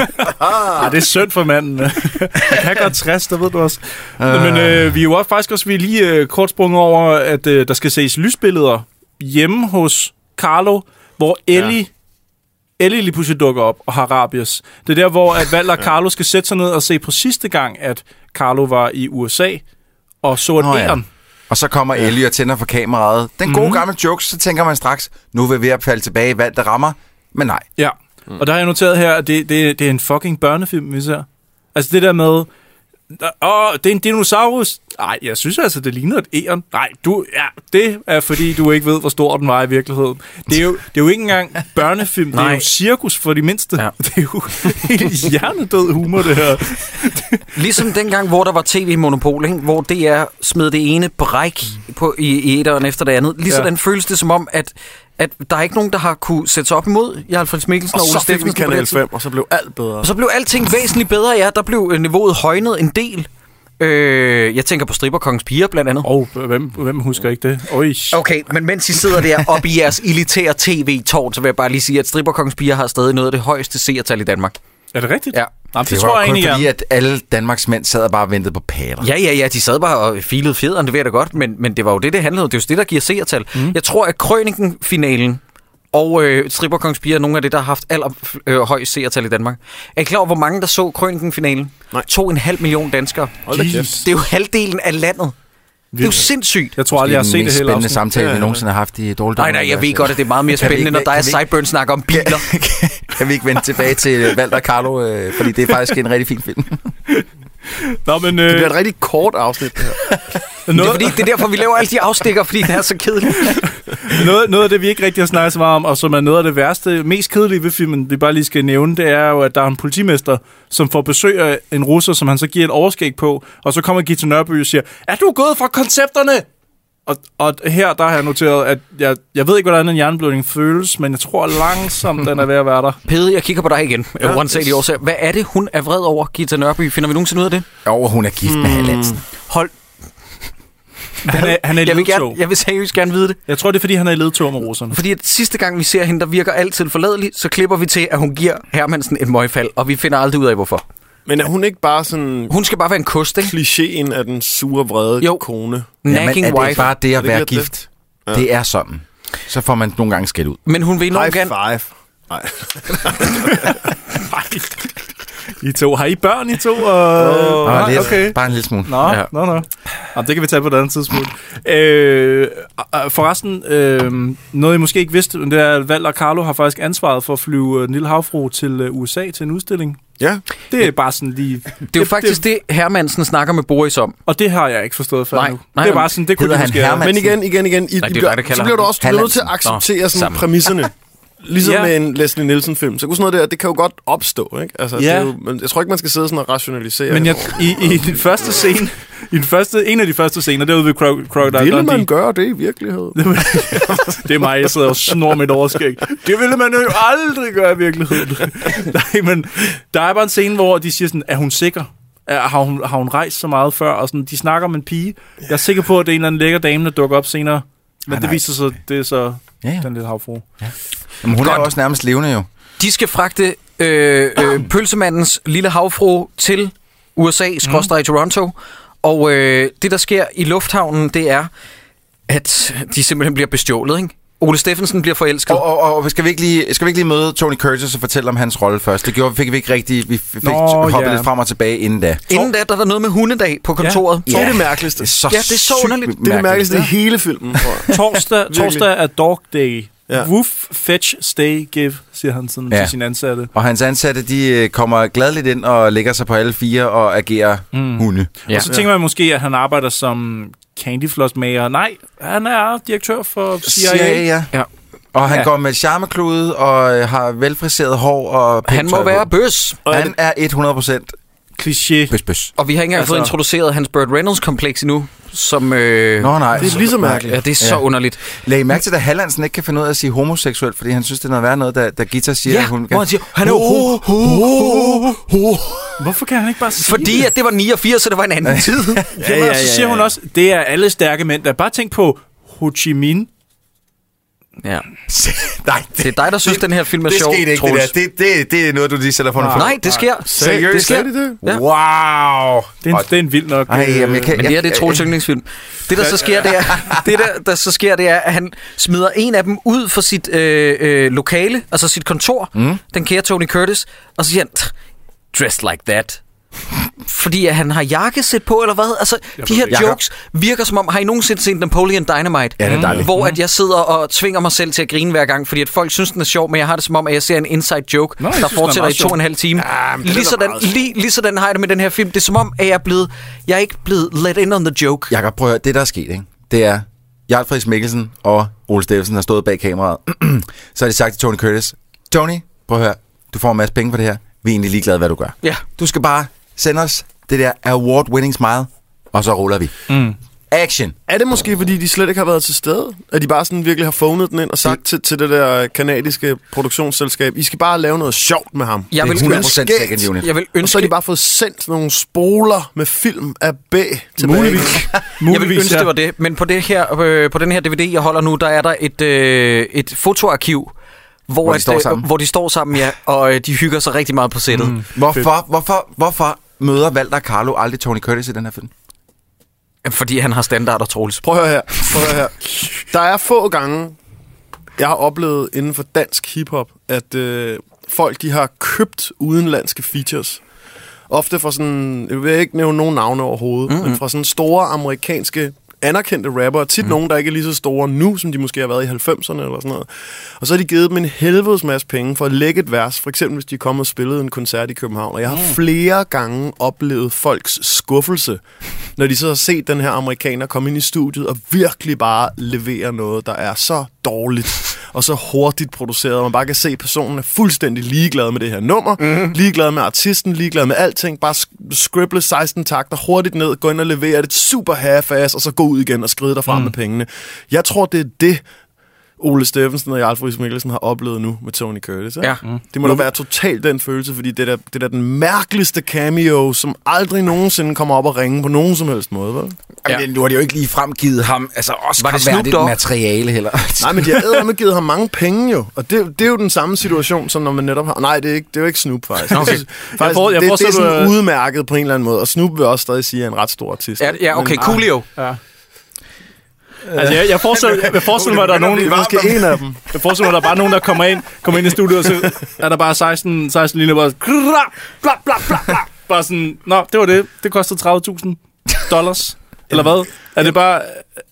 [SPEAKER 6] [LAUGHS]
[SPEAKER 7] Ah, det er synd for manden. [LAUGHS] Han kan godt 60, det ved du også. Men øh, vi er jo også, faktisk også vi er lige øh, kort sprunget over, at øh, der skal ses lysbilleder hjemme hos Carlo, hvor Ellie... Ja. Ellie lige pludselig dukker op og har rabies. Det er der, hvor at Valder og Carlo skal sætte sig ned og se på sidste gang, at Carlo var i USA og så et E
[SPEAKER 8] Nå ja.
[SPEAKER 7] æren.
[SPEAKER 8] Og så kommer Ellie og tænder for kameraet. Den
[SPEAKER 1] Mhm.
[SPEAKER 8] gode gamle joke, så tænker man straks, nu er vi ved at falde tilbage i vand, der rammer. Men nej.
[SPEAKER 7] Ja, mm. og der har jeg noteret her, at det, det, det er en fucking børnefilm, vi ser. Altså det der med, Åh, det er en dinosaurus. Nej, jeg synes altså, det ligner et æren. Nej, du, ja, det er fordi, du ikke ved, hvor stor den var i virkeligheden. Det er jo, det er jo ikke engang børnefilm, Nej. det er
[SPEAKER 1] Nej.
[SPEAKER 7] jo cirkus for de mindste.
[SPEAKER 1] Ja.
[SPEAKER 7] Ja. Det er jo helt hjernedød humor, det her.
[SPEAKER 1] Ligesom dengang, hvor der var tv-monopol, ikke? hvor DR smed det ene bræk på, i, i etteren efter det andet. Lige
[SPEAKER 7] Ja.
[SPEAKER 1] sådan føles det som om, at, at der er ikke nogen, der har kunne sætte sig op imod Jarl Frits Mikkelsen og,
[SPEAKER 6] Og
[SPEAKER 1] og Ole
[SPEAKER 6] så fik vi
[SPEAKER 1] Steffensen. på
[SPEAKER 6] Kanal
[SPEAKER 1] den tid.
[SPEAKER 6] 5, og så blev alt bedre.
[SPEAKER 1] Og så blev alting væsentligt bedre, ja. Der blev øh, niveauet højnet en del. Øh, jeg tænker på Stripperkongens piger blandt andet.
[SPEAKER 7] Og oh, hvem, hvem husker ikke det? Oj.
[SPEAKER 1] Okay, men mens I sidder der oppe i jeres elitære tv-tårn, så vil jeg bare lige sige, at Stripperkongens piger har stadig noget af det højeste seertal i Danmark.
[SPEAKER 7] Er det rigtigt?
[SPEAKER 1] Ja.
[SPEAKER 7] Jamen, det,
[SPEAKER 8] Det,
[SPEAKER 7] det
[SPEAKER 8] var
[SPEAKER 7] tror jeg
[SPEAKER 8] kun
[SPEAKER 7] egentlig, jeg...
[SPEAKER 8] fordi, at alle Danmarks mænd sad og bare ventede på pater.
[SPEAKER 1] Ja, ja, ja, de sad bare og filede fjederen, det ved jeg da godt, men, men det var jo det, det handlede om. Det er jo det, der giver seertal. Mm. Jeg tror, at Krøniken-finalen og øh, Stripperkongens piger er nogle af det, der har haft aller øh, højst seertal i Danmark. Er I klar over, hvor mange der så Krøniken-finalen?
[SPEAKER 6] Nej.
[SPEAKER 1] 2,5 million danskere.
[SPEAKER 6] Hold da kæft.
[SPEAKER 1] Det er jo halvdelen af landet. Det er jo sindssygt.
[SPEAKER 7] Jeg tror aldrig, jeg har set det
[SPEAKER 8] Det er den
[SPEAKER 7] heller.
[SPEAKER 8] mest spændende samtale, vi nogensinde har haft i dårligt.
[SPEAKER 1] Nej, nej, jeg ved godt, at det er meget mere
[SPEAKER 8] Kan vi
[SPEAKER 1] spændende,
[SPEAKER 8] ikke-
[SPEAKER 1] når der
[SPEAKER 8] kan
[SPEAKER 1] er
[SPEAKER 8] vi ikke-
[SPEAKER 1] sideburn snakker om biler. [LAUGHS]
[SPEAKER 8] kan vi ikke vende tilbage til Valder Carlo, øh, fordi det er faktisk en rigtig fin
[SPEAKER 1] [LAUGHS]
[SPEAKER 8] film.
[SPEAKER 7] Nå, men...
[SPEAKER 6] Det
[SPEAKER 7] Øh,
[SPEAKER 6] bliver et rigtig kort afsnit, det her.
[SPEAKER 1] Det er,
[SPEAKER 7] noget,
[SPEAKER 1] fordi, det er derfor, vi laver alle de afstikker, fordi den er så kedelig.
[SPEAKER 7] noget, noget af det, vi ikke rigtig har snakket så meget om, og som er noget af det værste, mest kedelige ved filmen, vi bare lige skal nævne, det er jo, at der er en politimester, som får besøg af en russer, som han så giver et overskæg på, og så kommer Gita Nørby og siger, er du gået fra koncepterne? Og, og her, der har jeg noteret, at jeg, jeg ved ikke, hvordan en hjerneblødning føles, men jeg tror langsomt, den er ved at være der.
[SPEAKER 1] Pede, jeg kigger på dig igen. Ja, Uanset årsager. Hvad er det, hun er vred over, Gita Nørby? Finder vi nogensinde ud af det?
[SPEAKER 8] Jo, hun er gift med
[SPEAKER 1] Hmm.
[SPEAKER 8] Hallandsen.
[SPEAKER 1] Hold.
[SPEAKER 7] [LAUGHS] Han er, han er i
[SPEAKER 1] Jeg vil,
[SPEAKER 7] ledtog.
[SPEAKER 1] gerne, jeg vil seriøst gerne vide det.
[SPEAKER 7] Jeg tror, det er, fordi han er i ledtog med [LAUGHS] russerne.
[SPEAKER 1] Fordi at sidste gang, vi ser hende, der virker altid forladelig, så klipper vi til, at hun giver Hermansen et møgfald, og vi finder aldrig ud af, hvorfor.
[SPEAKER 6] Men er hun ikke bare sådan
[SPEAKER 1] Hun skal bare være en kost, ikke?
[SPEAKER 6] klichéen af den sure, vrede
[SPEAKER 1] Jo.
[SPEAKER 6] kone?
[SPEAKER 1] Nagging
[SPEAKER 8] er det
[SPEAKER 1] wife.
[SPEAKER 8] ikke bare det at
[SPEAKER 6] det
[SPEAKER 8] være
[SPEAKER 6] lidt det?
[SPEAKER 8] gift? Det? det er sådan. Så får man nogle gange skæld ud.
[SPEAKER 1] Men hun vil enormt
[SPEAKER 6] High
[SPEAKER 1] gerne...
[SPEAKER 6] five. Nej.
[SPEAKER 7] I to. Har I børn, I to? Og...
[SPEAKER 8] Bare,
[SPEAKER 7] Nej,
[SPEAKER 8] lidt, bare en lille smule.
[SPEAKER 7] Nå, ja. nå, nå. Jamen, det kan vi tage på et andet tidspunkt. Øh, øh, forresten, øh, noget I måske ikke vidste, men det er, at Valder Carlo har faktisk ansvaret for at flyve øh, Nille Havfru til øh, USA til en udstilling.
[SPEAKER 6] Ja.
[SPEAKER 7] Det er bare sådan lige...
[SPEAKER 1] Det er jo faktisk det, Hermansen snakker med Boris om.
[SPEAKER 7] Og det har jeg ikke forstået før
[SPEAKER 1] Nej,
[SPEAKER 7] nu.
[SPEAKER 1] nej,
[SPEAKER 7] det er
[SPEAKER 1] men
[SPEAKER 7] bare sådan, det kunne
[SPEAKER 8] hedder
[SPEAKER 7] de
[SPEAKER 8] han
[SPEAKER 7] måske...
[SPEAKER 8] Hermann?
[SPEAKER 6] Men igen, igen, igen.
[SPEAKER 1] Nej,
[SPEAKER 6] I, I
[SPEAKER 1] det er
[SPEAKER 6] bliver,
[SPEAKER 1] dig, der kalder
[SPEAKER 6] så bliver du
[SPEAKER 1] ham.
[SPEAKER 6] også du bliver nødt til at
[SPEAKER 1] Hallandsen. Nå,
[SPEAKER 6] acceptere sådan
[SPEAKER 1] sammen. [LAUGHS]
[SPEAKER 6] præmisserne. Ligesom
[SPEAKER 7] Ja.
[SPEAKER 6] ja. med en Leslie Nielsen-film. Så kunne sådan noget der, det kan jo godt opstå, ikke? Altså,
[SPEAKER 7] Ja.
[SPEAKER 6] det er jo, men jeg tror ikke, man skal sidde sådan og rationalisere.
[SPEAKER 7] Men jeg, i, i den første scene, i den første, en af de første scener, derude ved Cro- Crocodile
[SPEAKER 6] Ville
[SPEAKER 7] Dundee,
[SPEAKER 6] man gøre det i virkeligheden?
[SPEAKER 7] det er mig, jeg sidder og snor mit overskæg. Det ville man jo aldrig gøre i
[SPEAKER 8] [LAUGHS]
[SPEAKER 7] virkeligheden. Nej, men der er bare en scene, hvor de siger sådan, er hun sikker? Er, har, hun, har hun rejst så meget før? Og sådan, de snakker om en pige. Jeg er sikker på, at det er en eller anden lækker dame, der dukker op senere. Men det
[SPEAKER 8] Ah, nej.
[SPEAKER 7] viser sig, det er så
[SPEAKER 8] Ja, ja.
[SPEAKER 7] den lille havfru.
[SPEAKER 8] Jamen, hun er
[SPEAKER 1] Godt.
[SPEAKER 8] jo også nærmest levende jo.
[SPEAKER 1] De skal fragte øh, øh, pølsemandens lille havfru til USA, skråstrej mm. Toronto. Og øh, det, der sker i lufthavnen, det er, at de simpelthen bliver bestjålet, ikke? Ole Steffensen bliver forelsket.
[SPEAKER 8] Og, og, og skal, vi ikke lige, skal vi ikke lige møde Tony Curtis og fortælle om hans rolle først? Det gjorde, fik vi ikke rigtig. Vi fik
[SPEAKER 7] Nå,
[SPEAKER 8] Nå, hoppet
[SPEAKER 7] ja.
[SPEAKER 8] lidt frem og tilbage inden da.
[SPEAKER 1] Inden da, der er der noget med hundedag på kontoret.
[SPEAKER 6] Det er det mærkeligste.
[SPEAKER 8] Det er så,
[SPEAKER 1] Ja, det er så
[SPEAKER 8] sygt
[SPEAKER 1] underligt. Det er
[SPEAKER 6] Det er det mærkeligste i
[SPEAKER 8] mærkeligt.
[SPEAKER 6] hele filmen, tror jeg.
[SPEAKER 7] Torsdag,
[SPEAKER 8] [LAUGHS]
[SPEAKER 7] torsdag er dog day. Ja.
[SPEAKER 6] Ja.
[SPEAKER 7] Woof, fetch, stay, give, siger han sådan ja.
[SPEAKER 8] Ja.
[SPEAKER 7] til sin ansatte.
[SPEAKER 8] Og hans ansatte, de øh, kommer gladeligt ind og lægger sig på alle fire og agerer mm. hunde.
[SPEAKER 1] Ja.
[SPEAKER 7] Ja. Og så tænker man måske, at han arbejder som candyflossmager. Nej, han er direktør for CIA.
[SPEAKER 8] CIA, ja.
[SPEAKER 1] Ja.
[SPEAKER 8] Og han
[SPEAKER 7] Ja.
[SPEAKER 8] ja. går med charmeklude og øh, har velfriseret hår og
[SPEAKER 1] Han må
[SPEAKER 8] pigtøj på.
[SPEAKER 1] være bøs.
[SPEAKER 8] Han er 100%
[SPEAKER 7] Kliché.
[SPEAKER 8] bøs bøs.
[SPEAKER 1] Og vi har ikke engang
[SPEAKER 7] Altså-
[SPEAKER 1] fået introduceret hans Burt Reynolds-kompleks endnu, som... Øh,
[SPEAKER 8] Nå nej.
[SPEAKER 6] Det er lige så
[SPEAKER 1] ja,
[SPEAKER 6] mærkeligt.
[SPEAKER 1] det er så
[SPEAKER 8] Ja.
[SPEAKER 1] underligt.
[SPEAKER 8] Læg I mærke til, at Hallandsen ikke kan finde ud af at sige homoseksuel, fordi han synes, det er noget værre noget, da, da Gita siger,
[SPEAKER 1] Ja,
[SPEAKER 8] at hun
[SPEAKER 1] hvor han siger, han er jo ho, ho, ho, ho.
[SPEAKER 7] Hvorfor kan han ikke bare sige
[SPEAKER 1] Fordi
[SPEAKER 7] det?
[SPEAKER 1] at det var 89, så det var en anden tid.
[SPEAKER 7] ja, ja, ja, ja. Så siger hun også, det er alle stærke mænd, der bare tænk på Ho Chi Minh.
[SPEAKER 1] Ja.
[SPEAKER 8] Nej,
[SPEAKER 1] Det er dig, der synes, den her film er
[SPEAKER 8] det
[SPEAKER 1] sjov,
[SPEAKER 8] skete ikke,
[SPEAKER 1] Troels.
[SPEAKER 8] det der. Det, det, det er noget, du lige sætter for
[SPEAKER 1] Nej, det sker.
[SPEAKER 8] Seriøst?
[SPEAKER 1] Det sker.
[SPEAKER 6] Sagde de det?
[SPEAKER 1] Ja.
[SPEAKER 8] Wow.
[SPEAKER 7] Det er en, det er en vild nok... øh,
[SPEAKER 8] Ej, jamen, jeg kan,
[SPEAKER 1] Men det her, det er Troels
[SPEAKER 8] jeg,
[SPEAKER 1] yndlingsfilm. Det, der så sker, det er, [LAUGHS] det der, der så sker, det er, at han smider en af dem ud fra sit øh, øh, lokale, altså sit kontor, mm. den kære Tony Curtis, og så siger han, "Tch, dressed like that. fordi at han har jakkesæt på, eller hvad? Altså, de her
[SPEAKER 8] ikke.
[SPEAKER 1] jokes virker som om, har I nogensinde set Napoleon Dynamite? Mm.
[SPEAKER 8] Ja, det er dejligt.
[SPEAKER 1] Hvor at jeg sidder og tvinger mig selv til at grine hver gang, fordi at folk synes, den er sjov, men jeg har det som om, at jeg ser en inside joke,
[SPEAKER 7] Nå,
[SPEAKER 1] Nå,
[SPEAKER 7] jeg
[SPEAKER 1] der
[SPEAKER 7] synes, den er
[SPEAKER 1] fortsætter i
[SPEAKER 7] meget
[SPEAKER 1] to og en halv time.
[SPEAKER 6] Ja, men den er
[SPEAKER 1] lige,
[SPEAKER 6] da
[SPEAKER 1] sådan,
[SPEAKER 6] meget sjov.
[SPEAKER 1] lige, lige sådan har jeg det med den her film. Det er som om, at jeg er, blevet, jeg er ikke blevet let in on the joke.
[SPEAKER 8] Jakob, prøv at høre, det der er sket, ikke? det er, Jarl Friis Mikkelsen og Ole Steffensen har stået bag kameraet. [CLEARS THROAT] så har de sagt til Tony Curtis, Tony, prøv at høre, du får en masse penge for det her. Vi er egentlig ligeglade, hvad du gør.
[SPEAKER 1] Ja.
[SPEAKER 8] Du skal bare sende os det der award-winning smile, og så ruller vi. Mm. Action!
[SPEAKER 6] Er det måske, fordi de slet ikke har været til stede? At de bare sådan virkelig har phonet den ind og sagt til, til det der kanadiske produktionsselskab, I skal bare lave noget sjovt med ham.
[SPEAKER 1] Jeg
[SPEAKER 8] Det er
[SPEAKER 1] vil
[SPEAKER 8] 100%
[SPEAKER 1] ønske-
[SPEAKER 8] second unit.
[SPEAKER 1] Jeg vil
[SPEAKER 6] Og så har
[SPEAKER 1] ønske,
[SPEAKER 6] de bare fået sendt nogle spoler med film af B tilbage.
[SPEAKER 7] Muligvis.
[SPEAKER 1] Jeg ville
[SPEAKER 7] Muligvis,
[SPEAKER 1] ønske,
[SPEAKER 7] ja.
[SPEAKER 1] det var det, men på, det her, øh, på den her DVD, jeg holder nu, der er der et, øh, et fotoarkiv, hvor,
[SPEAKER 8] Hvor de
[SPEAKER 1] at,
[SPEAKER 8] står
[SPEAKER 1] øh,
[SPEAKER 8] sammen.
[SPEAKER 1] hvor de står sammen, ja, og øh, de hygger sig rigtig meget på sættet. Mm.
[SPEAKER 8] Hvorfor, hvorfor, hvorfor møder Walter Carlo aldrig Tony Curtis i den her film?
[SPEAKER 1] Fordi han har standarder, Troels.
[SPEAKER 6] Prøv at høre her. Prøv at høre her. Der er få gange, jeg har oplevet inden for dansk hiphop, at øh, folk de har købt udenlandske features. Ofte fra sådan, jeg vil ikke nævne nogen navne overhovedet, mm-hmm. men fra sådan store amerikanske anerkendte rappere, tit mm. nogen, der ikke er lige så store nu, som de måske har været i 90'erne eller sådan noget. Og så har de givet dem en helvedes masse penge for at lægge et vers, for eksempel hvis de kom og spillede en koncert i København. Og jeg har mm. flere gange oplevet folks skuffelse, når de så har set den her amerikaner komme ind i studiet og virkelig bare levere noget, der er så dårligt og så hurtigt produceret, og man bare kan se, at personen er fuldstændig ligeglad med det her nummer, mm. ligeglad med artisten, ligeglad med alting, bare sk- scribble 16 takter hurtigt ned, gå ind og levere det super half-ass, og så gå ud igen og skride derfra mm. med pengene. Jeg tror, det er det, Ole Steffensen og Jarl Friis Mikkelsen har oplevet nu med Tony Curtis. Ikke?
[SPEAKER 1] Ja.
[SPEAKER 6] Mm. Det må da være totalt den følelse, fordi det er da- det er da den mærkeligste cameo, som aldrig nogensinde kommer op og ringe på nogen som helst måde. Vel?
[SPEAKER 1] Ja.
[SPEAKER 8] Jamen, nu har de jo ikke lige fremgivet ham, altså også
[SPEAKER 1] Var det Snoop Dogg?
[SPEAKER 8] materiale heller.
[SPEAKER 6] Nej, men de har ædermed givet ham mange penge jo. Og det, det er jo den samme situation, som når man netop har... Nej, det er, ikke, det er jo ikke Snoop, faktisk.
[SPEAKER 1] Okay.
[SPEAKER 6] Jeg synes, faktisk jeg
[SPEAKER 7] for-
[SPEAKER 6] Altså, det,
[SPEAKER 7] jeg
[SPEAKER 6] det er
[SPEAKER 7] forestiller
[SPEAKER 6] sådan
[SPEAKER 7] mig-
[SPEAKER 6] udmærket på en eller anden måde. Og Snoop vil også stadig sige, at han er en ret stor artist.
[SPEAKER 1] Ja, ja okay,
[SPEAKER 6] Men-
[SPEAKER 1] Coolio.
[SPEAKER 7] Altså, jeg, jeg, forestiller, jeg forestiller mig, at der er nogen...
[SPEAKER 6] Det er måske en af dem.
[SPEAKER 7] Jeg forestiller mig, at der er bare nogen, der kommer ind, kommer ind i studiet, og så er der bare 16, 16 linjer, bare, bla, bla, bla, bla, bla. bare sådan, nå, det var det. Det kostede 30.000 dollars. Eller hvad? Er det bare...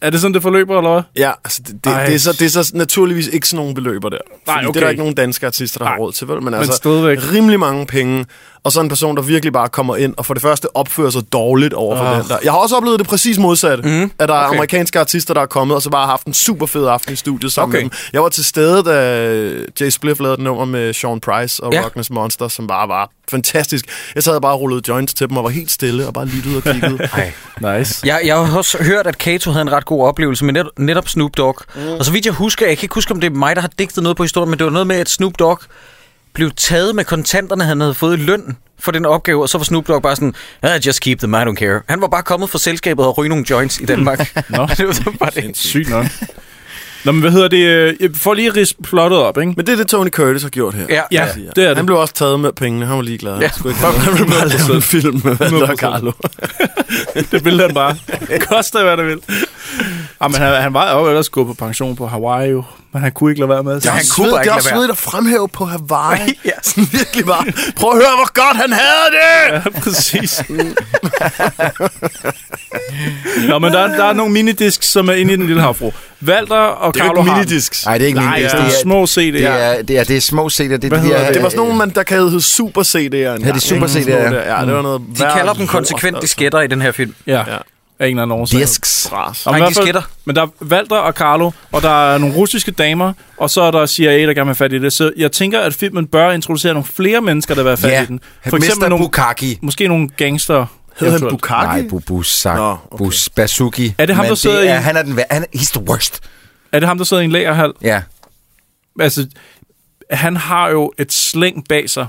[SPEAKER 7] Er det sådan, det forløber, eller hvad?
[SPEAKER 6] Ja, altså det, det,
[SPEAKER 7] Ej.
[SPEAKER 6] det, er så, det er så naturligvis ikke sådan nogle beløber der.
[SPEAKER 7] Nej,
[SPEAKER 6] Fordi Det
[SPEAKER 7] okay.
[SPEAKER 6] er der ikke nogen danske artister, der har
[SPEAKER 7] Nej.
[SPEAKER 6] råd til, vel? Men, altså,
[SPEAKER 7] stadigvæk.
[SPEAKER 6] rimelig mange penge. Og så en person, der virkelig bare kommer ind og for det første opfører sig dårligt over for
[SPEAKER 7] Ah.
[SPEAKER 6] den der. Jeg har også oplevet det præcis modsatte.
[SPEAKER 7] Mhm.
[SPEAKER 6] Mm. At der er
[SPEAKER 1] Okay.
[SPEAKER 6] amerikanske artister, der er kommet og så bare har haft en super fed aften i studiet sammen
[SPEAKER 1] Okay.
[SPEAKER 6] okay. med dem. Jeg var til stede, da Jay Spliff lavede et nummer med Sean Price og
[SPEAKER 1] Ja.
[SPEAKER 6] ja. Rockness Monster, som bare var fantastisk. Jeg sad og bare og rullede joints til dem og var helt stille og bare lyttede og
[SPEAKER 7] [LAUGHS]
[SPEAKER 6] kiggede.
[SPEAKER 7] Nice.
[SPEAKER 1] Jeg, jeg har også hørt, at Kato havde en ret god oplevelse med net, netop Snoop Dogg. Mm. Og så vidt jeg husker, jeg kan ikke huske, om det er mig, der har digtet noget på historien, men det var noget med, at Snoop Dogg blev taget med kontanterne, han havde fået i løn for den opgave, og så var Snoop Dogg bare sådan, ah, just keep them, I don't care. Han var bare kommet fra selskabet og ryge nogle joints i Danmark.
[SPEAKER 7] Nå.
[SPEAKER 1] [LAUGHS] det var så bare det.
[SPEAKER 7] Sygt nok. Nå, men hvad hedder det? øh, For lige at ridse plottet op, ikke?
[SPEAKER 6] Men det er det, Tony Curtis har gjort her.
[SPEAKER 1] Ja.
[SPEAKER 6] Ja.
[SPEAKER 7] Ja, det er
[SPEAKER 6] Han
[SPEAKER 7] det.
[SPEAKER 6] blev også taget med pengene. Han var ligeglad.
[SPEAKER 1] Ja.
[SPEAKER 6] Ja. Han, ikke [LAUGHS] han ville bare lave en film med Walter
[SPEAKER 7] 100%.
[SPEAKER 6] Carlo.
[SPEAKER 7] Det vil han bare. Koster, hvad det vil. Jamen, han, han var jo ellers gået på pension på Hawaii, jo. men han kunne ikke lade være med.
[SPEAKER 6] Jeg
[SPEAKER 1] han
[SPEAKER 6] han
[SPEAKER 1] kunne
[SPEAKER 6] kunne
[SPEAKER 1] bare ikke
[SPEAKER 6] ikke
[SPEAKER 1] lade være.
[SPEAKER 6] også svedigt at fremhæve på Hawaii.
[SPEAKER 1] Ja.
[SPEAKER 6] [LAUGHS] Sådan virkelig bare. Prøv at høre, hvor godt han havde det!
[SPEAKER 7] Ja, præcis. Nå, men der, er- der er nogle minidisks, som er inde i den lille havfru. Walter og
[SPEAKER 6] Det er jo
[SPEAKER 7] Carlo
[SPEAKER 6] ikke
[SPEAKER 7] har...
[SPEAKER 6] minidisks.
[SPEAKER 8] Nej, det er ikke
[SPEAKER 7] Nej,
[SPEAKER 8] min
[SPEAKER 7] det
[SPEAKER 8] liste.
[SPEAKER 7] er små CD'er.
[SPEAKER 8] det er, det er, det er små CD'er. Det, er
[SPEAKER 7] Hvad
[SPEAKER 8] de her, øh,
[SPEAKER 7] hedder
[SPEAKER 6] Det var sådan nogle, man, der havde hed Super CD'er. engang,
[SPEAKER 8] de Super
[SPEAKER 6] ikke? Sådan
[SPEAKER 8] CD'er,
[SPEAKER 6] noget der. Ja, det var noget Altså,
[SPEAKER 1] De kalder dem konsekvent disketter i den her film.
[SPEAKER 7] Ja,
[SPEAKER 6] Ja.
[SPEAKER 7] af en eller anden årsag.
[SPEAKER 8] disks.
[SPEAKER 6] Ras.
[SPEAKER 7] Og i
[SPEAKER 1] Nej,
[SPEAKER 7] hvert fald-
[SPEAKER 1] disketter.
[SPEAKER 7] Men der er Walter og Carlo, og der er nogle russiske damer, og så er der CIA, der gerne vil have fat i det. Så jeg tænker, at filmen bør introducere nogle flere mennesker, der vil have fat
[SPEAKER 8] Ja,
[SPEAKER 7] i den.
[SPEAKER 8] for eksempel nogle... Bukaki.
[SPEAKER 7] måske nogle gangster.
[SPEAKER 6] Hed han
[SPEAKER 7] eventuelt.
[SPEAKER 6] Bukaki?
[SPEAKER 8] Nej, bu, Busak.
[SPEAKER 6] Nå,
[SPEAKER 8] okay.
[SPEAKER 6] okay.
[SPEAKER 8] Bus, Basuki.
[SPEAKER 7] Er det ham,
[SPEAKER 8] Men
[SPEAKER 7] der sidder
[SPEAKER 8] det er,
[SPEAKER 7] i-
[SPEAKER 8] Han er den vær- han er, he's the worst.
[SPEAKER 7] Er det ham, der sidder i en lagerhal?
[SPEAKER 8] Ja.
[SPEAKER 7] Altså, han har jo et slæng bag sig.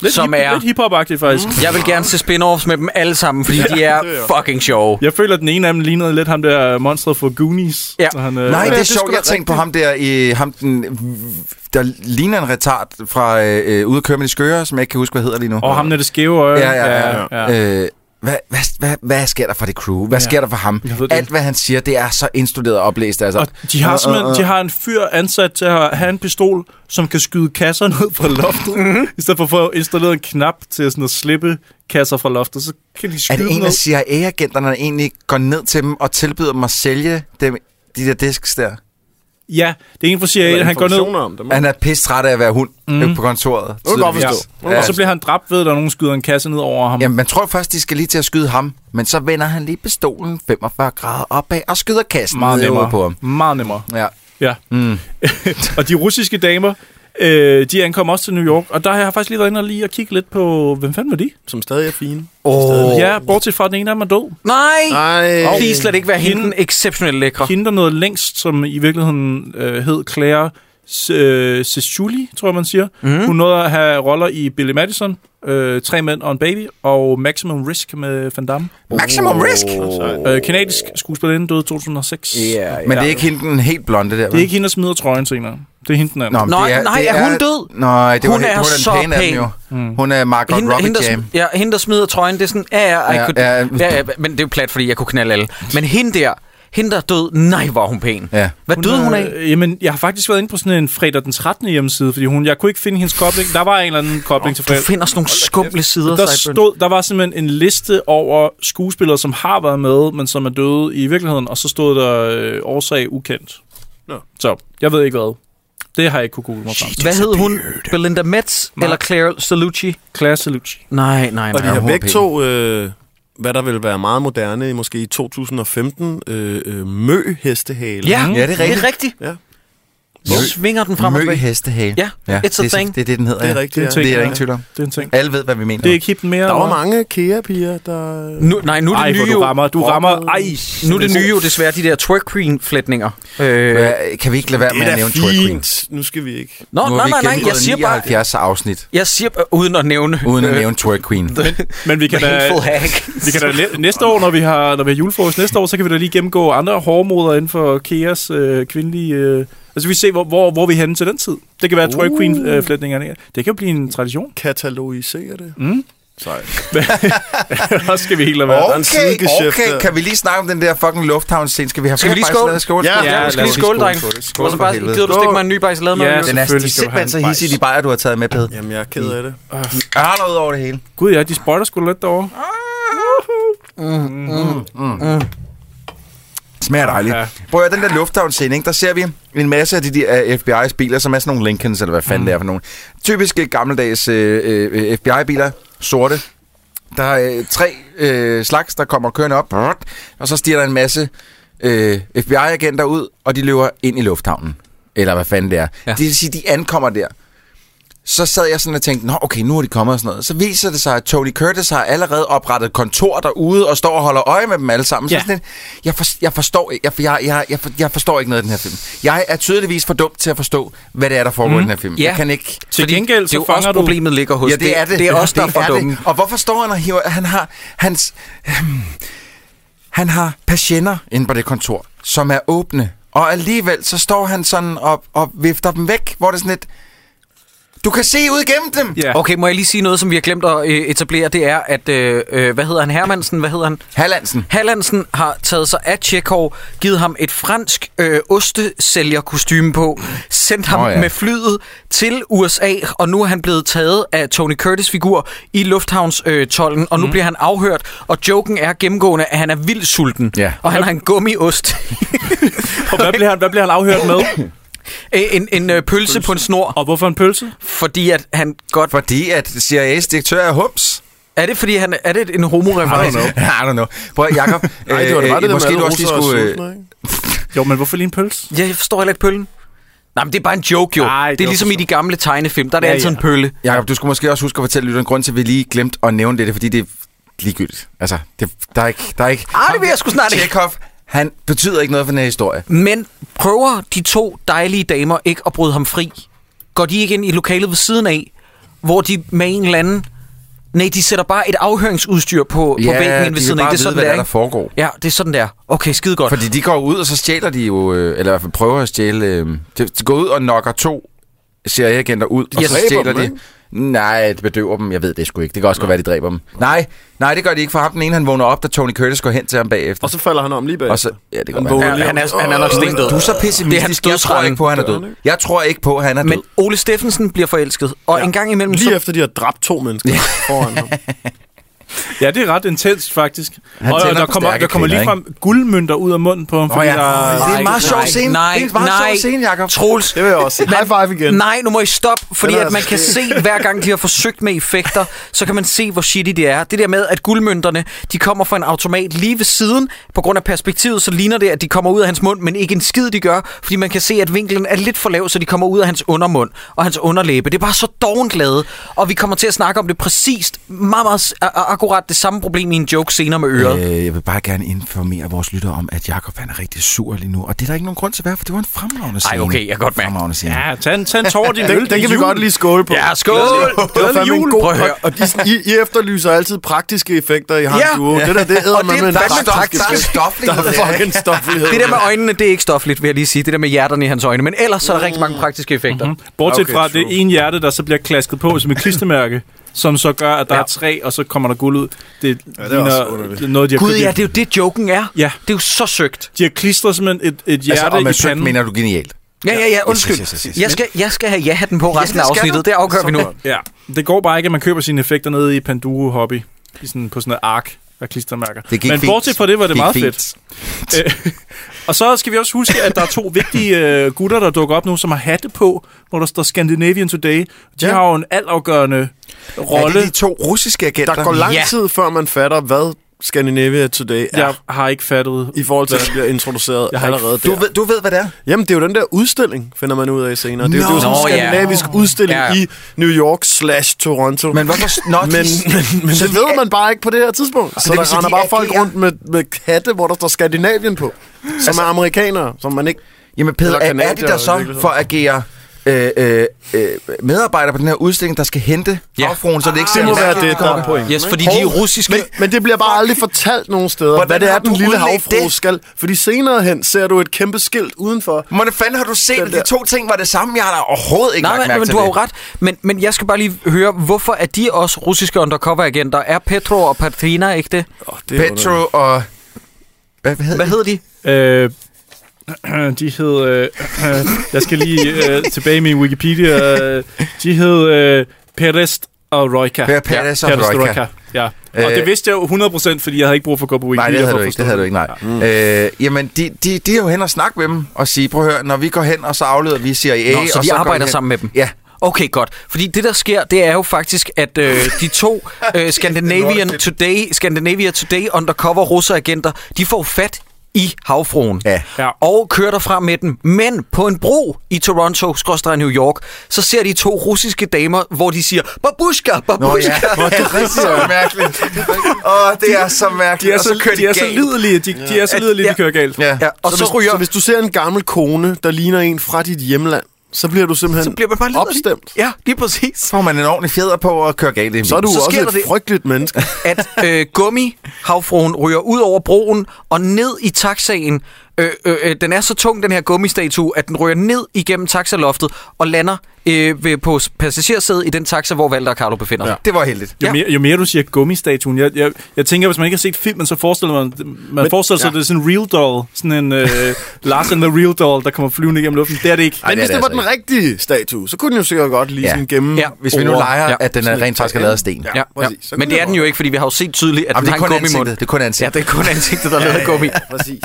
[SPEAKER 7] Lidt,
[SPEAKER 1] Som
[SPEAKER 7] hip,
[SPEAKER 1] er-
[SPEAKER 7] lidt hiphop-agtigt, faktisk. Mm.
[SPEAKER 1] Jeg vil gerne se spin-offs med dem alle sammen, fordi de er fucking sjove.
[SPEAKER 7] Jeg føler, at den ene af dem lignede lidt ham der monster fra Goonies.
[SPEAKER 1] Ja.
[SPEAKER 7] når Han, øh,
[SPEAKER 8] Nej,
[SPEAKER 6] Ja,
[SPEAKER 8] det er
[SPEAKER 6] det er sgu
[SPEAKER 8] sjovt.
[SPEAKER 6] da
[SPEAKER 8] Jeg tænkte på ham der, i, ham den, der ligner en retard fra øh, øh, Ude at køre med de skøre, som jeg ikke kan huske, hvad hedder lige nu.
[SPEAKER 7] Og ham med det skæve øje.
[SPEAKER 8] Ja, ja, ja. ja. Øh, Hvad, hvad, hvad, hvad sker der for det crew? Hvad
[SPEAKER 7] Ja.
[SPEAKER 8] ja. sker der for ham?
[SPEAKER 7] Jeg ved det
[SPEAKER 8] Alt,
[SPEAKER 7] ikke.
[SPEAKER 8] hvad han siger, det er så indstuderet og oplæst. Altså.
[SPEAKER 7] Og de har
[SPEAKER 8] Øh, øh,
[SPEAKER 7] simpelthen
[SPEAKER 8] øh.
[SPEAKER 7] de har en fyr ansat til at have en pistol, som kan skyde kasser [LAUGHS] ned fra loftet. Mm-hmm. I stedet for at få installeret en knap til sådan at slippe kasser fra loftet, så kan de
[SPEAKER 8] Er
[SPEAKER 7] skyde
[SPEAKER 8] det
[SPEAKER 7] dem
[SPEAKER 8] en
[SPEAKER 7] ned.
[SPEAKER 8] af CIA-agenterne, der egentlig går ned til dem og tilbyder dem at sælge dem, de der disks der?
[SPEAKER 7] Ja, det er en fra CIA, han går ned,
[SPEAKER 6] Informationer Om dem.
[SPEAKER 8] Han er pisse træt af at være hund mm. på kontoret.
[SPEAKER 6] Det kan jeg godt
[SPEAKER 8] tydeligvis.
[SPEAKER 6] forstå.
[SPEAKER 7] Ja. Og så bliver han dræbt ved, at der er nogen der skyder en kasse ned over ham.
[SPEAKER 8] Jamen, man tror først, de skal lige til at skyde ham, men så vender han lige pistolen 45 grader opad og skyder kassen
[SPEAKER 7] meget
[SPEAKER 8] ned i hovedet
[SPEAKER 7] nemmere.
[SPEAKER 8] på ham.
[SPEAKER 7] Meget nemmere.
[SPEAKER 8] Ja.
[SPEAKER 7] Ja. Mm. [LAUGHS] og de russiske damer, øh, de ankom også til New York, og der har jeg faktisk lige været inde og lige at kigge lidt på, hvem fanden var de?
[SPEAKER 6] Som stadig er fine.
[SPEAKER 7] Oh. Ja, bortset fra, at den ene af dem er død.
[SPEAKER 1] Nej!
[SPEAKER 6] Nej.
[SPEAKER 1] Please, lad det ikke være hende,
[SPEAKER 7] Hende-
[SPEAKER 1] den exceptionelt lækre.
[SPEAKER 7] Hende, der nåede længst, som i virkeligheden øh, hed Claire S- øh, Sesuli, tror jeg, man siger.
[SPEAKER 1] Mhm.
[SPEAKER 7] Mm. Hun nåede at have roller i Billy Madison, øh, Tre Mænd og en Baby, og Maximum Risk med Van Damme.
[SPEAKER 8] Maximum risk!
[SPEAKER 7] Øh, kanadisk skuespillerinde døde i 2006.
[SPEAKER 8] Men det er ikke hende den helt blonde der,
[SPEAKER 7] Det er ikke hende, der smider trøjen senere. Det er hende den anden.
[SPEAKER 8] men
[SPEAKER 1] Nå, nej, er hun død?
[SPEAKER 8] Nej, det
[SPEAKER 1] Hun
[SPEAKER 8] var,
[SPEAKER 1] er
[SPEAKER 8] hun er
[SPEAKER 1] så
[SPEAKER 8] den pæne af dem
[SPEAKER 1] pæn.
[SPEAKER 8] jo. Hun er Margot
[SPEAKER 1] Hende,
[SPEAKER 8] Robbie
[SPEAKER 1] hende, der,
[SPEAKER 8] Jam.
[SPEAKER 1] sm- ja, hende, der smider trøjen, det er sådan, ja, ja, I
[SPEAKER 8] Ja,
[SPEAKER 1] could,
[SPEAKER 8] ja.
[SPEAKER 1] ja. ja, men det er jo plat, fordi jeg kunne knalde alle. Men hende der, hende der død, nej, var hun pæn.
[SPEAKER 8] Ja.
[SPEAKER 1] Hvad døde hun af?
[SPEAKER 7] Øh, jamen, jeg har faktisk været inde på sådan en fredag den 13. hjemmeside, fordi hun, jeg kunne ikke finde hendes kobling. Der var en eller anden kobling til
[SPEAKER 1] Du
[SPEAKER 7] fredag.
[SPEAKER 1] finder sådan nogle skumle sider,
[SPEAKER 7] Der,
[SPEAKER 1] Sideburn.
[SPEAKER 7] stod, der var simpelthen en liste over skuespillere, som har været med, men som er døde i virkeligheden, og så stod der øh, årsag ukendt.
[SPEAKER 6] Nå.
[SPEAKER 7] Så jeg ved ikke hvad. Det har jeg ikke kunne google mig frem til.
[SPEAKER 1] Hvad hed hun? Belinda Metz
[SPEAKER 7] Nej.
[SPEAKER 1] eller Claire Salucci?
[SPEAKER 7] Claire Salucci.
[SPEAKER 1] Nej, nej,
[SPEAKER 6] Og de
[SPEAKER 1] nej.
[SPEAKER 6] har
[SPEAKER 8] hun er
[SPEAKER 6] begge
[SPEAKER 8] pæn.
[SPEAKER 6] to, øh, hvad der vil være meget moderne, måske i 2015, øh, øh, mø-hestehale.
[SPEAKER 7] Mhm. Mm,
[SPEAKER 1] Ja,
[SPEAKER 8] Ja, det er rigtigt.
[SPEAKER 1] Det er rigtigt.
[SPEAKER 6] Ja.
[SPEAKER 1] Så svinger den frem og
[SPEAKER 8] Mø
[SPEAKER 1] tilbage.
[SPEAKER 8] hestehale.
[SPEAKER 1] Ja, it's a
[SPEAKER 8] det, er, så-
[SPEAKER 1] thing.
[SPEAKER 8] det er det, den hedder.
[SPEAKER 6] Det er
[SPEAKER 8] ja.
[SPEAKER 6] rigtigt,
[SPEAKER 7] Det er en ting.
[SPEAKER 8] Det er der
[SPEAKER 7] Ja.
[SPEAKER 8] ingen tvivl om.
[SPEAKER 7] Det er en ting.
[SPEAKER 8] Alle ved, hvad vi mener.
[SPEAKER 7] Det er ikke hip mere.
[SPEAKER 6] Der
[SPEAKER 7] eller
[SPEAKER 6] var
[SPEAKER 7] hvad?
[SPEAKER 6] mange kære-piger, der...
[SPEAKER 1] Nu, nej, nu er
[SPEAKER 7] Ej,
[SPEAKER 1] det
[SPEAKER 7] hvor
[SPEAKER 1] nye
[SPEAKER 7] du
[SPEAKER 1] jo-
[SPEAKER 7] rammer. Du rammer. Ej.
[SPEAKER 1] Nu er det nye jo desværre de der twerk queen flætninger. Øh,
[SPEAKER 8] Hvad- Kan vi ikke lade være med
[SPEAKER 6] det
[SPEAKER 8] at
[SPEAKER 6] er
[SPEAKER 8] nævne
[SPEAKER 6] da
[SPEAKER 8] Twerk Queen?
[SPEAKER 6] fint. Nu skal vi ikke.
[SPEAKER 1] Nå,
[SPEAKER 8] Nu har
[SPEAKER 1] nej,
[SPEAKER 8] vi
[SPEAKER 1] nej, nej, jeg
[SPEAKER 8] gennemgået
[SPEAKER 1] siger bare...
[SPEAKER 8] 79 afsnit,
[SPEAKER 1] Jeg siger øh, uden at nævne...
[SPEAKER 8] uden at
[SPEAKER 1] øh,
[SPEAKER 8] nævne Twerk Queen.
[SPEAKER 7] Men vi kan da...
[SPEAKER 1] Painful hack.
[SPEAKER 7] Vi kan da næ- næste år, når vi har, når vi har julefrokost næste år, så kan vi da lige gennemgå andre hårdmoder inden for Keas øh, kvindelige... Øh, altså, vi se, hvor, hvor, hvor vi er henne til den tid. Det kan være drag
[SPEAKER 1] Uh.
[SPEAKER 7] queen-flætningerne. øh, det kan jo blive en tradition.
[SPEAKER 6] Katalogisere det.
[SPEAKER 7] Og skal vi helt lade være.
[SPEAKER 6] der er en
[SPEAKER 8] Okay,
[SPEAKER 6] sidegeschæft
[SPEAKER 8] okay.
[SPEAKER 6] der.
[SPEAKER 8] Kan vi lige snakke om den der fucking lufthavn-scene? Skal vi have
[SPEAKER 1] Skal vi lige skåle?
[SPEAKER 8] skål?
[SPEAKER 6] Ja,
[SPEAKER 1] Ja, lad os lige skåle, dreng. Skål for helvede. Gider du stikke mig en ny bajs med?
[SPEAKER 7] Ja,
[SPEAKER 8] Den er de
[SPEAKER 7] Selvfølgelig skal du have
[SPEAKER 8] simpelthen
[SPEAKER 7] en
[SPEAKER 8] så hissige, de
[SPEAKER 7] bajs.
[SPEAKER 8] bajer, du har taget med, Pede.
[SPEAKER 6] Jamen, jeg er ked af det.
[SPEAKER 8] Jeg har noget over det hele.
[SPEAKER 7] Gud ja, de sprøjter sgu lidt derovre.
[SPEAKER 8] Smager dejligt.
[SPEAKER 7] Ja.
[SPEAKER 8] Ja. Prøv at høre, den der lufthavn-scene, ikke? der ser vi en masse af de der øh, FBI's biler, som er sådan nogle Lincolns, eller hvad fanden mm. det er for nogle. Typiske gammeldags øh, øh, FBI-biler, sorte. Der er øh, tre øh, slags, der kommer kørende op, brrrt, og så stiger der en masse øh, FBI-agenter ud, og de løber ind i lufthavnen. Eller hvad fanden det er. Ja. Det vil sige, de ankommer der. Så sad jeg sådan og tænkte, nå okay, nu er de kommet og sådan noget. Så viser det sig, at Tony Curtis har allerede oprettet kontor derude, og står og holder øje med dem alle sammen.
[SPEAKER 7] Ja.
[SPEAKER 8] Så sådan lidt, jeg, for, jeg, forstår, ikke- jeg, jeg, jeg, jeg, for, jeg forstår ikke noget af den her film. Jeg er tydeligvis for dum til at forstå, hvad det er, der foregår mm. i den her film.
[SPEAKER 1] Ja.
[SPEAKER 8] Jeg kan ikke...
[SPEAKER 7] Til gengæld,
[SPEAKER 1] det er
[SPEAKER 7] så
[SPEAKER 1] jo også
[SPEAKER 7] fanger du...
[SPEAKER 1] problemet ligger hos
[SPEAKER 8] Ja, det er det.
[SPEAKER 1] Det er også der er for
[SPEAKER 8] det.
[SPEAKER 1] dumme.
[SPEAKER 8] Og hvorfor står han og hiver... Han har... Hans, han har patienter inde på det kontor, som er åbne. Og alligevel, så står han sådan og, og vifter dem væk, hvor det er sådan lidt... Du kan se ud igennem dem!
[SPEAKER 7] Ja.
[SPEAKER 1] [LAUGHS] Okay, må jeg lige sige noget, som vi har glemt at øh, etablere? Det er, at... øh, øh, Hvad hedder han? Hermansen? Hvad hedder han?
[SPEAKER 8] Hallandsen.
[SPEAKER 1] Hallandsen har taget sig af Tjekov, givet ham et fransk øh, ostesælgerkostyme på, sendt ham
[SPEAKER 8] Nå
[SPEAKER 1] oh,
[SPEAKER 8] ja.
[SPEAKER 1] ja. med flyet til USA, og nu er han blevet taget af Tony Curtis' figur i lufthavnstollen, øh, tolden, og nu bliver han afhørt, og joken er gennemgående, at han er vildt sulten,
[SPEAKER 8] Ja.
[SPEAKER 1] og han har en gummiost,
[SPEAKER 7] Og hvad bliver, han, hvad bliver han afhørt med?
[SPEAKER 1] øh, en, en øh, pølse, pølse på en snor,
[SPEAKER 7] Og hvorfor en pølse?
[SPEAKER 1] fordi at han godt...
[SPEAKER 8] [LAUGHS] Fordi at CIA's direktør er hums.
[SPEAKER 1] Er det, fordi han... Er det en
[SPEAKER 8] [LAUGHS]
[SPEAKER 1] homoreference?
[SPEAKER 8] I don't know. Prøv at, Jacob, øh,
[SPEAKER 6] Nej, det var det, var det,
[SPEAKER 8] måske du også lige skulle... øh,
[SPEAKER 7] Jo, men hvorfor lige en pølse?
[SPEAKER 1] Ja, jeg forstår heller ikke pøllen. Nej, men det er bare en joke, jo.
[SPEAKER 7] Ej,
[SPEAKER 1] Ej,
[SPEAKER 7] det
[SPEAKER 1] det, det er
[SPEAKER 7] var
[SPEAKER 1] ligesom
[SPEAKER 7] for
[SPEAKER 1] i de gamle tegnefilm, der er det
[SPEAKER 7] Ja,
[SPEAKER 1] ja, altid
[SPEAKER 7] ja.
[SPEAKER 1] en pølle.
[SPEAKER 8] Jakob, du skulle måske også huske at fortælle lytteren grund til, at vi lige glemte at nævne det, det er, fordi det er ligegyldigt. Altså, det, der er ikke... Der er ikke
[SPEAKER 1] Ej, det vil jeg sgu snart ikke.
[SPEAKER 8] Tjekov, han betyder ikke noget for den her historie.
[SPEAKER 1] Men prøver de to dejlige damer ikke at bryde ham fri? Går de ikke ind i lokalet ved siden af, hvor de med en eller anden... Nej, de sætter bare et afhøringsudstyr på, på væggen
[SPEAKER 8] de
[SPEAKER 1] ind ved
[SPEAKER 8] vil
[SPEAKER 1] siden af.
[SPEAKER 8] bare
[SPEAKER 1] Det er
[SPEAKER 8] vide,
[SPEAKER 1] sådan,
[SPEAKER 8] hvad
[SPEAKER 1] det
[SPEAKER 8] der,
[SPEAKER 1] er,
[SPEAKER 8] er, der
[SPEAKER 1] ikke?
[SPEAKER 8] foregår.
[SPEAKER 1] Ja, det er sådan der. Okay, skide godt.
[SPEAKER 8] Fordi de går ud, og så stjæler de jo, øh, eller i hvert fald prøver at stjæle, øh, de de går ud og nokker to serieagenter ud, og
[SPEAKER 1] Jeg
[SPEAKER 8] så
[SPEAKER 1] dræber
[SPEAKER 8] stjæler
[SPEAKER 6] dem,
[SPEAKER 8] de... Nej, det bedøver dem. Jeg ved det sgu ikke. Det kan også godt være, de dræber dem. Nej, nej, det gør de ikke, for ham den ene, han vågner op, da Tony Curtis går hen til ham bagefter.
[SPEAKER 6] Og så falder han om lige bag.
[SPEAKER 8] Og så, ja, det kan
[SPEAKER 6] Han
[SPEAKER 8] godt være.
[SPEAKER 6] vågner lige
[SPEAKER 1] Han
[SPEAKER 6] op.
[SPEAKER 1] er, han er nok stendød.
[SPEAKER 8] Du er så pessimistisk.
[SPEAKER 1] Det er hans
[SPEAKER 8] jeg tror
[SPEAKER 1] dødsregning.
[SPEAKER 8] ikke på, at han er død. Jeg tror ikke på, at han er død.
[SPEAKER 1] Men Ole Steffensen bliver forelsket, og ja. en gang imellem...
[SPEAKER 6] Lige
[SPEAKER 1] så,
[SPEAKER 6] efter de har dræbt to mennesker foran ham.
[SPEAKER 7] Ja, det er ret intenst, faktisk.
[SPEAKER 8] Han
[SPEAKER 7] og
[SPEAKER 8] tænder
[SPEAKER 7] og der
[SPEAKER 8] på
[SPEAKER 7] kommer,
[SPEAKER 8] stærke
[SPEAKER 7] der kommer
[SPEAKER 8] kvinder,
[SPEAKER 7] lige frem guldmønter ud af munden på ham, fordi
[SPEAKER 8] ja.
[SPEAKER 7] der...
[SPEAKER 8] Det er en meget sjov scene.
[SPEAKER 1] Nej,
[SPEAKER 8] Det er en meget
[SPEAKER 1] nej,
[SPEAKER 8] sjov scene, Jacob.
[SPEAKER 1] Troels,
[SPEAKER 6] Det vil jeg også sige. High five igen.
[SPEAKER 1] Nej, nu må I stoppe, fordi
[SPEAKER 6] Den er
[SPEAKER 1] at man
[SPEAKER 6] altså-
[SPEAKER 1] kan se, hver gang de har forsøgt med effekter, så kan man se, hvor shitty det er. Det der med, at guldmønterne, de kommer fra en automat lige ved siden. På grund af perspektivet, så ligner det, at de kommer ud af hans mund, men ikke en skid, de gør, fordi man kan se, at vinklen er lidt for lav, så de kommer ud af hans undermund og hans underlæbe. Det er bare så dovent lavet, og vi kommer til at snakke om det præcist, meget, meget s- a- a- akkurat det samme problem i en joke senere med øret.
[SPEAKER 8] Øh, jeg vil bare gerne informere vores lyttere om, at Jacob han er rigtig sur lige nu. Og det er der ikke nogen grund til at være, for det var en fremragende scene.
[SPEAKER 1] Ej, okay, jeg kan godt mærke.
[SPEAKER 8] Fremragende scene.
[SPEAKER 7] Ja, tag en, tag en tår af din øl.
[SPEAKER 6] Den, den kan vi godt lige skåle på.
[SPEAKER 1] Ja, skål!
[SPEAKER 6] Det var fandme en god...
[SPEAKER 1] Prøv at høre.
[SPEAKER 6] Og de, I, I efterlyser altid praktiske effekter i ham
[SPEAKER 1] Ja.
[SPEAKER 6] duo. Det der, det æder
[SPEAKER 1] Og
[SPEAKER 6] man
[SPEAKER 1] det er
[SPEAKER 6] med en
[SPEAKER 1] fandme praktisk
[SPEAKER 6] praktisk effekt.
[SPEAKER 8] stoflighed,
[SPEAKER 6] Der
[SPEAKER 8] det Altså,
[SPEAKER 6] er
[SPEAKER 8] er,
[SPEAKER 6] fucking stoflighed.
[SPEAKER 1] Det der med øjnene, det er ikke stofligt, vil jeg lige sige. Det der med hjerterne i hans øjne. Men ellers så er der rigtig mange praktiske effekter. Mm-hmm.
[SPEAKER 7] Bortset
[SPEAKER 6] Okay,
[SPEAKER 7] okay, fra
[SPEAKER 6] true.
[SPEAKER 7] det ene hjerte, der så bliver klasket på som et klistermærke, som så gør, at der
[SPEAKER 1] Ja.
[SPEAKER 7] er tre, og så kommer der guld ud. Det, ja,
[SPEAKER 6] det er også underligt.
[SPEAKER 7] noget, de har
[SPEAKER 1] Gud ja,
[SPEAKER 7] købt
[SPEAKER 1] det er
[SPEAKER 7] ind.
[SPEAKER 1] jo det, joken er.
[SPEAKER 7] Ja.
[SPEAKER 1] Det er jo så søgt.
[SPEAKER 7] De har klistret simpelthen et, et hjerte
[SPEAKER 8] Altså, og med
[SPEAKER 7] i
[SPEAKER 8] sødt
[SPEAKER 7] panden.
[SPEAKER 8] mener du genialt.
[SPEAKER 1] Ja, ja, ja, undskyld.
[SPEAKER 8] yes, yes, yes, yes.
[SPEAKER 1] Jeg, skal, jeg skal have ja-hatten på resten
[SPEAKER 8] det
[SPEAKER 1] af
[SPEAKER 8] skal
[SPEAKER 1] afsnittet.
[SPEAKER 8] du.
[SPEAKER 1] Det afgør vi nu.
[SPEAKER 7] Ja, det går bare ikke, at man køber sine effekter nede i Panduro Hobby, i sådan, på sådan et ark af klistermærker.
[SPEAKER 8] Det gik
[SPEAKER 7] Men
[SPEAKER 8] fint.
[SPEAKER 7] bortset fra det var det
[SPEAKER 8] Gik
[SPEAKER 7] meget
[SPEAKER 8] fint.
[SPEAKER 7] fedt. Øh, og så skal vi også huske, at der er
[SPEAKER 8] [LAUGHS]
[SPEAKER 7] to vigtige øh, gutter, der dukker op nu, som har hatte på, hvor der står Scandinavian Today. De
[SPEAKER 6] Ja.
[SPEAKER 7] ja. har jo en altafgørende rolle.
[SPEAKER 8] Er det de to russiske agenter?
[SPEAKER 6] Der går lang
[SPEAKER 1] Ja.
[SPEAKER 6] tid, før man fatter, hvad Scandinavia Today er.
[SPEAKER 7] Jeg har ikke fattet.
[SPEAKER 6] I forhold til, at det bliver introduceret
[SPEAKER 7] Jeg har ikke-
[SPEAKER 6] allerede
[SPEAKER 8] Du
[SPEAKER 6] der.
[SPEAKER 8] ved, du ved, hvad det er?
[SPEAKER 6] Jamen, det er jo den der udstilling, finder man ud af senere. Det er jo, det er jo sådan en
[SPEAKER 1] Nå, ja.
[SPEAKER 6] skandinavisk udstilling
[SPEAKER 1] Ja.
[SPEAKER 6] i New York slash Toronto.
[SPEAKER 8] Men hvorfor... Nå,
[SPEAKER 6] men,
[SPEAKER 8] de-
[SPEAKER 6] men, men det ved man bare ikke på det her tidspunkt. Så
[SPEAKER 8] det
[SPEAKER 6] der
[SPEAKER 8] vil sige,
[SPEAKER 6] render
[SPEAKER 8] de
[SPEAKER 6] bare folk
[SPEAKER 8] agerer-
[SPEAKER 6] rundt med, med katte, hvor der står Skandinavien på. Som er amerikanere, som man ikke...
[SPEAKER 8] Jamen Peder,
[SPEAKER 6] Eller
[SPEAKER 8] er, er
[SPEAKER 6] kanadier
[SPEAKER 8] det der
[SPEAKER 6] i
[SPEAKER 8] så
[SPEAKER 6] virkeligheden.
[SPEAKER 8] for at agere øh, øh, øh, medarbejdere på den her udstilling, der skal hente
[SPEAKER 1] Ja.
[SPEAKER 8] ja. affroen, så det ikke
[SPEAKER 6] Det må
[SPEAKER 8] ser-
[SPEAKER 6] være det, der er pointen.
[SPEAKER 1] Yes,
[SPEAKER 6] ikke?
[SPEAKER 1] fordi de er
[SPEAKER 6] Hov,
[SPEAKER 1] russiske.
[SPEAKER 6] Men, men det bliver bare aldrig fortalt nogen steder,
[SPEAKER 8] Hvordan
[SPEAKER 6] hvad det er,
[SPEAKER 8] har
[SPEAKER 6] den
[SPEAKER 8] du
[SPEAKER 6] lille
[SPEAKER 8] udledt
[SPEAKER 6] havfru
[SPEAKER 8] det?
[SPEAKER 6] skal. Fordi senere hen ser du et kæmpe skilt udenfor.
[SPEAKER 8] Hvordan fanden har du set,
[SPEAKER 6] Den
[SPEAKER 8] at
[SPEAKER 6] der.
[SPEAKER 8] de to ting var det samme? Jeg har da overhovedet ikke
[SPEAKER 1] Nej,
[SPEAKER 8] lagt
[SPEAKER 1] men,
[SPEAKER 8] mærke
[SPEAKER 1] men
[SPEAKER 8] til
[SPEAKER 1] du har jo
[SPEAKER 8] det.
[SPEAKER 1] ret. Men, men jeg skal bare lige høre, hvorfor er de også russiske undercover-agenter? Er Petro og Patrina ikke det?
[SPEAKER 6] Oh, det er underligt.
[SPEAKER 8] Petro og... Hvad, hvad hedder
[SPEAKER 1] Hvad hedder de?
[SPEAKER 7] Øh, [CLEARS THROAT] de hed... Øh, [CLEARS THROAT] øh, jeg skal lige øh, tilbage i min Wikipedia. Øh, de hed øh, Perest og Royka.
[SPEAKER 8] Per- Perez og Royka.
[SPEAKER 7] Ja. Og
[SPEAKER 8] Øh,
[SPEAKER 7] det vidste jeg jo 100%, fordi jeg havde ikke brug for at gå på
[SPEAKER 8] Nej,
[SPEAKER 7] Wikipedia.
[SPEAKER 8] det havde
[SPEAKER 7] for
[SPEAKER 8] du
[SPEAKER 7] at
[SPEAKER 8] ikke, det
[SPEAKER 7] forstå
[SPEAKER 8] havde du ikke, nej.
[SPEAKER 7] Ja.
[SPEAKER 8] Mm. Øh, jamen, de, de, de er jo hen og snakke med dem og sige, prøv at høre, når vi går hen, og så afleder vi CIA.
[SPEAKER 1] Nå, så
[SPEAKER 8] og
[SPEAKER 1] de
[SPEAKER 8] så går
[SPEAKER 1] arbejder
[SPEAKER 8] hen-
[SPEAKER 1] sammen med dem?
[SPEAKER 8] Ja.
[SPEAKER 1] Okay, godt. Fordi det, der sker, det er jo faktisk, at øh, de to
[SPEAKER 8] [LAUGHS]
[SPEAKER 1] øh, Scandinavian Today, Scandinavia Today undercover russeragenter, de får fat i havfruen.
[SPEAKER 8] Ja.
[SPEAKER 7] Ja.
[SPEAKER 1] Og kører derfra med den. Men på en bro i Toronto, skråstrej New York, så ser de to russiske damer, hvor de siger, babushka,
[SPEAKER 8] Nå
[SPEAKER 1] babushka.
[SPEAKER 8] ja, [LAUGHS] det er rigtig så mærkeligt. Åh, det er så mærkeligt.
[SPEAKER 7] De er
[SPEAKER 8] Og
[SPEAKER 7] så,
[SPEAKER 8] kører
[SPEAKER 7] de er så
[SPEAKER 8] galt.
[SPEAKER 7] lidelige, de, de er så lidelige,
[SPEAKER 1] Ja.
[SPEAKER 7] de kører galt.
[SPEAKER 8] Ja.
[SPEAKER 1] ja, og
[SPEAKER 6] så,
[SPEAKER 1] så,
[SPEAKER 6] hvis,
[SPEAKER 1] ryger...
[SPEAKER 6] så hvis du ser en gammel kone, der ligner en fra dit hjemland, så bliver du simpelthen
[SPEAKER 1] så bliver man bare liderlig.
[SPEAKER 6] opstemt.
[SPEAKER 1] Ja, lige præcis.
[SPEAKER 8] Så får man en ordentlig fjeder på og kører galt i en
[SPEAKER 6] Så er
[SPEAKER 8] bil.
[SPEAKER 6] du
[SPEAKER 1] Så
[SPEAKER 6] så også
[SPEAKER 1] sker
[SPEAKER 6] et
[SPEAKER 1] der det-
[SPEAKER 6] det. frygteligt menneske.
[SPEAKER 1] at øh, gummihavfruen ryger ud over broen og ned i taxaen. Øh, øh, øh, den er så tung, den her gummistatue, at den ryger ned igennem taxaloftet og lander øh, ved, på s- passagersædet i den taxa, hvor Valder og Carlo befinder sig.
[SPEAKER 8] Det var heldigt.
[SPEAKER 7] Jo,
[SPEAKER 1] Ja.
[SPEAKER 7] mere, jo mere du siger gummistatuen, jeg, jeg, jeg tænker, hvis man ikke har set filmen, så forestiller man, man Men, forestiller sig,
[SPEAKER 6] ja.
[SPEAKER 7] at det er sådan en real doll, sådan en øh, Lars and the Real Doll, der kommer flyvende igennem luften. Det er det ikke.
[SPEAKER 8] Ej,
[SPEAKER 6] Men
[SPEAKER 8] det er
[SPEAKER 6] hvis
[SPEAKER 8] det
[SPEAKER 6] det var
[SPEAKER 8] altså
[SPEAKER 6] den rigtige statue, så kunne den jo sikkert godt lige
[SPEAKER 8] Ja.
[SPEAKER 6] sådan gemme
[SPEAKER 1] Ja,
[SPEAKER 8] Hvis vi nu
[SPEAKER 6] over-
[SPEAKER 8] leger,
[SPEAKER 1] Ja.
[SPEAKER 8] ja. at den er rent faktisk er lavet af sten.
[SPEAKER 6] Ja, præcis. Så
[SPEAKER 1] Ja.
[SPEAKER 6] kunne
[SPEAKER 1] Men det er den jo ikke, fordi vi har jo set tydeligt, at
[SPEAKER 8] Jamen,
[SPEAKER 1] den
[SPEAKER 8] det
[SPEAKER 1] har
[SPEAKER 8] er
[SPEAKER 1] en
[SPEAKER 8] kun
[SPEAKER 1] gummimund.
[SPEAKER 8] ansigtet. Det er kun
[SPEAKER 1] Ja,
[SPEAKER 8] ansigtet.
[SPEAKER 1] det er kun ansigtet, der er lavet af gummi.
[SPEAKER 6] Præcis.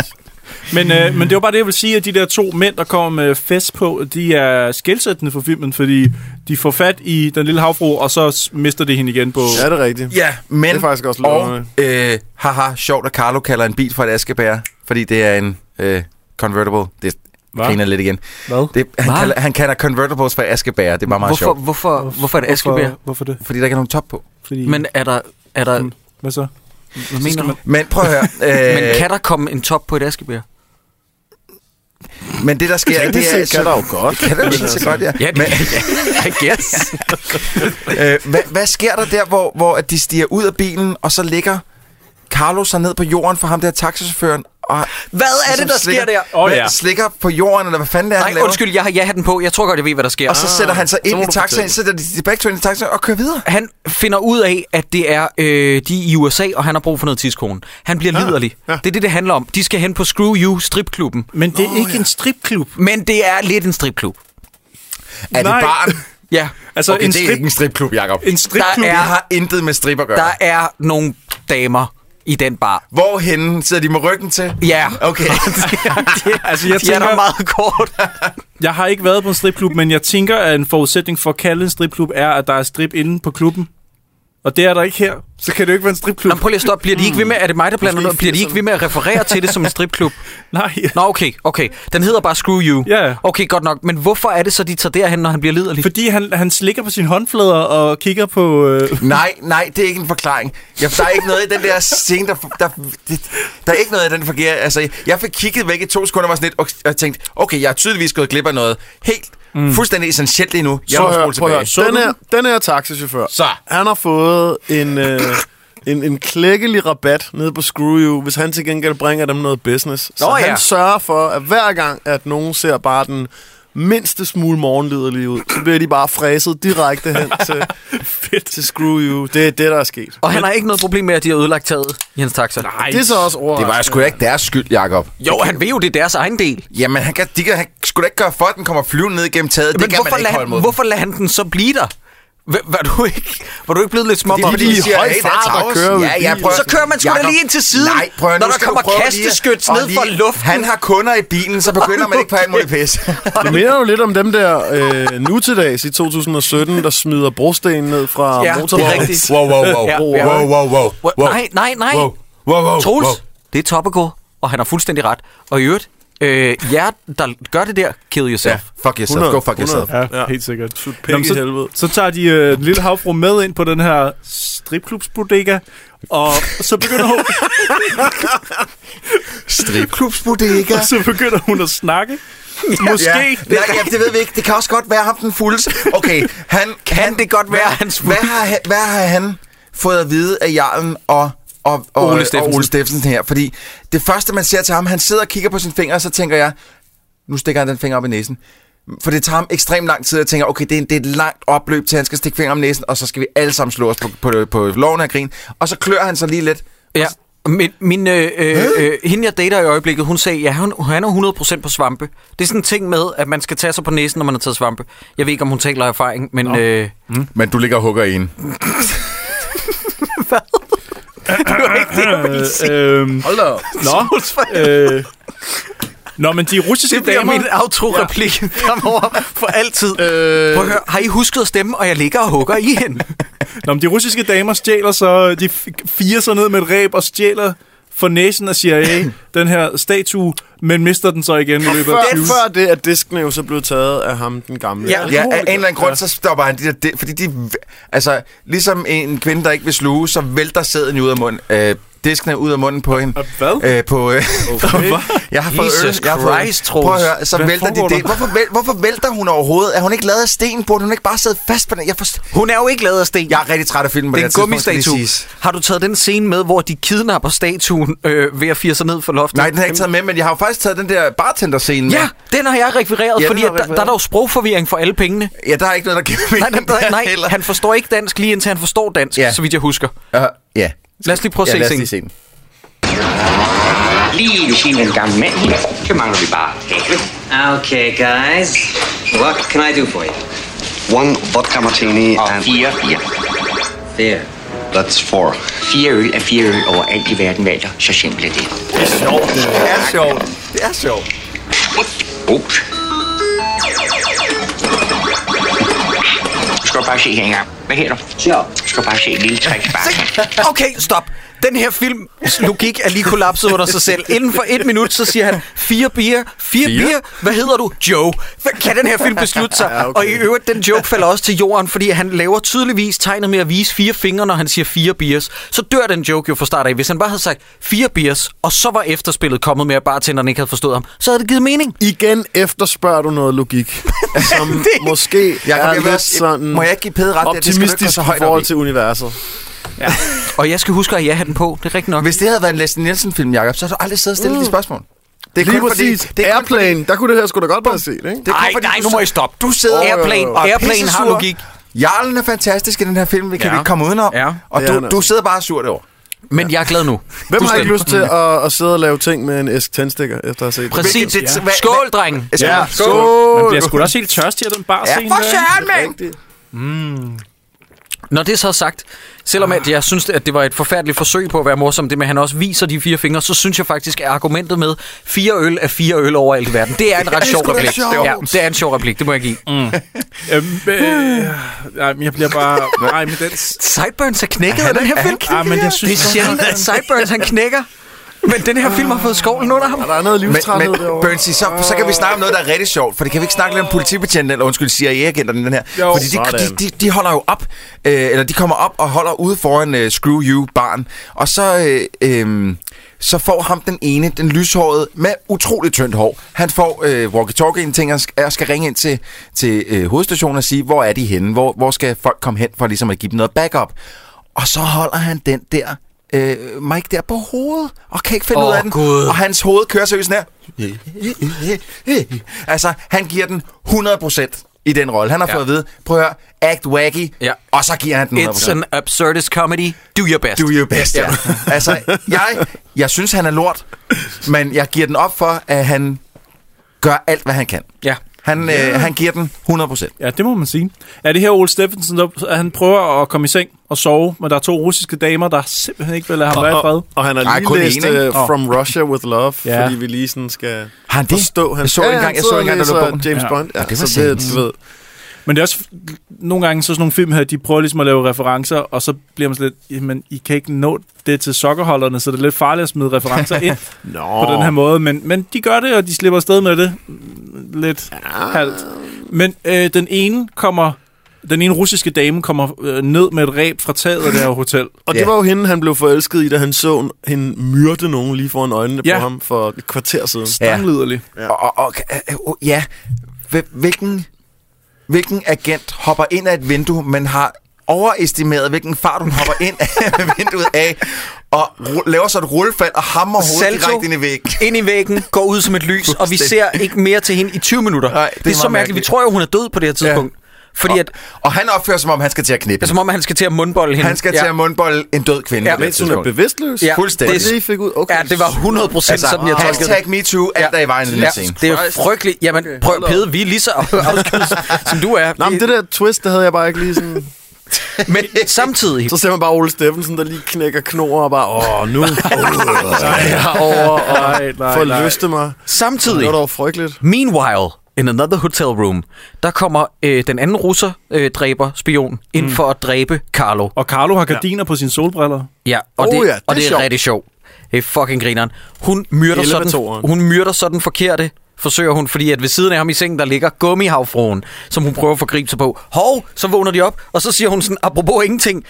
[SPEAKER 7] Men, øh, men det var bare det, jeg ville sige, at de der to mænd, der kommer med fest på, de er skældsættende for filmen, fordi de får fat i den lille havfru, og så s- mister de hende igen på...
[SPEAKER 6] Ja, det er rigtigt.
[SPEAKER 8] Ja, men...
[SPEAKER 6] Det er faktisk også lidt
[SPEAKER 8] Og,
[SPEAKER 6] underligt.
[SPEAKER 8] øh, haha, sjovt, at Carlo kalder en bil for et askebær, fordi det er en øh, convertible. Det
[SPEAKER 7] Hva?
[SPEAKER 8] griner lidt igen.
[SPEAKER 7] Hvad?
[SPEAKER 8] Det, han,
[SPEAKER 1] Hva?
[SPEAKER 8] kalder, han kalder convertibles for askebær. Det er bare meget
[SPEAKER 1] Hvorfor,
[SPEAKER 8] sjovt.
[SPEAKER 1] hvorfor, hvorfor er det Askebær?
[SPEAKER 7] Hvorfor, hvorfor det?
[SPEAKER 8] Fordi der ikke er nogen top på.
[SPEAKER 7] Fordi,
[SPEAKER 1] Men er der... Er der
[SPEAKER 7] Hvad så?
[SPEAKER 1] hvad mener man?
[SPEAKER 8] Men prøv at høre. Øh,
[SPEAKER 1] Men kan der komme en top på et Askebær?
[SPEAKER 8] men det, der sker...
[SPEAKER 6] Ja, det
[SPEAKER 8] det
[SPEAKER 6] set kan der jo godt.
[SPEAKER 8] Kan der jo så godt, ja.
[SPEAKER 1] Ja, det,
[SPEAKER 8] men,
[SPEAKER 1] I guess.
[SPEAKER 8] øh, hvad, hvad sker der der, hvor, hvor at de stiger ud af bilen, og så ligger Carlo sig ned på jorden for ham der taxachaufføren.
[SPEAKER 1] [LAUGHS]
[SPEAKER 8] Og
[SPEAKER 1] Hvad er det, der sker
[SPEAKER 8] slikker,
[SPEAKER 1] der?
[SPEAKER 7] Åh,
[SPEAKER 8] Åh,
[SPEAKER 7] ja.
[SPEAKER 8] ja. Slikker på jorden, eller hvad fanden det er, han
[SPEAKER 1] Nej,
[SPEAKER 8] laver.
[SPEAKER 1] undskyld, jeg har ja den på. Jeg tror godt, jeg ved, hvad der sker.
[SPEAKER 8] Og Ah, så sætter han sig
[SPEAKER 6] så
[SPEAKER 8] ind
[SPEAKER 6] må
[SPEAKER 8] i
[SPEAKER 6] du
[SPEAKER 8] taxaen,
[SPEAKER 6] fortælle.
[SPEAKER 8] sætter de de begge to ind i taxaen og kører videre.
[SPEAKER 1] Ah. Han finder ud af, at det er øh, de i USA, og han har brug for noget tidskone. Han bliver ja, liderlig. Ja. Det er det, det handler om. De skal hen på Screw You stripklubben.
[SPEAKER 7] Men det er ikke en stripklub.
[SPEAKER 1] Men det er lidt en stripklub.
[SPEAKER 8] Er det
[SPEAKER 7] Nej.
[SPEAKER 8] barn?
[SPEAKER 1] Ja.
[SPEAKER 7] Altså,
[SPEAKER 8] Okay,
[SPEAKER 7] en,
[SPEAKER 8] det er
[SPEAKER 7] strip,
[SPEAKER 8] ikke en stripklub, Jacob.
[SPEAKER 7] en stripklub.
[SPEAKER 8] Det
[SPEAKER 1] Der er-
[SPEAKER 8] har intet med strip at gøre.
[SPEAKER 1] Der er nogle damer i den bar.
[SPEAKER 8] Hvorhenne sidder de med ryggen til?
[SPEAKER 1] Ja. [LAUGHS]
[SPEAKER 8] Okay.
[SPEAKER 1] de, altså,
[SPEAKER 7] Altså,
[SPEAKER 1] jeg
[SPEAKER 7] jeg
[SPEAKER 1] de tænker... er der
[SPEAKER 7] tænker-
[SPEAKER 1] meget kort.
[SPEAKER 7] Jeg har ikke været på en stripklub, men jeg tænker, at en forudsætning for at kalde en stripklub er, at der er strip inde på klubben. Og det er der ikke her. Så kan det jo ikke være en stripklub.
[SPEAKER 1] Nå, prøv lige at stoppe. Bliver de ikke ved med, er det mig, der blander
[SPEAKER 6] Måske
[SPEAKER 1] noget? Bliver de ikke ved med at referere til det som en stripklub?
[SPEAKER 7] Nej.
[SPEAKER 1] Nå, okay, okay. Den hedder bare Screw You.
[SPEAKER 7] Ja.
[SPEAKER 1] Okay, godt nok. Men hvorfor er det så, de tager derhen, når han bliver liderlig?
[SPEAKER 7] Fordi han, han slikker på sine håndflader og kigger på... Øh,
[SPEAKER 8] nej, nej, det er ikke en forklaring. Jeg, der er ikke noget i den der scene, der, der, det, der er ikke noget i den forkerte. Altså, jeg fik kigget væk i to sekunder og var sådan lidt, og jeg tænkte, okay, jeg har tydeligvis gået glip af noget helt mm. fuldstændig essentielt lige nu. Jeg
[SPEAKER 6] Så
[SPEAKER 8] må
[SPEAKER 6] hør,
[SPEAKER 8] spole
[SPEAKER 6] prøv
[SPEAKER 8] tilbage.
[SPEAKER 6] at høre. Den her, den her taxachauffør,
[SPEAKER 8] Så.
[SPEAKER 6] han har fået en, øh, en, en klækkelig rabat nede på Screw You, hvis han til gengæld bringer dem noget business. Så
[SPEAKER 1] Nå ja.
[SPEAKER 6] han sørger for, at hver gang, at nogen ser bare den mindste smule morgenliderlige ud, så bliver de bare fræset direkte hen til, til Screw You. Det er det, der er sket.
[SPEAKER 1] Og han har ikke noget problem med, at de har ødelagt taget i hans taxa. Nej.
[SPEAKER 6] Det er så også
[SPEAKER 8] Det var
[SPEAKER 6] overraskende.
[SPEAKER 8] sgu da ikke deres skyld, Jacob.
[SPEAKER 1] Jo, han ved jo, det er deres egen del.
[SPEAKER 8] Jamen, han, kan, de kan, han skulle da ikke gøre for, at den kommer flyvende ned gennem taget.
[SPEAKER 1] Men
[SPEAKER 8] det kan
[SPEAKER 1] hvorfor
[SPEAKER 8] man ikke
[SPEAKER 1] lader
[SPEAKER 8] holde
[SPEAKER 1] han,
[SPEAKER 8] mod.
[SPEAKER 1] hvorfor lader han den så blive der? Hva- Var du ikke, var du ikke blevet lidt småbommet?
[SPEAKER 8] Fordi de siger,
[SPEAKER 6] høj
[SPEAKER 8] hey, der er
[SPEAKER 6] fart, der
[SPEAKER 8] travlt.
[SPEAKER 6] kører
[SPEAKER 8] Ja,
[SPEAKER 6] i
[SPEAKER 8] ja,
[SPEAKER 6] bilen.
[SPEAKER 8] prøv at-
[SPEAKER 1] Så kører man sgu da
[SPEAKER 8] Jakob,
[SPEAKER 1] lige ind til siden,
[SPEAKER 8] nej, prøv at-
[SPEAKER 1] når
[SPEAKER 8] nu
[SPEAKER 1] der
[SPEAKER 8] skal du
[SPEAKER 1] kommer
[SPEAKER 8] prøve
[SPEAKER 1] kasteskyts
[SPEAKER 8] og
[SPEAKER 1] ned fra luften.
[SPEAKER 8] Han har kunder i bilen, så begynder man ikke på
[SPEAKER 1] [LAUGHS]
[SPEAKER 8] alt muligt pis.
[SPEAKER 6] Det minder jo lidt om dem der øh, nu til dags i 2017, der smider brosten ned fra
[SPEAKER 1] Ja, det er
[SPEAKER 6] motorvejen.
[SPEAKER 1] rigtigt.
[SPEAKER 8] Wow, wow, wow.
[SPEAKER 1] Ja,
[SPEAKER 8] Wow,
[SPEAKER 1] ja.
[SPEAKER 8] wow, wow, wow.
[SPEAKER 1] Hvor-
[SPEAKER 8] Wow.
[SPEAKER 1] Nej, nej, nej.
[SPEAKER 8] Wow, wow, wow.
[SPEAKER 1] Troels,
[SPEAKER 8] wow.
[SPEAKER 1] det er Toppegård, og han har fuldstændig ret. Og i øvrigt, øh, jer, der gør det der, kill yourself.
[SPEAKER 8] Ja, fuck yourself. Go fuck
[SPEAKER 6] 100.
[SPEAKER 8] yourself.
[SPEAKER 7] ja, ja, helt sikkert.
[SPEAKER 6] pik i
[SPEAKER 7] så,
[SPEAKER 6] helvede.
[SPEAKER 7] så tager de øh, den lille havfru med ind på den her stripklubsbodega, og så begynder hun...
[SPEAKER 1] [LAUGHS]
[SPEAKER 8] Stripklubsbodega.
[SPEAKER 7] Og [LAUGHS] så begynder hun at snakke. Måske.
[SPEAKER 8] Ja, ja, ja, det ved vi ikke. Det kan også godt være ham den fulde. Okay,
[SPEAKER 1] [LAUGHS]
[SPEAKER 8] han... Kan han,
[SPEAKER 1] det godt være
[SPEAKER 8] hvad,
[SPEAKER 1] hans fulde?
[SPEAKER 8] hvad, har, han- hvad har han fået at vide af Jarlen og, og, og,
[SPEAKER 1] Ole
[SPEAKER 8] og
[SPEAKER 1] Steffensen.
[SPEAKER 8] Ole Steffensen her? Fordi det første, man ser til ham, han sidder og kigger på sin finger, og så tænker jeg, nu stikker han den finger op i næsen. For det tager ham ekstremt lang tid, og jeg tænker, okay, det er, det er et langt opløb til, at han skal stikke fingeren om næsen, og så skal vi alle sammen slå os på, på, på loven af grin. Og så klør han sig lige lidt.
[SPEAKER 1] Ja. Min, min øh, øh, øh, hende, jeg dater i øjeblikket, hun sagde, ja, hun, han er 100% på svampe. Det er sådan en ting med, at man skal tage sig på næsen, når man har taget svampe. Jeg ved ikke, om hun taler af erfaring, men... Øh,
[SPEAKER 8] Men du ligger og hugger i en.
[SPEAKER 7] Øh, øh,
[SPEAKER 8] Hold da op.
[SPEAKER 7] Nå, øh, Nå, men de russiske
[SPEAKER 1] det bliver
[SPEAKER 7] damer...
[SPEAKER 1] min autoreplik ja. fremover for altid. Øh. Prøv at høre, har I husket at stemme, og jeg ligger og hugger i hende?
[SPEAKER 7] Nå, men de russiske damer stjæler så... De f- firer sig ned med et ræb og stjæler for næsen af CIA, den her statue, men mister den så igen i løbet af
[SPEAKER 6] Før,
[SPEAKER 7] 20.
[SPEAKER 6] før det, at disken jo så blev taget af ham, den gamle.
[SPEAKER 1] Ja.
[SPEAKER 8] Ja, af en eller anden grund, så stopper han de der... De, fordi de... Altså, ligesom en kvinde, der ikke vil sluge, så vælter sæden ud af munden. Øh, disken er ud af munden på hende.
[SPEAKER 7] Hvad?
[SPEAKER 8] Øh, [LAUGHS] på, øh, jeg har fået
[SPEAKER 1] Jesus
[SPEAKER 8] øl. Jeg har fået øl.
[SPEAKER 1] Christ, Troels.
[SPEAKER 8] Prøv at høre, så
[SPEAKER 7] Hvad
[SPEAKER 8] vælter
[SPEAKER 7] foregår
[SPEAKER 8] de det.
[SPEAKER 7] der?
[SPEAKER 8] Hvorfor, væl, hvorfor vælter hun overhovedet? Er hun ikke lavet af sten på den? Hun er ikke bare siddet fast på den. Jeg, forst-
[SPEAKER 1] Hun er jo ikke lavet af sten.
[SPEAKER 8] jeg er rigtig træt af filmen på
[SPEAKER 1] den
[SPEAKER 8] det her tidspunkt, skal lige
[SPEAKER 1] gummistatue.
[SPEAKER 8] siges.
[SPEAKER 1] Har du taget den scene med, hvor de kidnapper statuen øh, ved at fire sig ned for loftet?
[SPEAKER 8] Nej, den har jeg ikke taget med, men jeg har jo faktisk taget den der bartender-scene med.
[SPEAKER 1] Ja, den har jeg rekvireret, ja,
[SPEAKER 8] Ja, den
[SPEAKER 1] fordi
[SPEAKER 8] har
[SPEAKER 1] at der,
[SPEAKER 8] rekvireret.
[SPEAKER 1] der er dog sprogforvirring for alle pengene.
[SPEAKER 8] [LAUGHS] Ja, der er ikke noget, der giver
[SPEAKER 1] Nej,
[SPEAKER 8] mening
[SPEAKER 1] nej, nej,
[SPEAKER 8] der
[SPEAKER 1] nej.
[SPEAKER 8] heller.
[SPEAKER 1] han forstår ikke dansk, lige indtil han forstår dansk,
[SPEAKER 8] Ja.
[SPEAKER 1] ja. så vidt jeg husker.
[SPEAKER 8] Øh, ja.
[SPEAKER 1] Lad os lige prøve at
[SPEAKER 8] Ja,
[SPEAKER 1] se
[SPEAKER 8] lad os
[SPEAKER 1] scenen.
[SPEAKER 8] lige se den.
[SPEAKER 10] Lige ved siden af den gamle mand her, så mangler vi bare havet.
[SPEAKER 11] Okay, guys. What can I do for you?
[SPEAKER 10] One vodka martini og and... Ah, fire bier.
[SPEAKER 11] There.
[SPEAKER 10] That's four. Fire øl er fire øl overalt i verden, Valter. Så simpelt er det.
[SPEAKER 8] Det er sjovt. Det er sjovt.
[SPEAKER 10] Ups. Du skal bare se her engang. Hvad hedder du? Ja. Du skal bare se et lille trick bare.
[SPEAKER 1] Okay, stop. Den her films logik er lige kollapset under sig selv. Inden for et minut, så siger han, fire bier, fire,
[SPEAKER 8] Fire?
[SPEAKER 1] fire? bier, hvad hedder du? Joe. Hvad kan den her film beslutte sig? [LAUGHS] Ja, okay. Og i øvrigt, den joke falder også til jorden, fordi han laver tydeligvis tegnet med at vise fire fingre, når han siger fire biers. Så dør den joke jo fra start af. Hvis han bare havde sagt fire biers, og så var efterspillet kommet med, at bartenderen ikke havde forstået ham, så havde det givet mening.
[SPEAKER 6] Igen efterspørger du noget
[SPEAKER 8] [LAUGHS]
[SPEAKER 6] logik, som måske
[SPEAKER 8] Jacob,
[SPEAKER 6] er
[SPEAKER 8] jeg vil
[SPEAKER 6] lidt
[SPEAKER 8] også-
[SPEAKER 6] sådan
[SPEAKER 8] må jeg ikke give Pede ret der? Det skal du ikke gå
[SPEAKER 6] optimistisk
[SPEAKER 8] så
[SPEAKER 6] i
[SPEAKER 8] højt op
[SPEAKER 6] forhold
[SPEAKER 8] i.
[SPEAKER 6] til universet.
[SPEAKER 1] Ja. og jeg skal huske at jeg havde den på. Det er rigtigt nok.
[SPEAKER 8] Hvis det havde været en Leslie Nielsen-film, Jacob, så havde du aldrig siddet og stillet de spørgsmål. Det
[SPEAKER 6] Lige præcis. Airplane, der kunne det her sgu da godt være set, ikke?
[SPEAKER 8] Det er kun
[SPEAKER 1] Ej,
[SPEAKER 8] fordi,
[SPEAKER 1] nej,
[SPEAKER 8] du
[SPEAKER 1] nu
[SPEAKER 8] så-
[SPEAKER 1] må I stoppe.
[SPEAKER 8] Du sidder
[SPEAKER 1] Åh, Airplane-
[SPEAKER 8] og er
[SPEAKER 1] Airplane har
[SPEAKER 8] pissesur.
[SPEAKER 1] logik.
[SPEAKER 8] Jarlen er fantastisk i den her film, vi kan
[SPEAKER 1] Ja.
[SPEAKER 8] vi ikke komme udenom.
[SPEAKER 1] Ja.
[SPEAKER 8] Og
[SPEAKER 6] Det er han
[SPEAKER 8] du,
[SPEAKER 6] altså.
[SPEAKER 8] du sidder bare og sur derovre.
[SPEAKER 1] Men jeg er glad nu.
[SPEAKER 6] Hvem har ikke
[SPEAKER 1] Fuldstændig.
[SPEAKER 6] lyst til at, at sidde og lave ting med en æske tændstikker, efter at have set det?
[SPEAKER 1] Præcis.
[SPEAKER 8] Hvilket- det-
[SPEAKER 1] Ja.
[SPEAKER 8] hvad-
[SPEAKER 1] Skål, drenge.
[SPEAKER 8] Ja,
[SPEAKER 7] Man
[SPEAKER 8] skål!
[SPEAKER 7] bliver sgu da også helt tørstig af den bar
[SPEAKER 8] Ja, for søren, mand!
[SPEAKER 1] Når det så er sagt, selvom at jeg synes, at det var et forfærdeligt forsøg på at være morsom, det med, at han også viser de fire fingre, så synes jeg faktisk, at argumentet med fire øl er fire øl overalt i verden, [LAUGHS] det er en ret
[SPEAKER 8] det er
[SPEAKER 1] sjov
[SPEAKER 8] sgu da
[SPEAKER 1] replik.
[SPEAKER 8] sjovt.
[SPEAKER 1] Ja, det er en sjov replik, det må jeg give. Mm.
[SPEAKER 7] Øhm, øh, nej, men jeg bliver bare... Nej, men den...
[SPEAKER 1] Sideburns er knækket af den her film.
[SPEAKER 7] Ja, men jeg
[SPEAKER 1] Det er
[SPEAKER 7] synes...
[SPEAKER 1] sjældent, at Sideburns han knækker. Men den her film har fået skovlen under ham.
[SPEAKER 6] Er der noget
[SPEAKER 8] Men,
[SPEAKER 6] livstræthed
[SPEAKER 8] men
[SPEAKER 6] derovre? Ah.
[SPEAKER 8] Bernsey, så, så kan vi snakke om noget, der er rigtig sjovt. For det kan vi ikke snakke lidt om politibetjenten, eller undskyld, CIA-agenterne, den her.
[SPEAKER 7] Jo,
[SPEAKER 8] Fordi de,
[SPEAKER 6] sådan.
[SPEAKER 8] de, de, de holder jo op, øh, eller de kommer op og holder ude foran øh, Screw You-barn. Og så, øh, øh, så får ham den ene, den lyshårede, med utroligt tyndt hår. Han får øh, walkie-talkie'en, tænker, sk- jeg skal ringe ind til, til øh, hovedstationen og sige, hvor er de henne? Hvor, hvor skal folk komme hen for ligesom at give dem noget backup? Og så holder han den der... Øh, Mike der på hovedet, og kan ikke finde
[SPEAKER 1] Åh,
[SPEAKER 8] ud af den.
[SPEAKER 1] Gud.
[SPEAKER 8] Og hans hoved kører seriøst nær. Altså, han giver den 100% i den rolle. Han har
[SPEAKER 1] Ja.
[SPEAKER 8] fået at vide, prøv at høre, act wacky,
[SPEAKER 1] Ja.
[SPEAKER 8] og så giver han den 100%.
[SPEAKER 1] It's an absurdist comedy. Do your best.
[SPEAKER 8] Do your best, ja. altså, jeg, jeg synes, han er lort, men jeg giver den op for, at han gør alt, hvad han kan.
[SPEAKER 1] Ja.
[SPEAKER 8] Han, øh, han giver den 100%.
[SPEAKER 7] Ja, det må man sige. Er det her Ole Steffensen, der, at han prøver at komme i seng og sove, men der er to russiske damer, der simpelthen ikke vil lade ham være i fred?
[SPEAKER 6] Og, og han har
[SPEAKER 8] Nej,
[SPEAKER 6] lige
[SPEAKER 8] kun
[SPEAKER 6] læst
[SPEAKER 8] en, ikke?
[SPEAKER 6] uh, From Russia with Love,
[SPEAKER 7] Ja.
[SPEAKER 6] ja. fordi vi lige sådan skal
[SPEAKER 8] Har han det?
[SPEAKER 6] forstå.
[SPEAKER 8] Jeg så engang-
[SPEAKER 6] han
[SPEAKER 8] jeg så
[SPEAKER 6] sidder og
[SPEAKER 8] engang, der lå
[SPEAKER 6] læser
[SPEAKER 8] bogen.
[SPEAKER 6] James
[SPEAKER 7] Ja.
[SPEAKER 6] Bond. Ja,
[SPEAKER 8] Ja, det var
[SPEAKER 6] så det,
[SPEAKER 8] sindssygt.
[SPEAKER 6] du ved.
[SPEAKER 7] Men det er også nogle gange så sådan nogle film her, de prøver ligesom at lave referencer, og så bliver man sådan lidt, jamen, I kan ikke nå det til sokkerholderne, så det er lidt farligt at smide referencer ind
[SPEAKER 6] [LAUGHS] Nå.
[SPEAKER 7] på den her måde. Men, men de gør det, og de slipper afsted med det lidt halvt. Men øh, den ene kommer... Den ene russiske dame kommer øh, ned med et ræb fra taget af det her hotel.
[SPEAKER 6] Og det
[SPEAKER 8] Ja.
[SPEAKER 6] var jo hende, han blev forelsket i, da han så hende myrde nogen lige foran øjnene
[SPEAKER 7] Ja.
[SPEAKER 6] på ham for et kvarter siden.
[SPEAKER 7] Stangliderlig.
[SPEAKER 8] Ja. Og, og, og øh, øh, ja, Hvil- hvilken, hvilken agent hopper ind af et vindue, men har overestimeret, hvilken fart hun hopper ind af [LAUGHS] vinduet af, og ru- laver så et rullefald og hammer hovedet
[SPEAKER 1] Salto
[SPEAKER 8] direkte ind i væggen.
[SPEAKER 1] ind i væggen, går ud som et lys, og vi ser ikke mere til hende i 20 minutter.
[SPEAKER 8] Nej, det
[SPEAKER 1] det, det er
[SPEAKER 8] er
[SPEAKER 1] så
[SPEAKER 8] meget
[SPEAKER 1] mærkeligt. Vi
[SPEAKER 8] mærkeligt.
[SPEAKER 1] tror jo, hun er død på det her tidspunkt. Ja. Fordi at,
[SPEAKER 8] Og han opfører sig, som om han skal til at knippe.
[SPEAKER 1] det er som om, at han skal til at mundbolle hende.
[SPEAKER 8] Han skal til at mundbold en død kvinde.
[SPEAKER 1] Ja.
[SPEAKER 8] på det
[SPEAKER 6] Mens hun er
[SPEAKER 8] tidspunkt.
[SPEAKER 6] bevidstløs.
[SPEAKER 1] Ja,
[SPEAKER 8] Fuldstændig.
[SPEAKER 6] Det, det, I fik ud. Okay.
[SPEAKER 1] Ja, det var 100 procent altså, sådan, jeg tolkede det.
[SPEAKER 8] Hashtag MeToo, alt der i vejen i den her
[SPEAKER 1] Ja,
[SPEAKER 8] scene.
[SPEAKER 1] det er jo frygteligt. Jamen, prøv, Pede, vi er lige så afskeds, som du er.
[SPEAKER 6] Nå, men det der twist, det havde jeg bare ikke lige sådan...
[SPEAKER 1] Men
[SPEAKER 8] [LAUGHS]
[SPEAKER 1] samtidig,
[SPEAKER 6] Så ser man bare Ole Steffensen, der lige knækker knor og bare,
[SPEAKER 7] [LAUGHS]
[SPEAKER 6] åh, nu er jeg over og
[SPEAKER 7] Nej, nej, nej.
[SPEAKER 6] forlyste mig. Det
[SPEAKER 1] samtidig,
[SPEAKER 6] var dog frygteligt.
[SPEAKER 1] meanwhile, in another hotel room, der kommer øh, den anden russer, øh, dræber, spion, ind
[SPEAKER 8] Mm.
[SPEAKER 1] for at dræbe Carlo.
[SPEAKER 7] Og Carlo har gardiner ja. på sine solbriller.
[SPEAKER 1] Ja, og,
[SPEAKER 6] Oh
[SPEAKER 1] det,
[SPEAKER 6] ja, det
[SPEAKER 1] og
[SPEAKER 6] er
[SPEAKER 1] det er
[SPEAKER 6] sjovt.
[SPEAKER 1] rigtig sjovt. Det er fucking grineren. Hun myrder, sådan,
[SPEAKER 6] Elevatoren.
[SPEAKER 1] hun myrder sådan forkerte, forsøger hun, fordi at ved siden af ham i sengen, der ligger gummihavfruen, som hun prøver at forgribe sig på. Hov, så vågner de op, og så siger hun sådan, apropos ingenting,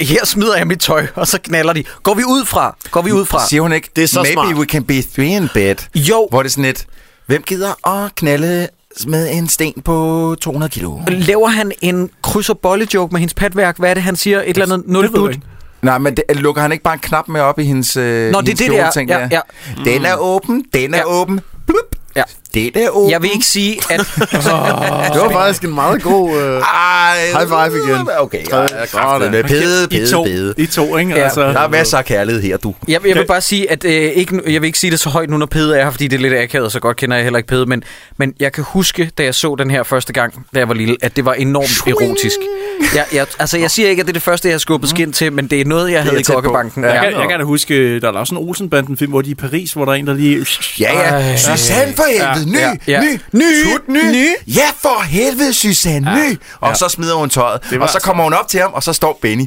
[SPEAKER 1] her smider jeg mit tøj, og så knaller de. Går vi ud fra? Går vi ud fra?
[SPEAKER 8] Siger hun ikke,
[SPEAKER 6] Det er så
[SPEAKER 8] maybe
[SPEAKER 6] smart."
[SPEAKER 8] we can be three in bed.
[SPEAKER 1] Jo,
[SPEAKER 8] Hvor det er sådan et, hvem gider at knalde med en sten på 200 kilo?
[SPEAKER 1] laver han en kryds- og bolle-joke med hendes patværk? Hvad er det, han siger? Et eller andet nul
[SPEAKER 7] Det ved jeg
[SPEAKER 1] dut?
[SPEAKER 7] ikke.
[SPEAKER 8] Nej, men det, lukker han ikke bare en knap med op i hendes øh,
[SPEAKER 1] Nå, det er
[SPEAKER 8] hendes
[SPEAKER 1] det, det er.
[SPEAKER 8] kjoleting
[SPEAKER 1] Ja,
[SPEAKER 8] der? Den er åben, den er
[SPEAKER 1] Ja.
[SPEAKER 8] åben. Blup.
[SPEAKER 1] Ja.
[SPEAKER 8] Den er åben.
[SPEAKER 1] Jeg vil ikke sige, at...
[SPEAKER 6] Det var faktisk en meget god... Øh,
[SPEAKER 8] Ej, øh,
[SPEAKER 6] High five igen.
[SPEAKER 8] Okay, ja, jeg er kraftet med. Pede,
[SPEAKER 7] I
[SPEAKER 8] pede,
[SPEAKER 7] to,
[SPEAKER 8] pede.
[SPEAKER 7] I to, ikke?
[SPEAKER 1] Ja.
[SPEAKER 7] Altså,
[SPEAKER 8] Ah, Der er masser af kærlighed her, du.
[SPEAKER 1] Jeg, jeg vil bare sige, at øh, ikke, jeg vil ikke sige det så højt nu, når Pede er her, fordi det er lidt akavet, og så godt kender jeg heller ikke Pede, men, men jeg kan huske, da jeg så den her første gang, da jeg var lille, at det var enormt erotisk. Jeg, jeg, altså, jeg siger ikke, at det er det første, jeg har skubbet skin til, men det er noget, jeg havde i
[SPEAKER 8] Mm. tæt på.
[SPEAKER 1] kokkebanken.
[SPEAKER 8] Ja.
[SPEAKER 7] Jeg,
[SPEAKER 1] Ja.
[SPEAKER 7] kan, jeg kan da huske, øh, der er også en Olsenbanden-film, hvor de er i Paris, hvor der er en, der lige...
[SPEAKER 8] Ja, ja. Susanne for helvede. Ny,
[SPEAKER 1] Ja, ja.
[SPEAKER 8] ny,
[SPEAKER 1] Ny,
[SPEAKER 8] tut, ny.
[SPEAKER 1] ny.
[SPEAKER 8] Ja, for helvede, Susanne. Ny. Og så smider hun tøjet.
[SPEAKER 7] Det var
[SPEAKER 8] Og så
[SPEAKER 7] altså-
[SPEAKER 8] kommer hun op til ham, og så står Benny.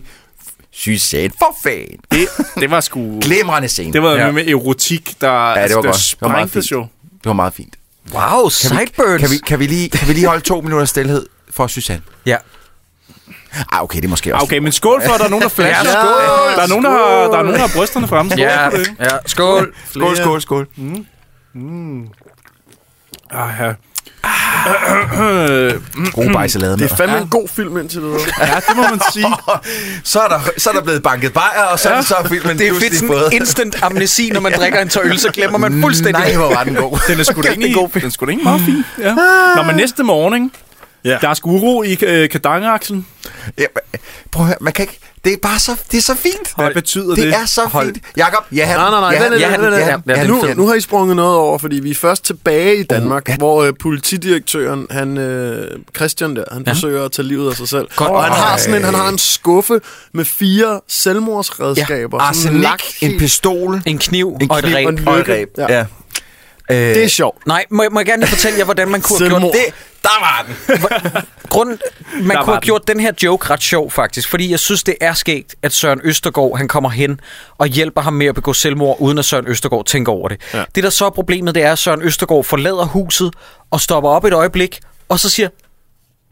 [SPEAKER 8] Susanne, for fanden.
[SPEAKER 7] Det, det var sgu...
[SPEAKER 8] Glimrende scene.
[SPEAKER 7] Det var
[SPEAKER 1] Ja.
[SPEAKER 7] ja. med erotik, der, ja,
[SPEAKER 8] ja, det var
[SPEAKER 7] der
[SPEAKER 8] godt. Det var meget
[SPEAKER 7] sprængtes
[SPEAKER 8] fint.
[SPEAKER 7] jo.
[SPEAKER 8] Det var meget fint.
[SPEAKER 1] Wow, sideburns!
[SPEAKER 8] Kan vi, kan vi, lige, kan vi lige holde to minutter stillhed for Susanne?
[SPEAKER 1] Ja.
[SPEAKER 8] Ah, okay, det er måske også.
[SPEAKER 7] Okay, men skål for, at der er nogen, der
[SPEAKER 8] [LAUGHS]
[SPEAKER 7] flasher.
[SPEAKER 1] Ja,
[SPEAKER 7] skål, der, er nogen, der, har, der er nogen, der har brysterne fremme. Skål
[SPEAKER 1] Ja,
[SPEAKER 7] for det.
[SPEAKER 1] ja, skål.
[SPEAKER 8] Mm. Skål, skål, skål.
[SPEAKER 7] Ah, ja. Ah.
[SPEAKER 8] God bajsalade
[SPEAKER 6] Det er fandme en god film indtil videre.
[SPEAKER 7] Ja, det må man sige.
[SPEAKER 8] så, er der, så er der blevet banket bajer, og så er det så filmen
[SPEAKER 1] Det er fedt
[SPEAKER 8] pludselig
[SPEAKER 1] sådan
[SPEAKER 8] fået.
[SPEAKER 1] instant amnesi, når man drikker en tør øl, så glemmer man fuldstændig.
[SPEAKER 8] Nej, hvor var den god.
[SPEAKER 7] Den er
[SPEAKER 8] [LAUGHS]
[SPEAKER 7] sgu da
[SPEAKER 1] Kæft, det er
[SPEAKER 7] egentlig,
[SPEAKER 1] god film.
[SPEAKER 7] den er sgu da egentlig meget fin. Ja. Nå, men næste morgen, ikke?
[SPEAKER 6] Ja.
[SPEAKER 7] Der er sgu uro i øh, kadangeaksen.
[SPEAKER 8] Ja, men, prøv at høre, man kan ikke... Det er bare så, det er så fint.
[SPEAKER 7] Hvad betyder
[SPEAKER 8] Det
[SPEAKER 7] det?
[SPEAKER 8] er så
[SPEAKER 7] Hold.
[SPEAKER 8] fint. Jakob, ja, han,
[SPEAKER 6] Nej, nej, nej.
[SPEAKER 8] ja,
[SPEAKER 6] vent
[SPEAKER 8] han,
[SPEAKER 6] lidt,
[SPEAKER 8] ja,
[SPEAKER 6] vent
[SPEAKER 8] han,
[SPEAKER 6] lidt,
[SPEAKER 8] ja,
[SPEAKER 6] vent
[SPEAKER 8] han,
[SPEAKER 6] lidt.
[SPEAKER 8] ja, han,
[SPEAKER 6] Nu, nu har I sprunget noget over, fordi vi er først tilbage i Danmark,
[SPEAKER 8] Oh, ja.
[SPEAKER 6] hvor øh, politidirektøren, han, øh, Christian der, han
[SPEAKER 1] Ja.
[SPEAKER 6] forsøger at tage livet af sig selv.
[SPEAKER 1] Godt.
[SPEAKER 6] Og han har,
[SPEAKER 8] Ej.
[SPEAKER 6] sådan en, han har en skuffe med fire selvmordsredskaber.
[SPEAKER 8] ja,
[SPEAKER 6] Sådan
[SPEAKER 8] arsenik,
[SPEAKER 6] lagt
[SPEAKER 8] en
[SPEAKER 6] helt-
[SPEAKER 8] pistol,
[SPEAKER 1] En kniv,
[SPEAKER 8] en
[SPEAKER 1] og et
[SPEAKER 8] kniv
[SPEAKER 1] reb.
[SPEAKER 8] og en lykke.
[SPEAKER 6] Ja.
[SPEAKER 8] Ja. Øh,
[SPEAKER 6] Det er sjovt.
[SPEAKER 1] Nej, må, jeg- må jeg gerne lige fortælle jer, hvordan man kunne have gjort
[SPEAKER 6] Selvmord.
[SPEAKER 1] det?
[SPEAKER 8] det, der var den.
[SPEAKER 1] Grunden, man
[SPEAKER 7] var
[SPEAKER 1] kunne have
[SPEAKER 7] den.
[SPEAKER 1] gjort den her joke ret sjov, faktisk. Fordi jeg synes, det er skægt, at Søren Østergaard han kommer hen og hjælper ham med at begå selvmord, uden at Søren Østergaard tænker over det. Ja. Det, der så er problemet, det er, at Søren Østergaard forlader huset og stopper op et øjeblik, og så siger,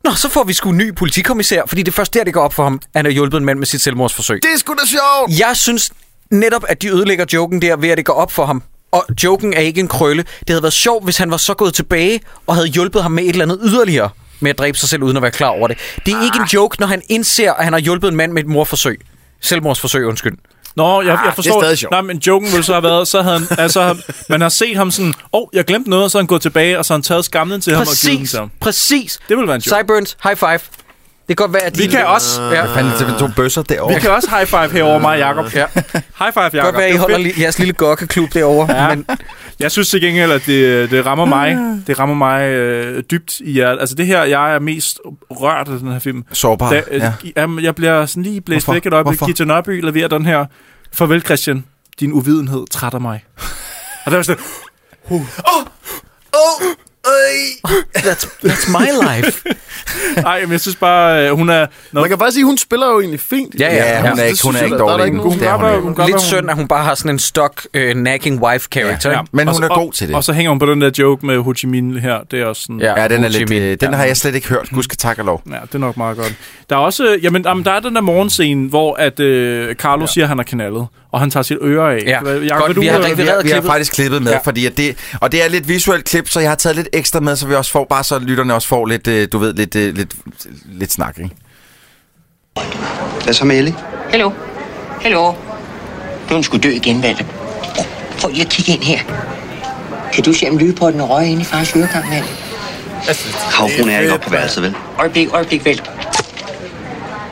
[SPEAKER 1] Nå, så får vi sgu en ny politikommissær, fordi det er først der, det går op for ham, at han har hjulpet en mand med sit selvmordsforsøg.
[SPEAKER 6] Det er sgu da sjovt!
[SPEAKER 1] Jeg synes netop, at de ødelægger joken der, ved at det går op for ham. Og joken er ikke en krølle. Det havde været sjovt, hvis han var så gået tilbage og havde hjulpet ham med et eller andet yderligere med at dræbe sig selv, uden at være klar over det. Det er ikke en joke, når han indser, at han har hjulpet en mand med et morforsøg. Selvmordsforsøg, undskyld.
[SPEAKER 7] Nå, jeg, jeg forstår.
[SPEAKER 6] det er stadig sjovt.
[SPEAKER 7] Nej, men joken ville så have været, så havde han, altså, han- man har set ham sådan, åh, oh, jeg glemte noget, og så er han gået tilbage, og så har han taget skamlen til ham og givet den
[SPEAKER 1] Præcis,
[SPEAKER 7] til ham.
[SPEAKER 1] præcis.
[SPEAKER 7] Det ville være en joke.
[SPEAKER 1] Cyburns, high five. Det kan godt være, at
[SPEAKER 7] Vi
[SPEAKER 1] de-
[SPEAKER 7] kan også.
[SPEAKER 1] Ja.
[SPEAKER 8] Øh, Hvad fanden er det for to bøsser derovre?
[SPEAKER 7] Vi kan også high five herover mig og Jacob.
[SPEAKER 1] Ja.
[SPEAKER 7] [LAUGHS] High five,
[SPEAKER 1] Det kan
[SPEAKER 7] Jacob.
[SPEAKER 1] godt være, at I
[SPEAKER 7] Det var
[SPEAKER 1] holder
[SPEAKER 7] fedt.
[SPEAKER 1] li- jeres lille gokkeklub derovre. Ja.
[SPEAKER 7] Ja.
[SPEAKER 1] Men Ah.
[SPEAKER 7] Jeg synes til gengæld, at det, det rammer mig, det rammer mig øh, dybt i hjertet. Altså det her, jeg er mest rørt af den her film.
[SPEAKER 8] Sårbar,
[SPEAKER 7] Da, øh,
[SPEAKER 8] ja.
[SPEAKER 7] jamen, jeg bliver sådan lige blæst
[SPEAKER 8] Hvorfor?
[SPEAKER 7] væk et øjeblik.
[SPEAKER 8] Hvorfor?
[SPEAKER 7] Gita Nørby leverer den her. Farvel Christian, din uvidenhed trætter mig. og der var sådan,
[SPEAKER 8] Åh, øj.
[SPEAKER 1] that's, that's my life.
[SPEAKER 7] nej, men jeg synes bare, øh, hun er... Nå,
[SPEAKER 6] Man kan bare sige, hun spiller jo egentlig fint.
[SPEAKER 1] Ja, ja.
[SPEAKER 8] Ja, hun er
[SPEAKER 6] Det
[SPEAKER 8] ikke, hun er
[SPEAKER 6] synes
[SPEAKER 8] ikke
[SPEAKER 6] jeg, der er der
[SPEAKER 8] dårlig.
[SPEAKER 6] ikke
[SPEAKER 8] endnu.
[SPEAKER 6] nogen-
[SPEAKER 8] Det er hun
[SPEAKER 7] Hun
[SPEAKER 8] ikke.
[SPEAKER 7] kan godt
[SPEAKER 1] Lidt
[SPEAKER 7] være, hun-
[SPEAKER 1] synd, at hun bare har sådan en stok uh, nagging wife character. Ja,
[SPEAKER 8] Men hun
[SPEAKER 7] og-
[SPEAKER 8] er god til det.
[SPEAKER 7] Og så hænger hun på den der joke med Ho Chi Minh her. Det er også sådan...
[SPEAKER 1] Ja.
[SPEAKER 8] Ja, den, er
[SPEAKER 1] Ho Chi
[SPEAKER 8] lidt,
[SPEAKER 1] Minh.
[SPEAKER 8] øh, den har jeg slet ikke hørt. Gud skal takke og lov.
[SPEAKER 7] Ja, det er nok meget godt. Der er også, øh, jamen, jamen der er den der morgenscene, hvor at øh, Carlo ja. siger, at han er knaldet, og han tager sit øre af.
[SPEAKER 1] Ja.
[SPEAKER 7] Hvad- Jakob,
[SPEAKER 1] Godt,
[SPEAKER 7] vil du,
[SPEAKER 1] vi har
[SPEAKER 7] øh,
[SPEAKER 1] rigtig-
[SPEAKER 8] Vi har, vi har
[SPEAKER 1] klippet?
[SPEAKER 8] faktisk klippet med, ja.
[SPEAKER 7] Ja.
[SPEAKER 8] fordi at det, og det er lidt visuelt klip, så jeg har taget lidt ekstra med, så vi også får, bare så lytterne også får lidt, øh, du ved, lidt, øh, lidt, lidt snak, ikke?
[SPEAKER 11] Hvad så med Ellie?
[SPEAKER 4] Hallo. Hallo.
[SPEAKER 10] Nu er hun skulle dø igen, Valter. Prøv lige at kigge ind her. Kan du se, om lygepotten røg ind i fars øregang, Valter?
[SPEAKER 11] Havfruen er ikke oppe på værelset, vel?
[SPEAKER 10] Øjeblik, øjeblik, Valter.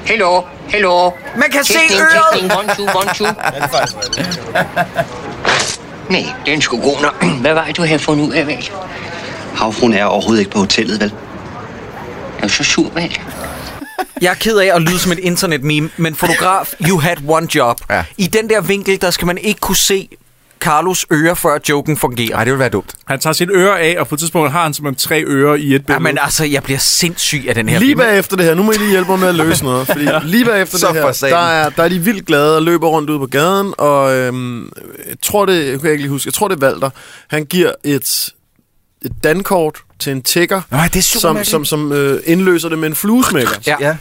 [SPEAKER 4] Hallo. Hallo.
[SPEAKER 1] Man kan se
[SPEAKER 4] Testing,
[SPEAKER 1] øret!
[SPEAKER 4] testing. One, two, one, two.
[SPEAKER 10] Nej, den skulle god nok. Hvad var det, du havde fundet ud af, Valter?
[SPEAKER 11] Havfruen er overhovedet ikke på hotellet, vel?
[SPEAKER 10] Jeg er så sur, Valter.
[SPEAKER 1] Jeg er ked af at lyde som et internetmeme, men fotograf, you had one job.
[SPEAKER 8] Ja.
[SPEAKER 1] Ja. I den der vinkel, der skal man ikke kunne se Carlos ører, før joken fungerer.
[SPEAKER 8] Nej, det ville være dumt.
[SPEAKER 7] Han tager sit øre af, og på et tidspunkt har han simpelthen tre ører i et billede.
[SPEAKER 1] Ja, men altså, jeg bliver sindssyg af den her
[SPEAKER 6] Lige
[SPEAKER 1] film.
[SPEAKER 6] bagefter det her, nu må I lige hjælpe mig med at løse noget, fordi lige bagefter
[SPEAKER 8] Så
[SPEAKER 6] det
[SPEAKER 8] for
[SPEAKER 6] her,
[SPEAKER 8] satan.
[SPEAKER 6] der er, der er de vildt glade og løber rundt ude på gaden, og øhm, jeg tror det, jeg kan ikke lige huske, jeg tror det er Valter, han giver et, et dankort til en tigger,
[SPEAKER 8] Nej, det er super
[SPEAKER 6] som,
[SPEAKER 8] mærkeligt.
[SPEAKER 6] som, som øh, indløser det med en fluesmækker.
[SPEAKER 1] Ja.
[SPEAKER 8] Ja.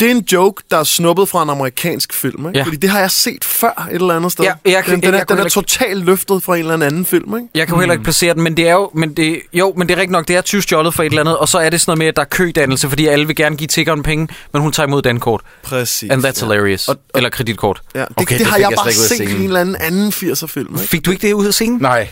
[SPEAKER 6] Det er en joke, der er snuppet fra en amerikansk film, ikke?
[SPEAKER 1] Ja.
[SPEAKER 6] Fordi det har jeg set før et eller andet sted.
[SPEAKER 1] Ja, jeg kan-
[SPEAKER 6] den, den,
[SPEAKER 1] jeg
[SPEAKER 6] er,
[SPEAKER 1] kan
[SPEAKER 6] den er
[SPEAKER 1] heller ikke-
[SPEAKER 6] totalt løftet fra en eller anden film, ikke?
[SPEAKER 1] Jeg kan jo heller
[SPEAKER 8] Mm.
[SPEAKER 1] ikke placere den, men det er jo... Men det, jo, men det er rigtigt nok, det er tyvstjålet for et eller andet, og så er det sådan noget med, at der er kødannelse, fordi alle vil gerne give tiggeren penge, men hun tager imod dankort.
[SPEAKER 6] Præcis.
[SPEAKER 1] And that's hilarious.
[SPEAKER 6] Og- og-
[SPEAKER 1] Eller kreditkort.
[SPEAKER 6] Ja, det,
[SPEAKER 8] Okay,
[SPEAKER 6] okay, det,
[SPEAKER 8] det
[SPEAKER 6] det har
[SPEAKER 8] fik
[SPEAKER 6] jeg,
[SPEAKER 8] jeg slet
[SPEAKER 6] bare
[SPEAKER 8] ikke ud af
[SPEAKER 6] set i
[SPEAKER 8] scenen.
[SPEAKER 6] en eller anden anden 80'er-film, ikke?
[SPEAKER 1] Fik du ikke det ud af scenen?
[SPEAKER 8] Nej.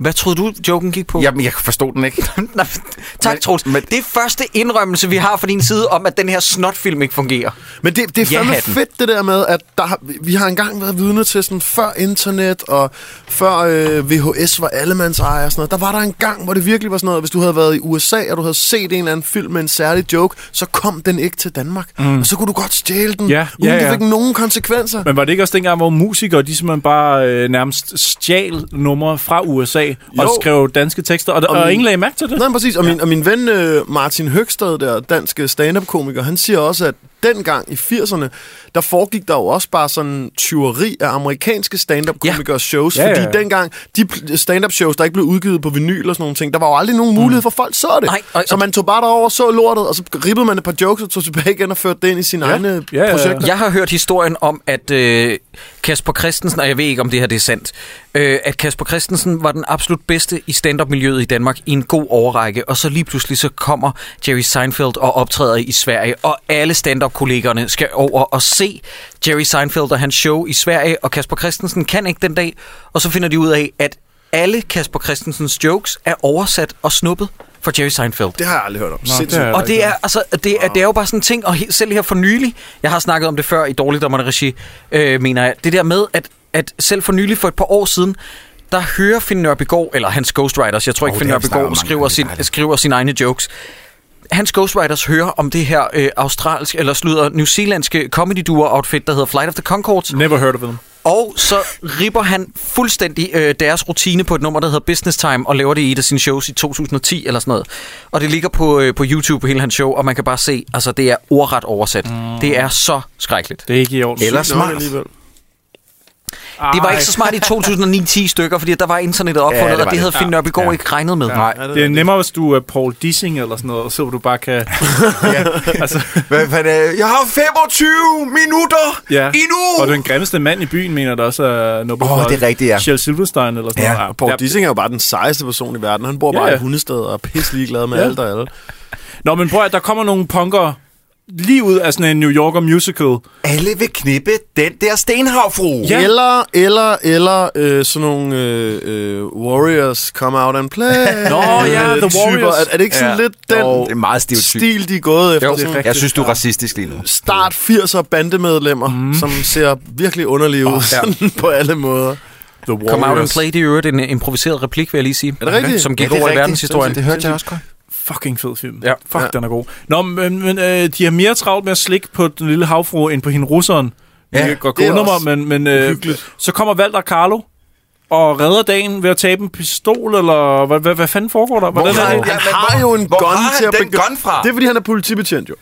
[SPEAKER 1] Hvad troede du, joken gik på?
[SPEAKER 8] Jamen, jeg forstod den ikke.
[SPEAKER 1] Nej, [LAUGHS] tak, Troels.
[SPEAKER 8] men-
[SPEAKER 1] Det er første indrømmelse, vi har fra din side, om at den her snotfilm ikke fungerer.
[SPEAKER 6] Men det, det er fandme
[SPEAKER 1] Ja-hatten.
[SPEAKER 6] fedt, det der med, at der har, vi har engang været vidne til sådan, før internet og før øh, VHS var allemands ejer og sådan noget. Der var der en gang, hvor det virkelig var sådan noget, hvis du havde været i USA, og du havde set en eller anden film med en særlig joke, så kom den ikke til Danmark. Mm. Og så kunne du godt stjæle den,
[SPEAKER 7] Ja,
[SPEAKER 6] uden
[SPEAKER 7] ja,
[SPEAKER 6] det
[SPEAKER 7] ja.
[SPEAKER 6] fik nogen konsekvenser.
[SPEAKER 7] Men var det ikke også dengang, hvor musikere, de simpelthen bare øh, nærmest stjal numre fra USA og
[SPEAKER 6] Jo.
[SPEAKER 7] skrev danske tekster, og, og,
[SPEAKER 6] min-
[SPEAKER 7] og ingen lagde mærke til det?
[SPEAKER 6] Nej, præcis. Og, min, og min ven øh, Martin Høgstad, der danske øh, stand-up-komiker, han siger også, at dengang i 80'erne, der foregik der jo også bare sådan tyveri af amerikanske stand-up-komikers ja. shows,
[SPEAKER 7] Ja,
[SPEAKER 6] ja,
[SPEAKER 7] ja.
[SPEAKER 6] ja. fordi dengang, de pl- stand-up-shows, der ikke blev udgivet på vinyl og sådan nogle ting, der var jo aldrig nogen mulighed for, at folk så det.
[SPEAKER 1] Nej, og-
[SPEAKER 6] så man tog bare derover og så lortet, og så rippede man et par jokes og tog tilbage igen og førte det ind i øh, sine ja. egne
[SPEAKER 7] Ja, ja, ja.
[SPEAKER 6] projekter.
[SPEAKER 1] Altså, Jeg har hørt historien om, at øh, Kasper Christensen, og jeg ved ikke, om det her det er sandt, øh, at Kasper Christensen var den absolut bedste i stand-up-miljøet i Danmark i en god overrække, og så lige pludselig så kommer Jerry Seinfeld og optræder i Sverige, og alle stand-up-kollegerne skal over og se Jerry Seinfeld og hans show i Sverige, og Kasper Christensen kan ikke den dag, og så finder de ud af, at alle Kasper Christensens jokes er oversat og snuppet for Jerry Seinfeld.
[SPEAKER 6] Det har jeg aldrig hørt om. Sindssygt.
[SPEAKER 7] det er-
[SPEAKER 1] Og det er, altså, det, er, det er jo bare sådan en ting, og he, selv her for nylig, jeg har snakket om det før i Dårligdommerne Regi, øh, mener jeg, det der med, at, at selv for nylig, for et par år siden, der hører Finn Nørbegaard, eller hans ghostwriters, jeg tror
[SPEAKER 8] Åh,
[SPEAKER 1] ikke, Finn
[SPEAKER 8] det har vi snakket om
[SPEAKER 1] Nørbegaard
[SPEAKER 8] mange
[SPEAKER 1] skriver,
[SPEAKER 8] gange,
[SPEAKER 1] sin,
[SPEAKER 8] det er dejligt.
[SPEAKER 1] skriver sine egne jokes, hans ghostwriters hører om det her øh, australsk, eller slutter, new zealandske comedy duo outfit, der hedder Flight of the Concords.
[SPEAKER 7] Never heard of them.
[SPEAKER 1] Og så ripper han fuldstændig øh, deres rutine på et nummer, der hedder Business Time, og laver det i et af sine shows i 2010 eller sådan noget. Og det ligger på, øh, på YouTube, hele hans show, og man kan bare se, altså det er ordret oversat. Mm. Det er så skrækkeligt.
[SPEAKER 7] Det er ikke i orden.
[SPEAKER 8] Eller
[SPEAKER 6] Sygt nok
[SPEAKER 8] smart.
[SPEAKER 6] alligevel.
[SPEAKER 7] Ej.
[SPEAKER 1] Det var ikke så smart i 2009-10 stykker, fordi der var internettet opfundet, ja,
[SPEAKER 8] det
[SPEAKER 1] det
[SPEAKER 8] var
[SPEAKER 1] og det
[SPEAKER 8] det.
[SPEAKER 1] havde Finn Nørbegaard
[SPEAKER 8] Ja.
[SPEAKER 1] ja. ikke regnet med.
[SPEAKER 7] Nej,
[SPEAKER 6] Ja, det
[SPEAKER 7] det
[SPEAKER 6] er
[SPEAKER 7] er nemmere, hvis du er Paul Dissing eller sådan noget, og så du bare kan... altså,
[SPEAKER 8] Hvad fanden er Jeg har 25 minutter
[SPEAKER 7] ja.
[SPEAKER 8] endnu!
[SPEAKER 7] Og den grimmeste mand i byen, mener der også er Nobel
[SPEAKER 8] Åh, det er rigtigt, ja.
[SPEAKER 7] Shell Silverstein eller sådan
[SPEAKER 8] Ja,
[SPEAKER 7] noget.
[SPEAKER 6] Paul
[SPEAKER 7] der-
[SPEAKER 6] Dissing er jo bare den sejeste person i verden. Han bor
[SPEAKER 7] Ja,
[SPEAKER 6] bare
[SPEAKER 7] ja.
[SPEAKER 6] i hundestedet og er pisse ligeglad med
[SPEAKER 7] Ja.
[SPEAKER 6] alt og alle.
[SPEAKER 7] Nå, men prøv at der kommer nogle punkere lige ud af sådan en New Yorker musical.
[SPEAKER 8] Alle vil knippe den der stenhavfru.
[SPEAKER 7] Ja.
[SPEAKER 6] Ja. Eller, eller, eller øh, sådan nogle øh, øh, Warriors come out and play. Øh,
[SPEAKER 7] Nå, ja, The Warriors.
[SPEAKER 6] Er, er det ikke sådan
[SPEAKER 8] Ja.
[SPEAKER 6] ja. lidt den
[SPEAKER 8] Jo, det er meget stereotyp.
[SPEAKER 6] stil, de er gået efter?
[SPEAKER 1] Jo,
[SPEAKER 6] sådan
[SPEAKER 8] Jeg synes, du er racistisk lige nu.
[SPEAKER 6] start 80'er bandemedlemmer, mm. som ser virkelig underlige ud sådan på alle måder. The Warriors.
[SPEAKER 1] Come out and play, det er jo øvrigt en øh, improviseret replik, vil jeg lige sige.
[SPEAKER 6] Er det rigtigt?
[SPEAKER 1] Som
[SPEAKER 8] Ja,
[SPEAKER 1] gik
[SPEAKER 8] det er
[SPEAKER 1] over i
[SPEAKER 8] rigtigt.
[SPEAKER 1] verdenshistorien.
[SPEAKER 8] Det hørte jeg også godt.
[SPEAKER 7] Fucking fed film.
[SPEAKER 1] Ja.
[SPEAKER 7] Fuck,
[SPEAKER 6] Ja.
[SPEAKER 7] den er god. Nå, men, men øh, de har mere travlt med at slikke på den lille havfru, end på hende russeren.
[SPEAKER 8] Ja,
[SPEAKER 7] Ja, det går
[SPEAKER 6] det er
[SPEAKER 7] under mig,
[SPEAKER 6] også
[SPEAKER 7] men, men øh,
[SPEAKER 6] uhyggeligt.
[SPEAKER 7] så kommer Valder Carlo og redder dagen ved at tabe en pistol, eller hvad, hvad, hvad fanden foregår der?
[SPEAKER 8] Hvor har
[SPEAKER 7] er
[SPEAKER 8] han
[SPEAKER 7] det?
[SPEAKER 8] Ja,
[SPEAKER 6] Han
[SPEAKER 8] men
[SPEAKER 6] har
[SPEAKER 8] hvor-
[SPEAKER 6] jo en
[SPEAKER 8] hvor
[SPEAKER 6] gun
[SPEAKER 8] har han
[SPEAKER 6] til at
[SPEAKER 8] den
[SPEAKER 6] begå-
[SPEAKER 8] gun fra?
[SPEAKER 6] Det er, fordi han er politibetjent, jo.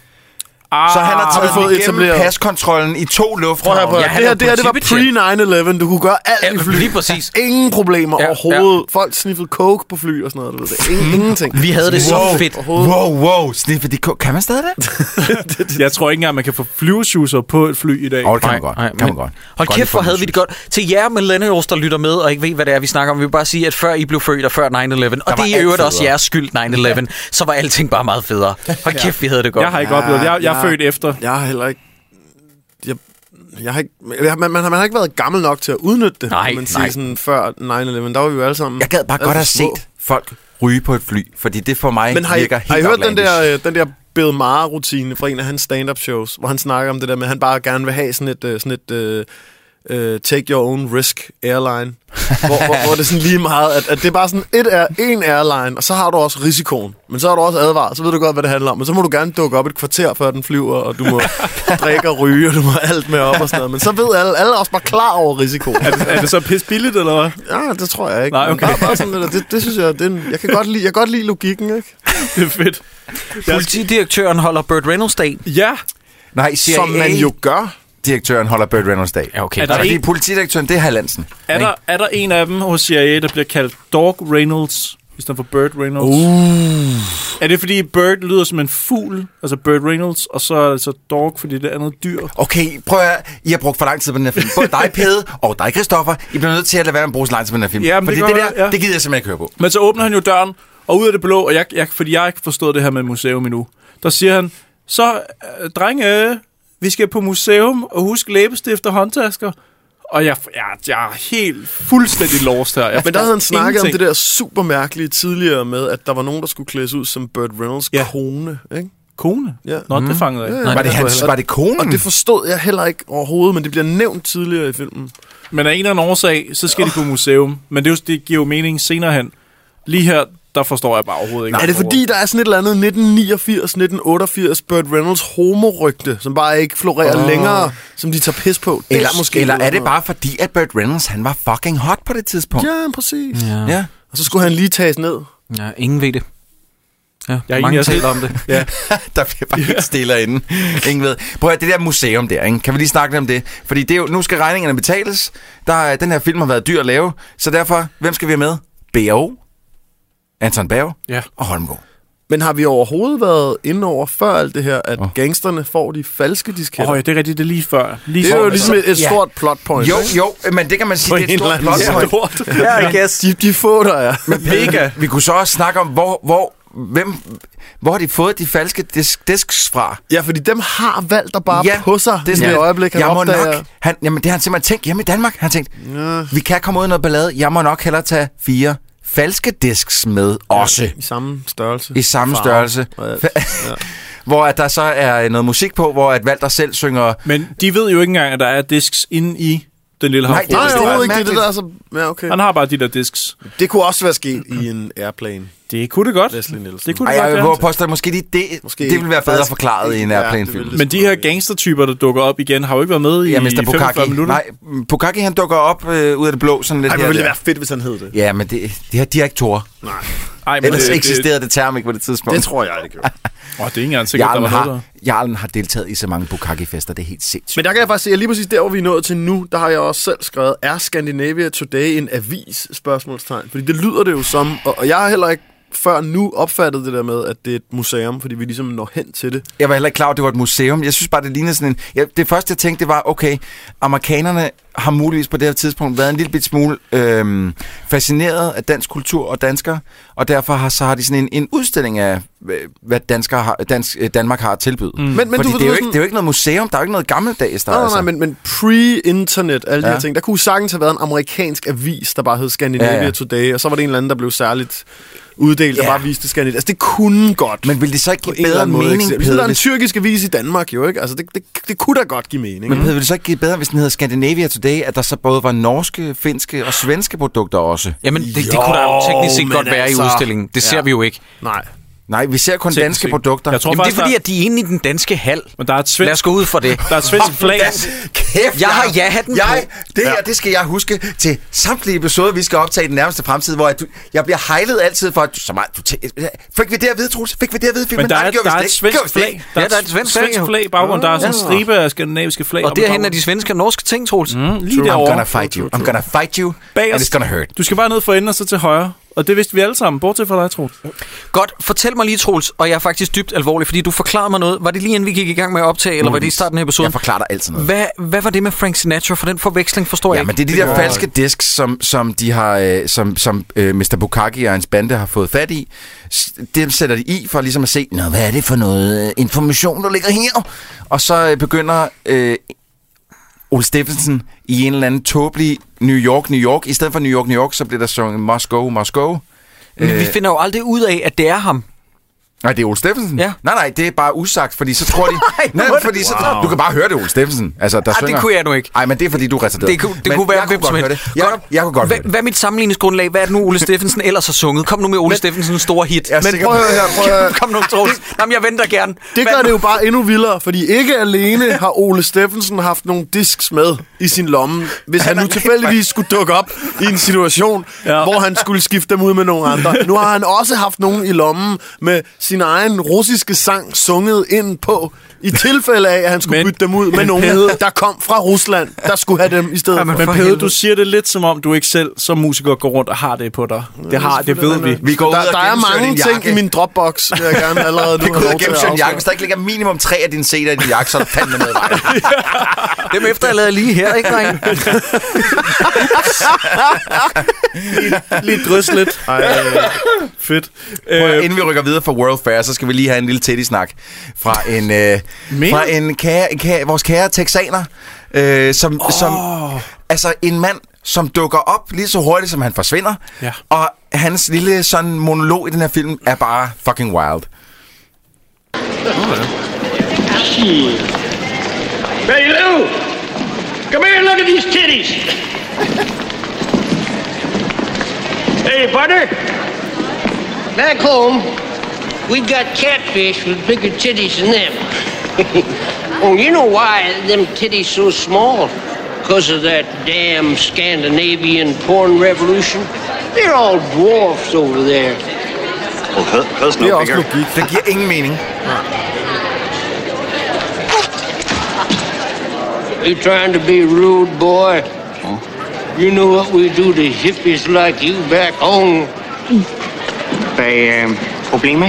[SPEAKER 7] Ah,
[SPEAKER 8] Så han
[SPEAKER 6] vi
[SPEAKER 8] har taget
[SPEAKER 6] fået
[SPEAKER 8] den igennem
[SPEAKER 6] etableret-
[SPEAKER 8] paskontrollen i to
[SPEAKER 6] Prøv at høre på,
[SPEAKER 8] lufthavne.
[SPEAKER 6] ja,
[SPEAKER 1] Ja,
[SPEAKER 6] det
[SPEAKER 1] han
[SPEAKER 6] her,
[SPEAKER 1] er
[SPEAKER 6] det her, det var
[SPEAKER 1] politibetjent.
[SPEAKER 6] pre-9-11. Du kunne gøre alt i
[SPEAKER 1] Ja,
[SPEAKER 6] fly.
[SPEAKER 1] lige præcis.
[SPEAKER 6] Ingen problemer
[SPEAKER 1] Ja,
[SPEAKER 6] ja,
[SPEAKER 1] ja.
[SPEAKER 6] overhovedet. Ja. Folk sniffede coke på fly og sådan noget. Du ved det. Ingen, ingenting.
[SPEAKER 1] Vi havde det så
[SPEAKER 8] Wow.
[SPEAKER 1] fedt.
[SPEAKER 8] Wow, wow, sniffe de Kan man stadig det?
[SPEAKER 7] Jeg tror ikke engang, man kan få flyveshoeser på et fly i dag.
[SPEAKER 8] Åh, det kan
[SPEAKER 1] Nej,
[SPEAKER 8] man godt.
[SPEAKER 1] nej,
[SPEAKER 8] kan man
[SPEAKER 1] men
[SPEAKER 8] godt.
[SPEAKER 1] Hold
[SPEAKER 8] Godt,
[SPEAKER 1] kæft, hvor
[SPEAKER 8] får
[SPEAKER 1] havde
[SPEAKER 8] man
[SPEAKER 1] vi det godt. Til jer millennials, der lytter med og ikke ved, hvad det er, vi snakker om, vi vil bare sige, at før I blev født og før 9-11, og
[SPEAKER 8] var
[SPEAKER 1] det er i
[SPEAKER 8] alt
[SPEAKER 1] øvrigt også
[SPEAKER 8] federe.
[SPEAKER 1] jeres skyld 9-11, så var alting bare meget federe. Hold kæft, vi havde det godt.
[SPEAKER 7] Jeg har ikke oplevet det. Jeg, jeg er
[SPEAKER 6] Ja.
[SPEAKER 7] født efter.
[SPEAKER 6] Jeg har heller ikke... Jeg, jeg har ikke jeg, man, man, har- man har ikke været gammel nok til at udnytte det,
[SPEAKER 1] Nej,
[SPEAKER 6] kan man sige,
[SPEAKER 1] nej.
[SPEAKER 6] sådan før 9-11. Der var vi jo alle sammen...
[SPEAKER 8] Mm. Jeg gad bare godt
[SPEAKER 6] alt
[SPEAKER 8] have
[SPEAKER 6] for Altså, små.
[SPEAKER 8] set folk ryge på et fly, fordi det for mig
[SPEAKER 6] Men har I,
[SPEAKER 8] virker helt
[SPEAKER 6] har I hørt den
[SPEAKER 8] outlandish.
[SPEAKER 6] der, øh, den der Bill Maher-rutine fra en af hans stand-up shows, hvor han snakker om det der med, at han bare gerne vil have sådan et, øh, sådan et øh, øh, take your own risk airline, hvor, hvor, hvor det er sådan lige meget, at, at det er bare sådan et er en airline, og så har du også risikoen, men så har du også advaret, så ved du godt, hvad det handler om, men så må du gerne dukke op et kvarter, før den flyver, og du
[SPEAKER 7] [LAUGHS]
[SPEAKER 6] må drikke og ryge, og du må alt med op og sådan noget, men så ved alle, alle er også bare klar over risikoen.
[SPEAKER 7] Er det, er det så pisbilligt, eller hvad?
[SPEAKER 6] Ja, det tror jeg ikke.
[SPEAKER 7] Nej,
[SPEAKER 6] Men
[SPEAKER 7] okay.
[SPEAKER 6] Bare, bare sådan lidt, og det, det synes jeg, det er en, jeg kan godt lide, jeg kan godt lide logikken, ikke?
[SPEAKER 7] Det er fedt. Jeg skal,
[SPEAKER 1] Politidirektøren holder Burt Reynolds dag.
[SPEAKER 7] ja,
[SPEAKER 8] Nej, CIA
[SPEAKER 6] øh, Som man jo gør.
[SPEAKER 8] direktøren holder Bird Reynolds dag.
[SPEAKER 1] Ja, okay.
[SPEAKER 7] Er
[SPEAKER 8] Er
[SPEAKER 7] der
[SPEAKER 8] der fordi
[SPEAKER 7] en-
[SPEAKER 8] politidirektøren, det er Hallandsen.
[SPEAKER 7] er der, er der en af dem hos CIA, der bliver kaldt Dog Reynolds, i stedet for Bird Reynolds? Uh. Er det, fordi Bird lyder som en fugl, altså Bird Reynolds, og så er det så Dog, fordi det er noget dyr?
[SPEAKER 8] Okay, prøv at høre. I har brugt for lang tid på den her film. Både dig, Pede, og dig, Christoffer. I bliver nødt til at lade være med at bruge så lang tid på den her film.
[SPEAKER 7] Jamen, det
[SPEAKER 8] fordi
[SPEAKER 7] kan
[SPEAKER 8] det,
[SPEAKER 7] godt
[SPEAKER 8] der,
[SPEAKER 7] være, ja.
[SPEAKER 8] det gider jeg simpelthen ikke høre på.
[SPEAKER 7] Men så åbner han jo døren, og ud af det blå, og jeg, jeg, fordi jeg har ikke forstået det her med museum endnu, der siger han, så øh, drenge, vi skal på museum, og husk læbestift og håndtasker. Og jeg, jeg, jeg er helt fuldstændig lost her. Jeg
[SPEAKER 6] Men der havde han snakket
[SPEAKER 7] ingenting.
[SPEAKER 6] om det der super mærkelige tidligere med, at der var nogen, der skulle klædes ud som Burt Reynolds
[SPEAKER 7] Ja.
[SPEAKER 6] ja. kone. Ikke?
[SPEAKER 7] Kone?
[SPEAKER 6] Ja.
[SPEAKER 7] Nå,
[SPEAKER 1] Mm.
[SPEAKER 7] det fangede jeg ikke.
[SPEAKER 8] var, det
[SPEAKER 6] tror jeg
[SPEAKER 8] hans,
[SPEAKER 6] heller
[SPEAKER 8] var det konen?
[SPEAKER 6] Og det forstod jeg heller ikke overhovedet, men det bliver nævnt tidligere i filmen.
[SPEAKER 7] Men af en eller anden årsag, så skal de på museum. Men det, er jo, det giver jo mening senere hen. Lige her, der forstår jeg bare overhovedet ikke.
[SPEAKER 6] Nej, er det fordi, der er sådan et eller andet 1989, 1988 Burt Reynolds homorygte, som bare ikke florerer oh. længere, som de tager pis på?
[SPEAKER 8] eller,
[SPEAKER 6] er
[SPEAKER 8] måske eller er det
[SPEAKER 6] noget.
[SPEAKER 8] bare fordi, at Bird Reynolds, han var fucking hot på det tidspunkt?
[SPEAKER 6] Ja, præcis. Ja.
[SPEAKER 8] ja.
[SPEAKER 6] Og så skulle han lige tages ned.
[SPEAKER 1] Ja, ingen ved det. Ja,
[SPEAKER 7] Jeg er
[SPEAKER 1] mange
[SPEAKER 7] enig også.
[SPEAKER 1] taler om det.
[SPEAKER 7] Ja.
[SPEAKER 8] [LAUGHS] der bliver bare helt stille herinde. Ingen ved. Prøv at høre, det der museum der, ikke? kan vi lige snakke lidt om det? Fordi det er jo, nu skal regningerne betales. Der, er- den her film har været dyr at lave, så derfor, hvem skal vi have med? B.O. Anton Berg
[SPEAKER 7] Ja.
[SPEAKER 8] og Holmgaard.
[SPEAKER 6] Men har vi overhovedet været inde over før alt det her, at oh. gangsterne får de falske disketter?
[SPEAKER 7] Åh,
[SPEAKER 6] Oh,
[SPEAKER 7] ja, det er rigtigt, det er lige før. Lige
[SPEAKER 6] det
[SPEAKER 7] Altså,
[SPEAKER 6] er
[SPEAKER 7] før.
[SPEAKER 6] jo ligesom et, et
[SPEAKER 8] Ja.
[SPEAKER 6] stort plot point.
[SPEAKER 8] Jo,
[SPEAKER 6] ikke?
[SPEAKER 8] jo, men det kan man sige,
[SPEAKER 6] På
[SPEAKER 8] det er
[SPEAKER 6] en
[SPEAKER 8] et
[SPEAKER 6] eller
[SPEAKER 8] stort
[SPEAKER 6] anden
[SPEAKER 8] plot point.
[SPEAKER 7] Stort.
[SPEAKER 6] Ja, I guess. De, de få, der er.
[SPEAKER 7] Mega.
[SPEAKER 8] Vi kunne så også snakke om, hvor, hvor, hvem, hvor har de fået de falske disk, disks fra?
[SPEAKER 6] Ja, fordi dem har valgt at bare ja, på sig det er sådan et
[SPEAKER 8] lidt-
[SPEAKER 6] øjeblik, han
[SPEAKER 8] jeg må
[SPEAKER 6] opdager.
[SPEAKER 8] nok, han, jamen, det har han simpelthen tænkt hjemme i Danmark. Han har tænkt, ja. vi kan komme ud i noget ballade. Jeg må nok hellere tage fire falske disks med også.
[SPEAKER 6] I samme størrelse.
[SPEAKER 8] I samme
[SPEAKER 6] Farve
[SPEAKER 8] størrelse.
[SPEAKER 6] og
[SPEAKER 8] [LAUGHS]
[SPEAKER 6] alt.
[SPEAKER 8] Fa- hvor at der så er noget musik på, hvor at Walter selv synger...
[SPEAKER 7] Men de ved jo ikke engang, at der er disks inde i den lille
[SPEAKER 8] Nej,
[SPEAKER 7] havfru.
[SPEAKER 8] det
[SPEAKER 6] Nej,
[SPEAKER 8] er
[SPEAKER 6] jeg overhovedet ikke. Det er
[SPEAKER 8] mærkeligt.
[SPEAKER 6] det, der er så... Ja, okay.
[SPEAKER 7] Han har bare de der disks.
[SPEAKER 6] Det kunne også være sket i en airplane.
[SPEAKER 7] Det kunne det godt.
[SPEAKER 6] Leslie Nielsen.
[SPEAKER 7] Det kunne
[SPEAKER 8] Ej,
[SPEAKER 7] det
[SPEAKER 8] jeg vil
[SPEAKER 7] godt,
[SPEAKER 8] våge at
[SPEAKER 7] ja.
[SPEAKER 8] påstå, at måske lige det,
[SPEAKER 6] Måske
[SPEAKER 8] måske det
[SPEAKER 6] ikke.
[SPEAKER 8] ville være bedre
[SPEAKER 6] Faktisk
[SPEAKER 8] forklaret i en
[SPEAKER 6] ikke. Ja,
[SPEAKER 8] airplane-film.
[SPEAKER 6] det ville
[SPEAKER 7] Men de her gangstertyper, der dukker op igen, har jo ikke været med i
[SPEAKER 8] Ja, Mr.
[SPEAKER 7] 45
[SPEAKER 8] Bukaki.
[SPEAKER 7] minutter.
[SPEAKER 8] Nej, Bukaki han dukker op øh, ud af det blå. Sådan lidt
[SPEAKER 6] Ej, det
[SPEAKER 8] her
[SPEAKER 6] ville
[SPEAKER 8] og
[SPEAKER 6] være fedt, hvis han hed det.
[SPEAKER 8] der. Ja, men det, det her direktorer.
[SPEAKER 7] Ej, men
[SPEAKER 8] Ellers
[SPEAKER 7] det- det-
[SPEAKER 8] eksisterede det term ikke på det tidspunkt.
[SPEAKER 6] Det tror jeg, det gjorde.
[SPEAKER 7] Åh, det er ikke engang sikkert, der
[SPEAKER 8] Jarlen
[SPEAKER 7] var noget der.
[SPEAKER 8] har, Jarlen har deltaget i så mange Bukaki-fester, det er helt
[SPEAKER 6] [LAUGHS]
[SPEAKER 8] sindssygt.
[SPEAKER 6] Men der kan jeg faktisk se, at lige præcis der, hvor vi er nået til nu, der har jeg også selv skrevet, er Scandinavia Today en avis? Spørgsmålstegn. Fordi det lyder det jo som, og, og jeg har heller ikke før nu opfattet det der med, at det er et museum, fordi vi ligesom når hen til det.
[SPEAKER 8] Jeg var heller ikke klar over, at det var et museum. Jeg synes bare, det lignede sådan en... Ja, det første, jeg tænkte, det var, okay, amerikanerne har muligvis på det her tidspunkt været en lille bit smule øhm, fascineret af dansk kultur og danskere, og derfor har, så har de sådan en, en udstilling af, øh, hvad danskere har, dansk, øh, Danmark har at tilbyde. Mm. Men,
[SPEAKER 6] men du ved,
[SPEAKER 8] Fordi det,
[SPEAKER 6] du
[SPEAKER 8] er jo
[SPEAKER 6] ved
[SPEAKER 8] ikke,
[SPEAKER 6] sådan-
[SPEAKER 8] det er jo ikke noget museum, der er jo ikke noget gammeldags der.
[SPEAKER 6] Nej, nej,
[SPEAKER 8] altså.
[SPEAKER 6] nej, men, men pre-internet, alle de
[SPEAKER 8] Ja.
[SPEAKER 6] her ting, der kunne sagtens have været en amerikansk avis, der bare hed Scandinavia
[SPEAKER 8] Ja,
[SPEAKER 6] ja,
[SPEAKER 8] ja.
[SPEAKER 6] ja. Today, og så var det en eller anden, der blev særligt uddelt,
[SPEAKER 8] Ja.
[SPEAKER 6] der bare viste Scandinavia. Altså, det kunne godt.
[SPEAKER 8] men vil det så ikke
[SPEAKER 6] på
[SPEAKER 8] give
[SPEAKER 6] en eller
[SPEAKER 8] bedre
[SPEAKER 6] anden måde
[SPEAKER 8] mening,
[SPEAKER 6] eksistere. Hvis der er
[SPEAKER 8] Peder,
[SPEAKER 6] en
[SPEAKER 8] hvis,
[SPEAKER 6] tyrkisk avis i Danmark, jo ikke? Altså, det, det, det kunne da godt give mening.
[SPEAKER 7] Mhm.
[SPEAKER 8] men Peder, vil det så ikke give bedre, hvis den hedder Scandinavia Today, at der så både var norske, finske og svenske produkter også?
[SPEAKER 1] Jamen, det, det kunne der jo teknisk set
[SPEAKER 6] men
[SPEAKER 1] godt være
[SPEAKER 6] altså-
[SPEAKER 1] i udstillingen. Det ser
[SPEAKER 6] Ja.
[SPEAKER 1] vi jo ikke.
[SPEAKER 6] Nej.
[SPEAKER 8] Nej, vi ser kun
[SPEAKER 7] Teknisk
[SPEAKER 8] danske
[SPEAKER 7] set.
[SPEAKER 8] produkter.
[SPEAKER 7] Jeg tror
[SPEAKER 1] Jamen, det er
[SPEAKER 7] faktisk,
[SPEAKER 1] fordi,
[SPEAKER 7] der-
[SPEAKER 1] at de er inde i den danske hal.
[SPEAKER 7] Men der er et
[SPEAKER 1] Lad os
[SPEAKER 7] svensk,
[SPEAKER 1] gå ud fra det.
[SPEAKER 7] der er et svensk flag.
[SPEAKER 8] Kæft,
[SPEAKER 1] Jeg har ja-hatten
[SPEAKER 8] jeg,
[SPEAKER 1] på.
[SPEAKER 8] Det her, det skal jeg huske til samtlige episoder, vi skal optage i den nærmeste fremtid, hvor at du, jeg bliver hejlet altid for, at du, så meget, du tæ- fik vi det at vide, Troels? Fik vi det at vide? Fik
[SPEAKER 7] Men
[SPEAKER 8] vi-
[SPEAKER 7] der
[SPEAKER 8] Nej,
[SPEAKER 7] er,
[SPEAKER 8] det gjorde
[SPEAKER 7] der
[SPEAKER 8] vi
[SPEAKER 7] er et
[SPEAKER 8] slet
[SPEAKER 7] svensk
[SPEAKER 8] ikke. Det gjorde vi slet
[SPEAKER 7] flag.
[SPEAKER 8] ikke.
[SPEAKER 1] Ja, der er et svensk flag, jo.
[SPEAKER 7] flag i baggrunden. Der er sådan en
[SPEAKER 1] Ja.
[SPEAKER 7] stribe af skandinaviske flag.
[SPEAKER 1] Og
[SPEAKER 7] oppe i
[SPEAKER 1] derhen er de
[SPEAKER 7] baggrunden.
[SPEAKER 1] svenske og norske ting, Troels. Mm.
[SPEAKER 7] Lige
[SPEAKER 8] I'm gonna
[SPEAKER 7] derovre.
[SPEAKER 8] fight you. I'm gonna fight you.
[SPEAKER 7] Bag
[SPEAKER 8] And
[SPEAKER 7] os.
[SPEAKER 8] it's gonna hurt.
[SPEAKER 7] Du skal bare ned for enden og så til højre. Og det vidste vi alle sammen, bortset fra dig, Troels.
[SPEAKER 1] Godt, fortæl mig lige, Troels, og jeg er faktisk dybt alvorlig, fordi du forklarede mig noget. Var det lige inden vi gik i gang med at optage, eller var det i starten af episoden?
[SPEAKER 8] Jeg forklarer dig altid noget.
[SPEAKER 1] Hvad, hvad var det med Frank Sinatra? For den forveksling forstår jeg
[SPEAKER 8] Ja, men
[SPEAKER 1] ikke.
[SPEAKER 8] det er de der falske disks, som, som, de har, øh, som, som øh, Mr. Bukaki og hans bande har fået fat i. S- Dem sætter de i for ligesom at se, Nå, hvad er det for noget øh, information, der ligger her? Og så øh, begynder øh, Ole Steffensen i en eller anden tåbelig New York, New York. I stedet for New York, New York, så bliver der sunget Moscow, Moscow.
[SPEAKER 1] Men vi finder jo aldrig ud af, at det er ham.
[SPEAKER 8] Nej, det er Ole Steffensen?
[SPEAKER 1] Ja.
[SPEAKER 8] Nej, nej, det er bare usagt, fordi så
[SPEAKER 1] [LAUGHS]
[SPEAKER 8] tror de... nej, nej, fordi så, Du kan bare høre det, Ole Steffensen. Altså, der
[SPEAKER 1] Ej, Ah, det
[SPEAKER 8] synger.
[SPEAKER 1] kunne jeg nu ikke.
[SPEAKER 8] Nej, men det er, fordi du er retarderet.
[SPEAKER 1] Det kunne, det
[SPEAKER 8] Men
[SPEAKER 1] kunne være
[SPEAKER 8] jeg
[SPEAKER 1] hvem
[SPEAKER 8] godt
[SPEAKER 1] som
[SPEAKER 8] høre
[SPEAKER 1] helst.
[SPEAKER 8] det. Jeg, jeg kunne godt
[SPEAKER 1] hvad,
[SPEAKER 8] høre det.
[SPEAKER 1] Hvad er mit sammenligningsgrundlag? Hvad er det nu, Ole Steffensen ellers har sunget? Kom nu med Ole Steffensens store hit.
[SPEAKER 8] Jeg er
[SPEAKER 1] Men
[SPEAKER 8] sikker
[SPEAKER 1] prøv
[SPEAKER 8] på-
[SPEAKER 1] at høre her. Prøv at høre.
[SPEAKER 6] Det-
[SPEAKER 1] Kom nu, Troels. Jamen, jeg venter gerne.
[SPEAKER 6] Det gør det jo bare endnu vildere, fordi ikke alene har Ole Steffensen haft nogle disks med i sin lomme, hvis han nu tilfældigvis skulle dukke op i en situation,
[SPEAKER 7] Ja.
[SPEAKER 6] ja. hvor han skulle skifte dem ud med nogle andre. Nu har han også haft nogen i lommen med sin egen russiske sang sunget ind på, i tilfælde af, at han skulle
[SPEAKER 7] Men-
[SPEAKER 6] men, bytte dem ud med
[SPEAKER 7] men
[SPEAKER 6] nogen,
[SPEAKER 7] Pede-
[SPEAKER 6] der kom fra Rusland, der skulle have dem i stedet
[SPEAKER 1] Jamen,
[SPEAKER 6] for.
[SPEAKER 7] Men
[SPEAKER 1] For
[SPEAKER 7] Pede,
[SPEAKER 1] helvede.
[SPEAKER 7] du siger det lidt som om, du ikke selv som musiker går rundt og har det på dig. Det har, det ved vi.
[SPEAKER 8] Vi går ud
[SPEAKER 6] Der,
[SPEAKER 8] og
[SPEAKER 6] der er
[SPEAKER 8] gennemsøger
[SPEAKER 6] mange
[SPEAKER 8] din
[SPEAKER 6] ting
[SPEAKER 8] jakke.
[SPEAKER 6] i min Dropbox, vil jeg gerne allerede nu
[SPEAKER 8] Vi går
[SPEAKER 6] have
[SPEAKER 8] ud
[SPEAKER 6] lov
[SPEAKER 8] og
[SPEAKER 6] til at
[SPEAKER 8] gennemsøger din jakke.
[SPEAKER 6] afsløre.
[SPEAKER 8] Hvis der ikke ligger minimum tre af dine seter i din jakke, så er der fandme noget vej.
[SPEAKER 1] Dem efter, jeg lavede lige her, ikke, dreng?
[SPEAKER 7] Lige drys lidt. Fedt.
[SPEAKER 8] Prøv, at-
[SPEAKER 7] Øh,
[SPEAKER 8] inden vi rykker videre fra World Fair, så skal vi lige have en lille teddy-snak fra en, øh,
[SPEAKER 7] Mere?
[SPEAKER 8] fra en, kære, en kære, vores kære texaner, øh, som, oh. som, altså en mand, som dukker op lige så hurtigt, som han forsvinder,
[SPEAKER 7] Ja.
[SPEAKER 8] og hans lille sådan monolog i den her film er bare fucking wild.
[SPEAKER 9] Betty Lou! Come here and look at these titties! hey, partner!
[SPEAKER 12] Back home, we got catfish with bigger titties than them. [LAUGHS] oh, you know why them titties so small? Because of that damn Scandinavian porn revolution. They're all dwarfs over there.
[SPEAKER 9] Well, close
[SPEAKER 6] Det er også logik.
[SPEAKER 8] Det giver ingen mening.
[SPEAKER 12] You trying to be rude, boy? You know what we do to hippies like you back home.
[SPEAKER 10] Bag øh, problemer.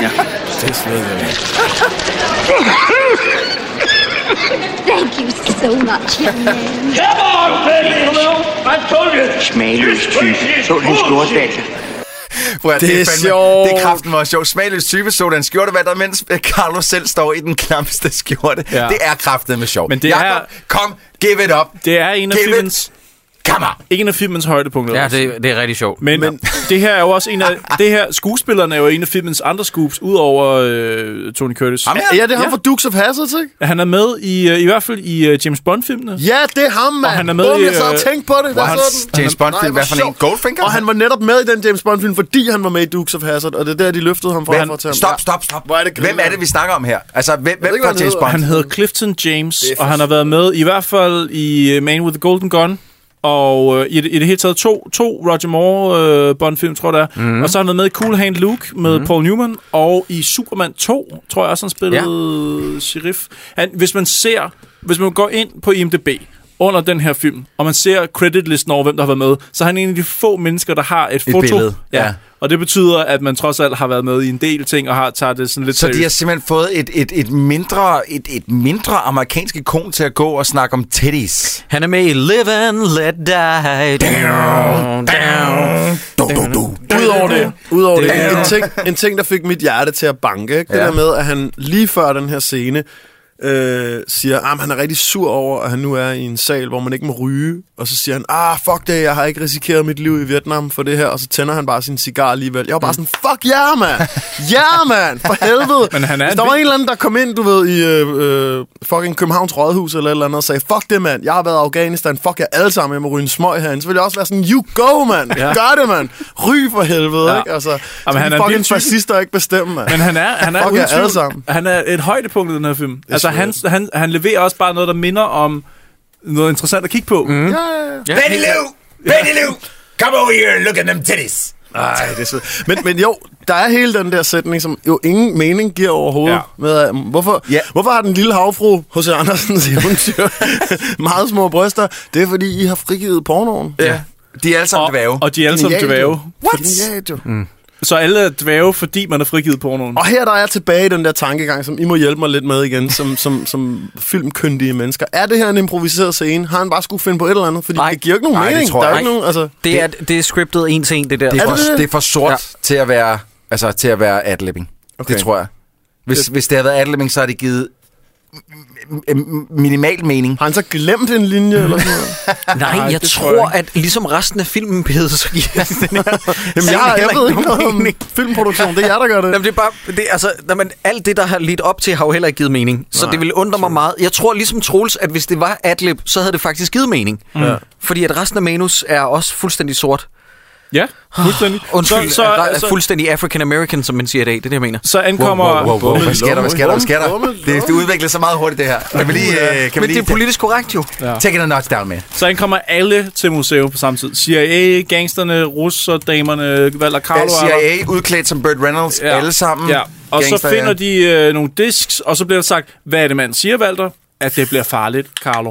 [SPEAKER 9] Ja.
[SPEAKER 6] Det er slet ikke.
[SPEAKER 5] Thank you so much, young man.
[SPEAKER 12] Come on, baby! Come on! I told you!
[SPEAKER 10] Smagløs type. Så du hans skjortevalg?
[SPEAKER 8] Prøv, at,
[SPEAKER 6] Det er sjovt.
[SPEAKER 8] Det er kraften var sjovt. Smagløs type så den skjorte, hvad der, mens øh, Carlos selv står i den klammeste skjorte. Ja.
[SPEAKER 7] Ja.
[SPEAKER 8] Det er kraften med sjovt.
[SPEAKER 7] Men det
[SPEAKER 8] Jakob,
[SPEAKER 7] er-
[SPEAKER 8] kom, give it up.
[SPEAKER 7] Det er en af
[SPEAKER 8] Give it.
[SPEAKER 7] filmens,
[SPEAKER 8] Come on.
[SPEAKER 7] en af filmens højdepunkter.
[SPEAKER 1] Ja,
[SPEAKER 7] også.
[SPEAKER 1] det, det er rigtig sjovt.
[SPEAKER 7] Men, Men det her er jo også en af... Det her, skuespillerne er jo en af filmens andre scoops, udover øh, Tony Curtis.
[SPEAKER 8] Ham
[SPEAKER 6] Ja, det er ham fra Dukes of Hazzard, ikke?
[SPEAKER 7] Han er med i, øh, i hvert fald i øh, James Bond-filmene.
[SPEAKER 6] Ja, det er ham, mand.
[SPEAKER 7] han er med
[SPEAKER 6] Bum,
[SPEAKER 7] i,
[SPEAKER 6] jeg sad og
[SPEAKER 7] øh,
[SPEAKER 6] tænkte på det.
[SPEAKER 8] Hvor
[SPEAKER 6] Jeg
[SPEAKER 8] han,
[SPEAKER 6] så den.
[SPEAKER 8] James
[SPEAKER 6] Nej,
[SPEAKER 8] Bond-film,
[SPEAKER 6] hvor
[SPEAKER 8] hvad for en?
[SPEAKER 6] sjovt.
[SPEAKER 8] Goldfinger?
[SPEAKER 6] Og han var netop med i den James Bond-film, fordi han var med i Dukes of Hazzard, og det er der, de løftede ham fra
[SPEAKER 7] Men-
[SPEAKER 6] for til ham.
[SPEAKER 8] Stop, stop, stop.
[SPEAKER 6] Hvor er det
[SPEAKER 8] Hvem er det, vi snakker om her? Altså, hvem, hvem
[SPEAKER 6] ikke, hvad
[SPEAKER 8] fra
[SPEAKER 6] han
[SPEAKER 8] James
[SPEAKER 6] hedder.
[SPEAKER 8] Bond?
[SPEAKER 7] Han hedder Clifton James, og han har været med i hvert fald i øh, Man with the Golden Gun, og øh, i, det, i det hele taget to, to Roger Moore øh, Bond-film, tror jeg det er. Mm. Og så har han været med i Cool Hand Luke med mm. Paul Newman, og i Superman 2, tror jeg også, han spillede ja. sheriff. Han, hvis man ser, hvis man går ind på IMDb under den her film, og man ser creditlisten over, hvem der har været med, så er han en af de få mennesker, der har et, et foto.
[SPEAKER 8] billede, ja.
[SPEAKER 7] Ja. Og det betyder, at man trods alt har været med i en del ting, og har tager det sådan lidt
[SPEAKER 8] Så de
[SPEAKER 7] seriøst.
[SPEAKER 8] har simpelthen fået et, et, et, mindre, et, et mindre amerikansk ikon til at gå og snakke om titties.
[SPEAKER 1] Han er med i Live and Let Die. Down, down.
[SPEAKER 8] Du, du, du.
[SPEAKER 6] Udover det, udover det,
[SPEAKER 8] Det er-
[SPEAKER 6] en, ting, en ting, der fik mit hjerte til at banke, ikke? det
[SPEAKER 8] Ja.
[SPEAKER 6] der med, at han lige før den her scene øh, siger, at han er rigtig sur over, at han nu er i en sal, hvor man ikke må ryge, og så siger han, ah, fuck det, jeg har ikke risikeret mit liv i Vietnam for det her, og så tænder han bare sin cigar alligevel. Jeg var bare sådan,
[SPEAKER 8] Mm.
[SPEAKER 6] fuck ja, yeah, mand! Ja, yeah, mand! For
[SPEAKER 7] [LAUGHS]
[SPEAKER 6] helvede!
[SPEAKER 7] Men han er
[SPEAKER 6] Hvis
[SPEAKER 7] en
[SPEAKER 6] der var
[SPEAKER 7] vild-
[SPEAKER 6] en eller anden, der kom ind, du ved, i øh, øh, fucking Københavns Rådhus eller et eller andet, og sagde, fuck det, mand, jeg har været i Afghanistan, fuck jer alle sammen, jeg må ryge en smøg herinde, så ville jeg også være sådan, you go, mand! Ja. Gør det, mand! Ryg for helvede! Ja.
[SPEAKER 7] Ja.
[SPEAKER 6] Ikke? Altså, Jamen,
[SPEAKER 7] Jamen,
[SPEAKER 6] han
[SPEAKER 7] han
[SPEAKER 6] er
[SPEAKER 7] er
[SPEAKER 6] fucking
[SPEAKER 7] vild type.
[SPEAKER 6] fascister ikke bestemme, mand.
[SPEAKER 7] Men han er, han er
[SPEAKER 6] Fuck
[SPEAKER 7] uden
[SPEAKER 6] jer alle
[SPEAKER 7] tvivl-
[SPEAKER 6] sammen.
[SPEAKER 7] Han er et højdepunkt i den her film. altså,
[SPEAKER 6] swear.
[SPEAKER 7] han, han, han leverer også bare noget, der minder om noget interessant at kigge på. Mm.
[SPEAKER 6] Ja, ja, ja.
[SPEAKER 8] Betty Lou! Betty Lou! Come over here and look at them titties.
[SPEAKER 6] Ej, det er så... Men, men jo, der er hele den der sætning, som jo ingen mening giver overhovedet. Ja.
[SPEAKER 7] Ja.
[SPEAKER 6] Med, at, mm, hvorfor, ja.
[SPEAKER 8] Ja.
[SPEAKER 6] hvorfor har den lille havfru H.C. Andersens eventyr [LAUGHS] meget små bryster? Det er, fordi I har frigivet pornoen.
[SPEAKER 8] Ja. De er alle sammen
[SPEAKER 7] Og,
[SPEAKER 8] dvæve.
[SPEAKER 7] og de er alle sammen
[SPEAKER 6] Genialt,
[SPEAKER 7] dvæve.
[SPEAKER 6] jo. Genialt, jo. Mm.
[SPEAKER 7] Så alle er dvæve, fordi man har frigivet pornoen.
[SPEAKER 6] Og her der er jeg tilbage i den der tankegang, som I må hjælpe mig lidt med igen, som, som, som filmkyndige mennesker. Er det her en improviseret scene? Har han bare skulle finde på et eller andet? Fordi Nej.
[SPEAKER 1] Nej.
[SPEAKER 6] det giver jo ikke nogen
[SPEAKER 8] Nej, det
[SPEAKER 6] mening.
[SPEAKER 8] tror
[SPEAKER 6] der er
[SPEAKER 8] jeg
[SPEAKER 6] ikke nogen, altså,
[SPEAKER 1] Det er, det er scriptet en til en, det der.
[SPEAKER 8] Det er,
[SPEAKER 6] Er
[SPEAKER 8] for,
[SPEAKER 6] det det?
[SPEAKER 8] det er for sort
[SPEAKER 1] Ja.
[SPEAKER 8] til at være, altså, til at være adlibbing. Okay.
[SPEAKER 6] Okay.
[SPEAKER 8] Det tror jeg. Hvis det, hvis det havde været adlibbing, så har det givet m- m- minimal mening.
[SPEAKER 6] Har han så glemt en linje eller sådan noget?
[SPEAKER 1] Nej,
[SPEAKER 7] Nej,
[SPEAKER 1] jeg
[SPEAKER 7] det
[SPEAKER 1] tror,
[SPEAKER 7] tror jeg
[SPEAKER 1] tror at ligesom resten af filmen beder, så giver den her.
[SPEAKER 6] Jamen, jeg, jeg ved ikke noget om filmproduktion. Det er jeg, der gør det.
[SPEAKER 1] Jamen, det er bare, det, er altså, jamen, alt det, der har lidt op til, har jo heller ikke givet mening. Så Nej, det ville undre mig meget. Jeg tror ligesom Troels, at hvis det var adlib, så havde det faktisk givet mening. Ja. Fordi at resten af manus er også fuldstændig sort.
[SPEAKER 7] Ja, fuldstændig.
[SPEAKER 1] Undskyld,
[SPEAKER 7] så,
[SPEAKER 1] så, er,
[SPEAKER 7] så,
[SPEAKER 1] er
[SPEAKER 7] så,
[SPEAKER 1] fuldstændig African-American, som man siger i dag. Det er det, jeg mener.
[SPEAKER 7] så ankommer...
[SPEAKER 8] Wow, wow, wow, wow. Hvad sker der? Hvad sker der? Hvad sker der?
[SPEAKER 6] Rummel,
[SPEAKER 8] Det, det udvikler sig meget hurtigt, det her. Kan vi lige... øh, Kan vi
[SPEAKER 1] Men det er
[SPEAKER 8] lige
[SPEAKER 1] politisk korrekt jo.
[SPEAKER 8] take it a notch down, man.
[SPEAKER 7] Så ankommer alle til museet på samme tid. CIA, gangsterne, russer, damerne, Valder Carlo.
[SPEAKER 8] CIA udklædt som Burt Reynolds, ja. alle sammen.
[SPEAKER 7] Ja. Og
[SPEAKER 8] Gangster,
[SPEAKER 7] så finder de øh, nogle disks, og så bliver der sagt, hvad er det, man siger, Valter? At det bliver farligt, Carlo.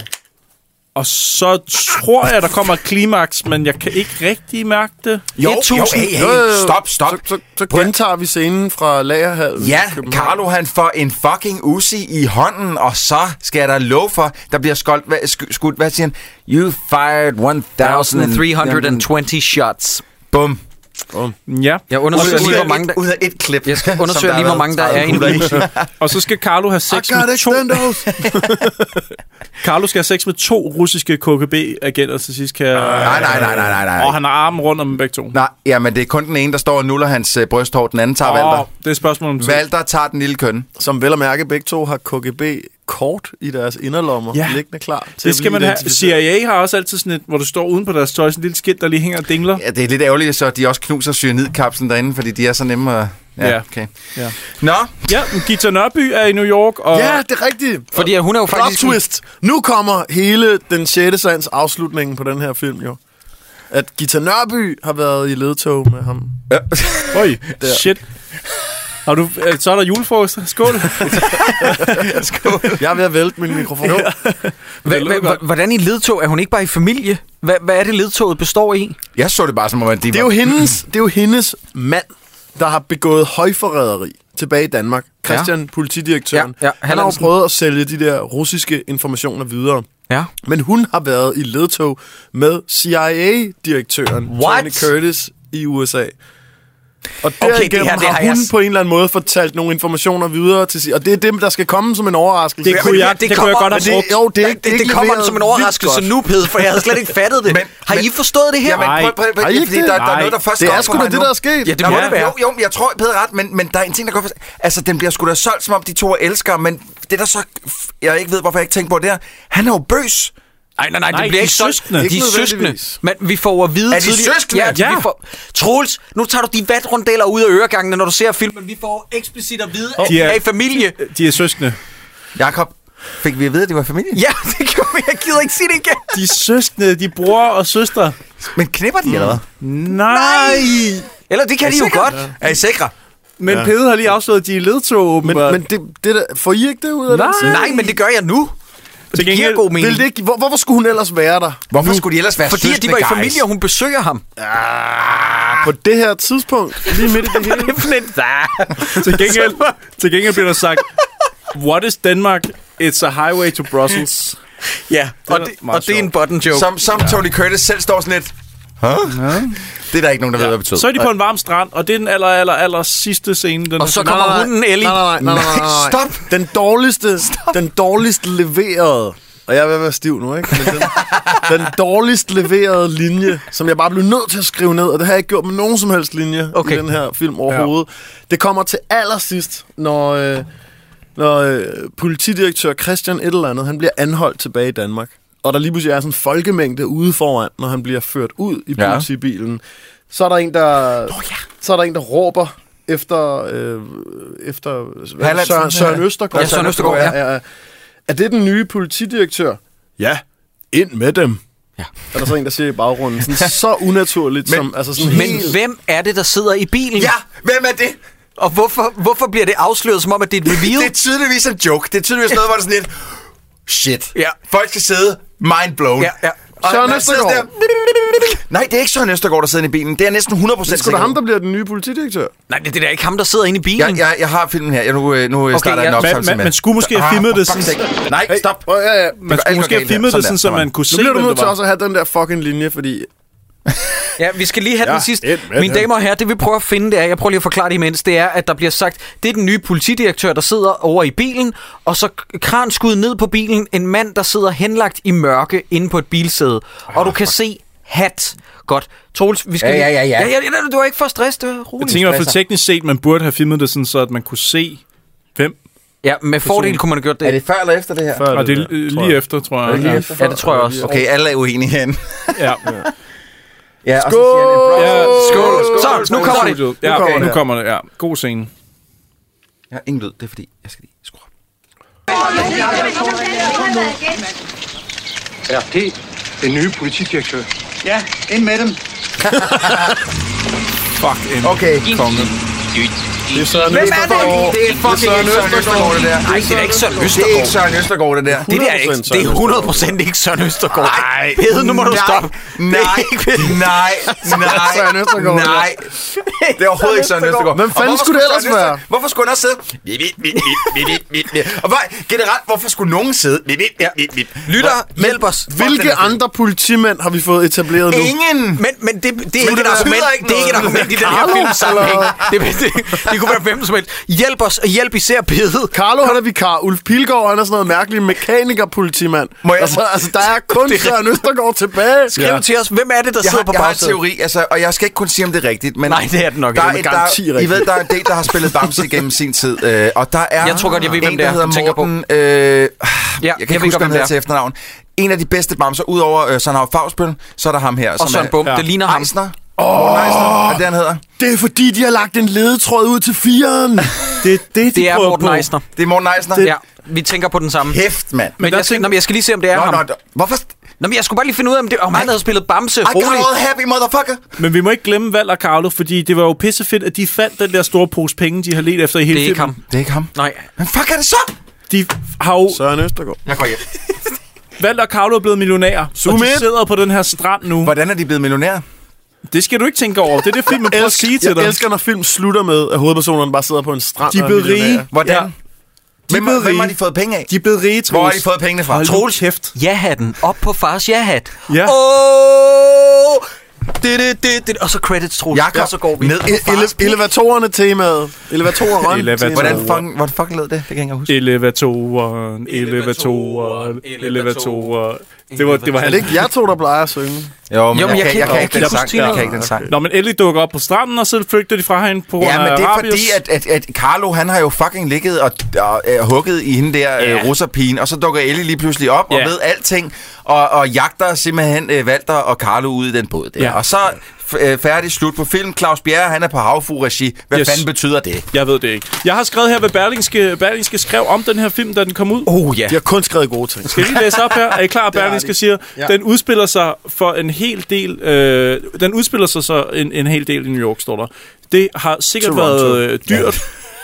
[SPEAKER 7] Og så tror jeg, der kommer et klimaks, men jeg kan ikke rigtig mærke det.
[SPEAKER 8] Jo, jo,
[SPEAKER 1] 1000.
[SPEAKER 8] hey,
[SPEAKER 6] Jo, jo,
[SPEAKER 8] hey,
[SPEAKER 6] jo.
[SPEAKER 8] stop, stop.
[SPEAKER 6] Så, så, så gentager vi scenen fra lagerhallen.
[SPEAKER 8] Ja,
[SPEAKER 6] i København.
[SPEAKER 8] Carlo han får en fucking Uzi i hånden, og så skal jeg da love for, der bliver skoldt, hvad, sk- skudt, hvad siger han? You fired
[SPEAKER 1] 1320 shots.
[SPEAKER 8] Bum.
[SPEAKER 7] Ja.
[SPEAKER 1] Jeg
[SPEAKER 8] Ud
[SPEAKER 1] undersøger
[SPEAKER 8] af,
[SPEAKER 1] lige, hvor
[SPEAKER 8] et-
[SPEAKER 1] mange der...
[SPEAKER 8] ud af et klip.
[SPEAKER 1] Jeg skal
[SPEAKER 8] som
[SPEAKER 1] undersøge
[SPEAKER 8] har
[SPEAKER 1] lige, hvor mange
[SPEAKER 8] været
[SPEAKER 1] der
[SPEAKER 8] 30
[SPEAKER 1] er i en
[SPEAKER 8] kugler
[SPEAKER 1] Uzi.
[SPEAKER 7] Og så skal Carlo have
[SPEAKER 6] I
[SPEAKER 7] sex
[SPEAKER 6] got
[SPEAKER 7] med to...
[SPEAKER 6] extendos.
[SPEAKER 7] [LAUGHS] Carlo skal have sex med to russiske KGB-agenter til sidst. Kan,
[SPEAKER 8] [LAUGHS] Nej, nej, nej, nej, nej, nej.
[SPEAKER 7] Og han har armen rundt om dem begge to.
[SPEAKER 8] Nej, ja, men det er kun den ene, der står og nuller hans øh, brysthår. Den anden tager oh.
[SPEAKER 7] Åh,
[SPEAKER 8] Valter.
[SPEAKER 7] det er et spørgsmål om tid.
[SPEAKER 8] Valter tager den lille køn.
[SPEAKER 6] Som vel at mærke, begge to har KGB-kort i deres inderlommer, ja.
[SPEAKER 7] Ja.
[SPEAKER 6] liggende klar til
[SPEAKER 7] Det skal man have.
[SPEAKER 6] siger
[SPEAKER 7] CIA har også altid sådan et, hvor du står uden på deres tøj, sådan et lille skilt, der lige hænger og dingler.
[SPEAKER 8] Ja, det er lidt ærgerligt, så de også knuser cyanidkapslen derinde, fordi de er så nemme at... Ja,
[SPEAKER 7] Ja.
[SPEAKER 8] okay.
[SPEAKER 7] Ja.
[SPEAKER 8] Nå,
[SPEAKER 7] Ja, Gita Nørby er i New York, og
[SPEAKER 6] Ja, det er rigtigt.
[SPEAKER 1] Fordi at hun er jo
[SPEAKER 6] Plot
[SPEAKER 1] faktisk...
[SPEAKER 6] twist. Nu kommer hele den sjette sands afslutningen på den her film, jo. at Gita Nørby har været i ledtog med ham.
[SPEAKER 8] Ja.
[SPEAKER 7] Oj, shit. Har du, øh, så er der julefrokost. Skål.
[SPEAKER 6] Skål. Jeg er ved at vælte min
[SPEAKER 1] [LAUGHS]
[SPEAKER 6] mikrofon. Ja.
[SPEAKER 1] Hva, hva, hvordan i ledtog? Er hun ikke bare i familie? Hva, hvad er det, ledtoget består i?
[SPEAKER 8] Jeg så det bare som om, at de
[SPEAKER 6] Det er jo hendes, det er jo hendes mand, der har begået højforræderi tilbage i Danmark. Christian, ja. politidirektøren.
[SPEAKER 1] Ja, ja,
[SPEAKER 6] han har jo
[SPEAKER 1] Hallandsen.
[SPEAKER 6] prøvet at sælge de der russiske informationer videre.
[SPEAKER 1] Ja.
[SPEAKER 6] Men hun har været i ledtog med CIA-direktøren,
[SPEAKER 1] What?
[SPEAKER 6] Tony Curtis, i USA. Og
[SPEAKER 1] det her,
[SPEAKER 6] derigennem okay, det her,
[SPEAKER 1] det
[SPEAKER 6] det har
[SPEAKER 1] har
[SPEAKER 6] hun
[SPEAKER 1] jeg
[SPEAKER 6] jeg...
[SPEAKER 1] s-
[SPEAKER 6] på en eller anden måde fortalt nogle informationer videre til sig. Og det er dem, der skal komme som en overraskelse.
[SPEAKER 7] Det kunne
[SPEAKER 6] Men-
[SPEAKER 7] jeg- det kunne jeg godt have
[SPEAKER 6] men det-
[SPEAKER 7] brugt.
[SPEAKER 6] Jo, det, er ikke,
[SPEAKER 1] Det, det, det kommer
[SPEAKER 6] leveret
[SPEAKER 1] som en
[SPEAKER 6] vildt
[SPEAKER 1] overraskelse
[SPEAKER 6] godt.
[SPEAKER 1] nu, Ped, for jeg havde slet ikke fattet det.
[SPEAKER 8] Men-
[SPEAKER 1] men, har
[SPEAKER 8] men-
[SPEAKER 1] I forstået det her?
[SPEAKER 8] Jamen,
[SPEAKER 7] Nej.
[SPEAKER 8] prøv, prøv, prøv,
[SPEAKER 6] Har I
[SPEAKER 8] prøv,
[SPEAKER 6] ikke
[SPEAKER 8] fordi
[SPEAKER 6] det?
[SPEAKER 8] der, der er
[SPEAKER 7] Nej.
[SPEAKER 8] noget, der først
[SPEAKER 6] Det
[SPEAKER 8] går
[SPEAKER 6] er
[SPEAKER 8] op
[SPEAKER 6] sgu
[SPEAKER 8] for
[SPEAKER 6] da
[SPEAKER 8] mig
[SPEAKER 6] det,
[SPEAKER 8] nu.
[SPEAKER 6] der er sket.
[SPEAKER 1] Ja, det må
[SPEAKER 7] Ja.
[SPEAKER 1] det være.
[SPEAKER 8] Jo, jo, men jeg tror, Peder er ret, men, men der er en ting, der går for... Altså, den bliver sgu da solgt, som om de to er elskere, men det der så... Jeg ikke ved, hvorfor jeg ikke tænkte på det her. Han er jo bøs.
[SPEAKER 1] Ej, nej, nej,
[SPEAKER 7] Nej,
[SPEAKER 1] det bliver
[SPEAKER 7] de er
[SPEAKER 1] ikke solgt.
[SPEAKER 7] søskende.
[SPEAKER 1] De
[SPEAKER 6] Ikke
[SPEAKER 1] er søskende.
[SPEAKER 6] nødvendigvis.
[SPEAKER 1] Men vi får at vide
[SPEAKER 8] Er de søskende?
[SPEAKER 1] Ja,
[SPEAKER 7] Ja.
[SPEAKER 1] Vi får... Troels, nu tager du de vatrundeller ud af øregangene, når du ser filmen. Vi får eksplicit at vide, at
[SPEAKER 7] De
[SPEAKER 1] de
[SPEAKER 7] er-
[SPEAKER 1] er i familie.
[SPEAKER 7] De er søskende.
[SPEAKER 8] Jakob, fik vi at vide, at det var familie?
[SPEAKER 1] Ja, det gjorde vi. Jeg gider ikke sige det igen.
[SPEAKER 7] De er søskende. De er bror og søstre.
[SPEAKER 8] Men knipper de eller hvad?
[SPEAKER 7] Nej.
[SPEAKER 1] Eller det kan de jo
[SPEAKER 8] sikker?
[SPEAKER 1] godt.
[SPEAKER 8] Er I sikre?
[SPEAKER 7] Men ja. Peder har lige afsløret, at de er i ledtog,
[SPEAKER 6] Men,
[SPEAKER 7] åbenbart.
[SPEAKER 6] men det, det der, får I ikke det ud af
[SPEAKER 7] Nej.
[SPEAKER 6] det?
[SPEAKER 1] Nej, men det gør jeg nu. Det giver
[SPEAKER 7] gengæld-
[SPEAKER 1] god mening.
[SPEAKER 6] Vil det ikke, hvor, hvorfor skulle hun ellers være der?
[SPEAKER 8] Hvorfor skulle de ellers være
[SPEAKER 1] Fordi at de
[SPEAKER 8] søskende,
[SPEAKER 1] var i
[SPEAKER 8] guys?
[SPEAKER 1] familie, og hun besøger ham.
[SPEAKER 6] På det her tidspunkt, lige midt i det hele.
[SPEAKER 1] [LAUGHS]
[SPEAKER 7] Til gengæld, til gengæld bliver der sagt, What is Denmark? It's a highway to Brussels.
[SPEAKER 1] Ja, og det,
[SPEAKER 7] meget
[SPEAKER 1] og det er en
[SPEAKER 7] sjovt.
[SPEAKER 1] button joke.
[SPEAKER 8] Som, som Tony Curtis selv står sådan lidt... Huh? Det er der ikke nogen, der ved, hvad det betyder.
[SPEAKER 7] Så er de på en varm strand, og det er den aller, aller, aller sidste scene. Den
[SPEAKER 1] Og så kommer hunden Ellie.
[SPEAKER 6] Nej, nej, nej, nej, nej, nej.
[SPEAKER 1] Stop.
[SPEAKER 6] Den dårligste, Stop. den dårligst leverede, og jeg er ved at være stiv nu, ikke? Men den,
[SPEAKER 1] [LAUGHS]
[SPEAKER 6] den dårligst leverede linje, som jeg bare blev nødt til at skrive ned, og det har jeg ikke gjort med nogen som helst linje okay.
[SPEAKER 1] Okay.
[SPEAKER 6] i den her film overhovedet. Ja. Det kommer til allersidst, når, øh, når øh, politidirektør Christian et eller andet, han bliver anholdt tilbage i Danmark. Og der lige pludselig er sådan en folkemængde ude foran, når han bliver ført ud i
[SPEAKER 8] Ja.
[SPEAKER 6] politibilen. Så er der en, der, oh, ja. så er der en, der råber efter, øh, efter hvad,
[SPEAKER 8] Hallandsen.
[SPEAKER 6] Søren, Søren
[SPEAKER 8] Ja.
[SPEAKER 6] Østergaard.
[SPEAKER 1] Ja, Søren Østergaard, ja.
[SPEAKER 6] ja. Er det den nye politidirektør? Ja, ind med dem.
[SPEAKER 1] Ja.
[SPEAKER 6] Er der så en, der siger i baggrunden. Sådan, så unaturligt som... Altså sådan
[SPEAKER 1] Men
[SPEAKER 6] helt...
[SPEAKER 1] hvem er det, der sidder i bilen?
[SPEAKER 8] Ja, hvem er det?
[SPEAKER 1] Og hvorfor, hvorfor bliver det afsløret, som om at det er
[SPEAKER 8] [LAUGHS]
[SPEAKER 1] et reveal?
[SPEAKER 8] Det er tydeligvis en joke. Det er tydeligvis noget, hvor det er sådan lidt... Shit.
[SPEAKER 1] Ja.
[SPEAKER 8] Folk skal sidde mind blown.
[SPEAKER 1] Ja, ja.
[SPEAKER 8] Og
[SPEAKER 6] Søren
[SPEAKER 8] man sidder
[SPEAKER 6] Østergaard.
[SPEAKER 8] der- Nej, det er ikke Søren Østergaard, der sidder inde i bilen. Det er næsten 100
[SPEAKER 6] Det er
[SPEAKER 8] procent
[SPEAKER 6] sgu da ham, der bliver den nye politidirektør.
[SPEAKER 1] Nej, det, det er da ikke ham, der sidder inde i bilen.
[SPEAKER 8] Jeg, jeg, jeg har filmen her. Jeg, nu øh, nu okay, starter jeg
[SPEAKER 1] ja.
[SPEAKER 8] den
[SPEAKER 7] Man-
[SPEAKER 8] optagelse
[SPEAKER 7] man-
[SPEAKER 8] med.
[SPEAKER 7] man skulle måske have
[SPEAKER 8] Ah,
[SPEAKER 7] filmet det
[SPEAKER 8] fuck
[SPEAKER 7] sådan-
[SPEAKER 8] sake. Nej, stop.
[SPEAKER 6] Åh, ja, ja.
[SPEAKER 7] Man skulle
[SPEAKER 8] alt
[SPEAKER 7] måske
[SPEAKER 8] går
[SPEAKER 7] have
[SPEAKER 8] galt her.
[SPEAKER 7] filmet det,
[SPEAKER 8] Sådan
[SPEAKER 7] sådan,
[SPEAKER 8] der.
[SPEAKER 7] så
[SPEAKER 8] Sådan
[SPEAKER 7] man
[SPEAKER 8] der.
[SPEAKER 7] kunne se,
[SPEAKER 6] Nu bliver du
[SPEAKER 7] hvem
[SPEAKER 6] nødt
[SPEAKER 7] det
[SPEAKER 6] til
[SPEAKER 7] var.
[SPEAKER 6] også at have den der fucking linje, fordi...
[SPEAKER 1] Ja, vi skal lige have ja,
[SPEAKER 6] Ja,
[SPEAKER 1] den sidste.
[SPEAKER 6] ind med
[SPEAKER 1] Mine
[SPEAKER 6] den.
[SPEAKER 1] damer og herrer, det vi prøver at finde, det er, jeg prøver lige at forklare det imens, det er, at der bliver sagt, det er den nye politidirektør, der sidder over i bilen, og så kranskud ned på bilen, en mand, der sidder henlagt i mørke inde på et bilsæde. Og du kan se hat. Godt. Troels, vi skal
[SPEAKER 8] Ja,
[SPEAKER 1] lige-
[SPEAKER 8] ja, ja, ja.
[SPEAKER 1] Ah, ja, ja du er ikke for stress, det er
[SPEAKER 7] Jeg
[SPEAKER 1] roligt.
[SPEAKER 7] tænker i hvert fald teknisk set, man burde have filmet det sådan, så at man kunne se, hvem.
[SPEAKER 1] Ja, med fordel kunne man have gjort det.
[SPEAKER 8] Er det før eller efter det her?
[SPEAKER 6] Før
[SPEAKER 7] Og det er øh, lige efter, tror jeg. Ja.
[SPEAKER 1] Ja, det tror jeg også.
[SPEAKER 8] Okay, alle er uenige herinde.
[SPEAKER 7] Ja.
[SPEAKER 8] Ja, og så siger han, bro,
[SPEAKER 7] Ja.
[SPEAKER 1] Skål, skål, skål. Nu kommer det.
[SPEAKER 7] Ja,
[SPEAKER 8] Nu kommer
[SPEAKER 7] okay, nu
[SPEAKER 8] det.
[SPEAKER 7] kommer det. Ja. God scene.
[SPEAKER 8] jeg har ingen lyd. Det er fordi, jeg skal lige skrue op.
[SPEAKER 13] Er det den nye politidirektør?
[SPEAKER 11] Ja, ind med dem.
[SPEAKER 7] Fuck, en
[SPEAKER 8] Okay.
[SPEAKER 7] konge.
[SPEAKER 6] Det er Søren
[SPEAKER 8] Hvem er det?
[SPEAKER 6] Østergaard.
[SPEAKER 8] Det er fucking ikke Søren Østergaard, det der.
[SPEAKER 1] Nej, det er ikke Søren
[SPEAKER 8] Det er
[SPEAKER 1] Østergaard.
[SPEAKER 8] ikke Søren Østergaard, det der.
[SPEAKER 1] Det der er ikke,
[SPEAKER 6] 100%
[SPEAKER 1] det er 100% ikke Søren Østergaard. Nej. Pede, nu må du
[SPEAKER 8] Nej,
[SPEAKER 1] stoppe. Det er
[SPEAKER 8] Nej,
[SPEAKER 1] ikke-
[SPEAKER 8] nej, nej,
[SPEAKER 6] Søren Østergaard.
[SPEAKER 8] nej. Det er overhovedet ikke Søren Østergaard.
[SPEAKER 6] Hvem
[SPEAKER 8] Og
[SPEAKER 6] fanden
[SPEAKER 8] hvorfor
[SPEAKER 6] skulle det
[SPEAKER 8] Søren
[SPEAKER 6] ellers være?
[SPEAKER 8] Østergaard- Hvorfor skulle han også sidde? Bip, bip, bip, bip, bip, bip, bip. Og hvor, generelt, hvorfor skulle nogen sidde? Bip, bip, bip, bip, bip.
[SPEAKER 1] Lytter,
[SPEAKER 8] Hvor-
[SPEAKER 1] hjælp os.
[SPEAKER 6] Hvilke andre politimænd har vi fået etableret nu?
[SPEAKER 8] Ingen.
[SPEAKER 1] Men, men det, det, er
[SPEAKER 8] det
[SPEAKER 1] ikke et
[SPEAKER 8] betyder
[SPEAKER 1] argument,
[SPEAKER 8] ikke
[SPEAKER 1] det er ikke et
[SPEAKER 8] noget.
[SPEAKER 1] argument i den her
[SPEAKER 6] Carlo,
[SPEAKER 1] film sammenhæng. Det, det, det, kunne være hvem som helst. Hjælp os, og hjælp især Pede.
[SPEAKER 6] Carlo, han er vikar. Ulf Pilgaard, han er sådan noget mærkelig mekanikerpolitimand.
[SPEAKER 8] Må jeg-
[SPEAKER 6] Altså, altså, der er kun Søren Østergaard tilbage.
[SPEAKER 1] Skriv ja. til os, hvem er det, der
[SPEAKER 8] Jeg
[SPEAKER 1] sidder
[SPEAKER 8] har,
[SPEAKER 1] på
[SPEAKER 8] jeg har en
[SPEAKER 1] bagsædet?
[SPEAKER 8] teori, altså, og jeg skal ikke kun sige, om det er rigtigt. Men
[SPEAKER 1] Nej, det er det nok
[SPEAKER 8] Der
[SPEAKER 1] ikke.
[SPEAKER 8] er
[SPEAKER 1] Det er
[SPEAKER 8] et,
[SPEAKER 6] med garanti
[SPEAKER 8] der, I
[SPEAKER 6] rigtigt.
[SPEAKER 8] ved, der er en del, der har spillet Bamse gennem sin tid. Øh, og der er
[SPEAKER 1] Jeg tror godt, jeg ved,
[SPEAKER 8] en,
[SPEAKER 1] hvem det er,
[SPEAKER 8] der
[SPEAKER 1] du
[SPEAKER 8] hedder
[SPEAKER 1] tænker på.
[SPEAKER 8] Morten... Øh, jeg
[SPEAKER 1] jeg
[SPEAKER 8] kan ikke
[SPEAKER 1] ved godt,
[SPEAKER 8] huske, hvem
[SPEAKER 1] hvem
[SPEAKER 8] han
[SPEAKER 1] det
[SPEAKER 8] er
[SPEAKER 1] er.
[SPEAKER 8] til efternavn. En af de bedste Bamser, udover øh, Søren Havn Fagsbøl, så er der ham her.
[SPEAKER 1] Og Søren Bum, det ligner ham.
[SPEAKER 8] Eisner. Morten Eisner, er det, han hedder?
[SPEAKER 6] Det er fordi, de har lagt en ledetråd ud til firen.
[SPEAKER 7] Det er det, de
[SPEAKER 1] Det er
[SPEAKER 7] prøver
[SPEAKER 1] Morten
[SPEAKER 7] på.
[SPEAKER 1] Eisner.
[SPEAKER 8] Det er Morten Eisner.
[SPEAKER 1] Ja, vi tænker på den samme.
[SPEAKER 8] Hæft, mand.
[SPEAKER 1] Men jeg, skal, nå, men jeg skal lige se, om det er
[SPEAKER 8] Nå,
[SPEAKER 1] ham.
[SPEAKER 8] nå, nå, hvorfor?
[SPEAKER 1] Nå, men jeg skulle bare lige finde ud af, om, det, om han havde spillet Bamse. I
[SPEAKER 8] happy motherfucker.
[SPEAKER 7] Men vi må ikke glemme Val og Carlo, fordi det var jo pissefedt, at de fandt den der store pose penge, de har let efter i hele
[SPEAKER 8] Det er ikke
[SPEAKER 7] filmen.
[SPEAKER 8] ham. Det er ikke ham.
[SPEAKER 1] Nej.
[SPEAKER 8] Men fuck er det så?
[SPEAKER 7] De har jo...
[SPEAKER 6] Søren Østergaard.
[SPEAKER 8] Jeg går hjem.
[SPEAKER 7] Val og Carlo er blevet millionærer, Zoom og de sidder på den her strand nu.
[SPEAKER 8] Hvordan er de blevet millionærer?
[SPEAKER 7] Det skal du ikke tænke over. Det er det filmen prøver at
[SPEAKER 6] Elsk-
[SPEAKER 7] sige til
[SPEAKER 6] jeg
[SPEAKER 7] dig.
[SPEAKER 6] elsker, når film slutter med, at hovedpersonerne bare sidder på en strand.
[SPEAKER 7] De er
[SPEAKER 6] og
[SPEAKER 7] blevet
[SPEAKER 6] millionærer.
[SPEAKER 7] rige.
[SPEAKER 8] Hvordan?
[SPEAKER 7] Ja.
[SPEAKER 8] Hvem,
[SPEAKER 7] blevet
[SPEAKER 8] hvem har
[SPEAKER 7] rige.
[SPEAKER 8] de fået penge af?
[SPEAKER 7] De er blevet rige, Troels.
[SPEAKER 8] Hvor har de fået pengene fra?
[SPEAKER 7] Hold nu
[SPEAKER 8] Troels.
[SPEAKER 7] kæft.
[SPEAKER 1] Ja-hatten. Op på fars ja-hat.
[SPEAKER 7] Ja.
[SPEAKER 1] Åh! Det, det, det, det. Og så credits, Troels.
[SPEAKER 8] Jakob,
[SPEAKER 1] Og så går vi
[SPEAKER 8] ned.
[SPEAKER 1] på
[SPEAKER 6] E-
[SPEAKER 1] fars
[SPEAKER 6] ele- elevatorerne temaet. Elevatorerne.
[SPEAKER 7] Elevatoren.
[SPEAKER 8] Hvordan fuck, hvor fuck lød det? Det kan jeg ikke engang huske.
[SPEAKER 7] Elevatoren, elevatoren, elevatoren. Det var, det var
[SPEAKER 6] Er
[SPEAKER 7] han.
[SPEAKER 6] det ikke jeg to, der plejer at synge?
[SPEAKER 8] Jo, men
[SPEAKER 1] Jo, men jeg
[SPEAKER 8] jeg,
[SPEAKER 1] kan
[SPEAKER 8] kan, jeg,
[SPEAKER 1] ikke-
[SPEAKER 8] kan ikke den
[SPEAKER 1] jeg kan
[SPEAKER 8] sang.
[SPEAKER 1] ikke
[SPEAKER 8] Jeg kan
[SPEAKER 1] huske
[SPEAKER 8] ikke den sang.
[SPEAKER 7] Nå, men Ellie dukker op på stranden, og så flygter de fra hende på grund
[SPEAKER 8] Ja, men
[SPEAKER 7] af
[SPEAKER 8] det er
[SPEAKER 7] rabies.
[SPEAKER 8] fordi, at, at, at Carlo, han har jo fucking ligget og, og, og hugget i hende der
[SPEAKER 7] Ja.
[SPEAKER 8] ja. øh, russerpigen, og så dukker Ellie lige pludselig op og
[SPEAKER 7] Ja.
[SPEAKER 8] ved alting, og, og jagter simpelthen øh, Walter og Carlo ud i den båd der.
[SPEAKER 7] Ja.
[SPEAKER 8] Ja. Og så f- øh, færdig slut på film. Claus Bjerre, han er på havfru-regi. Hvad
[SPEAKER 7] Yes.
[SPEAKER 8] yes. fanden betyder det?
[SPEAKER 7] Jeg ved det ikke. Jeg har skrevet her, hvad Berlingske, Berlingske skrev om den her film, da den kom ud.
[SPEAKER 1] Oh, ja.
[SPEAKER 6] De har kun skrevet gode ting.
[SPEAKER 7] Skal jeg lige læse op her? Er I
[SPEAKER 8] [LAUGHS]
[SPEAKER 7] klar, Berlingske siger? Ja.
[SPEAKER 6] Ja.
[SPEAKER 7] Den udspiller sig for en hel del... Øh, den udspiller sig så en, en hel del i New York, står der. Det har sikkert
[SPEAKER 6] Toronto.
[SPEAKER 7] været øh, dyrt. Ja. Det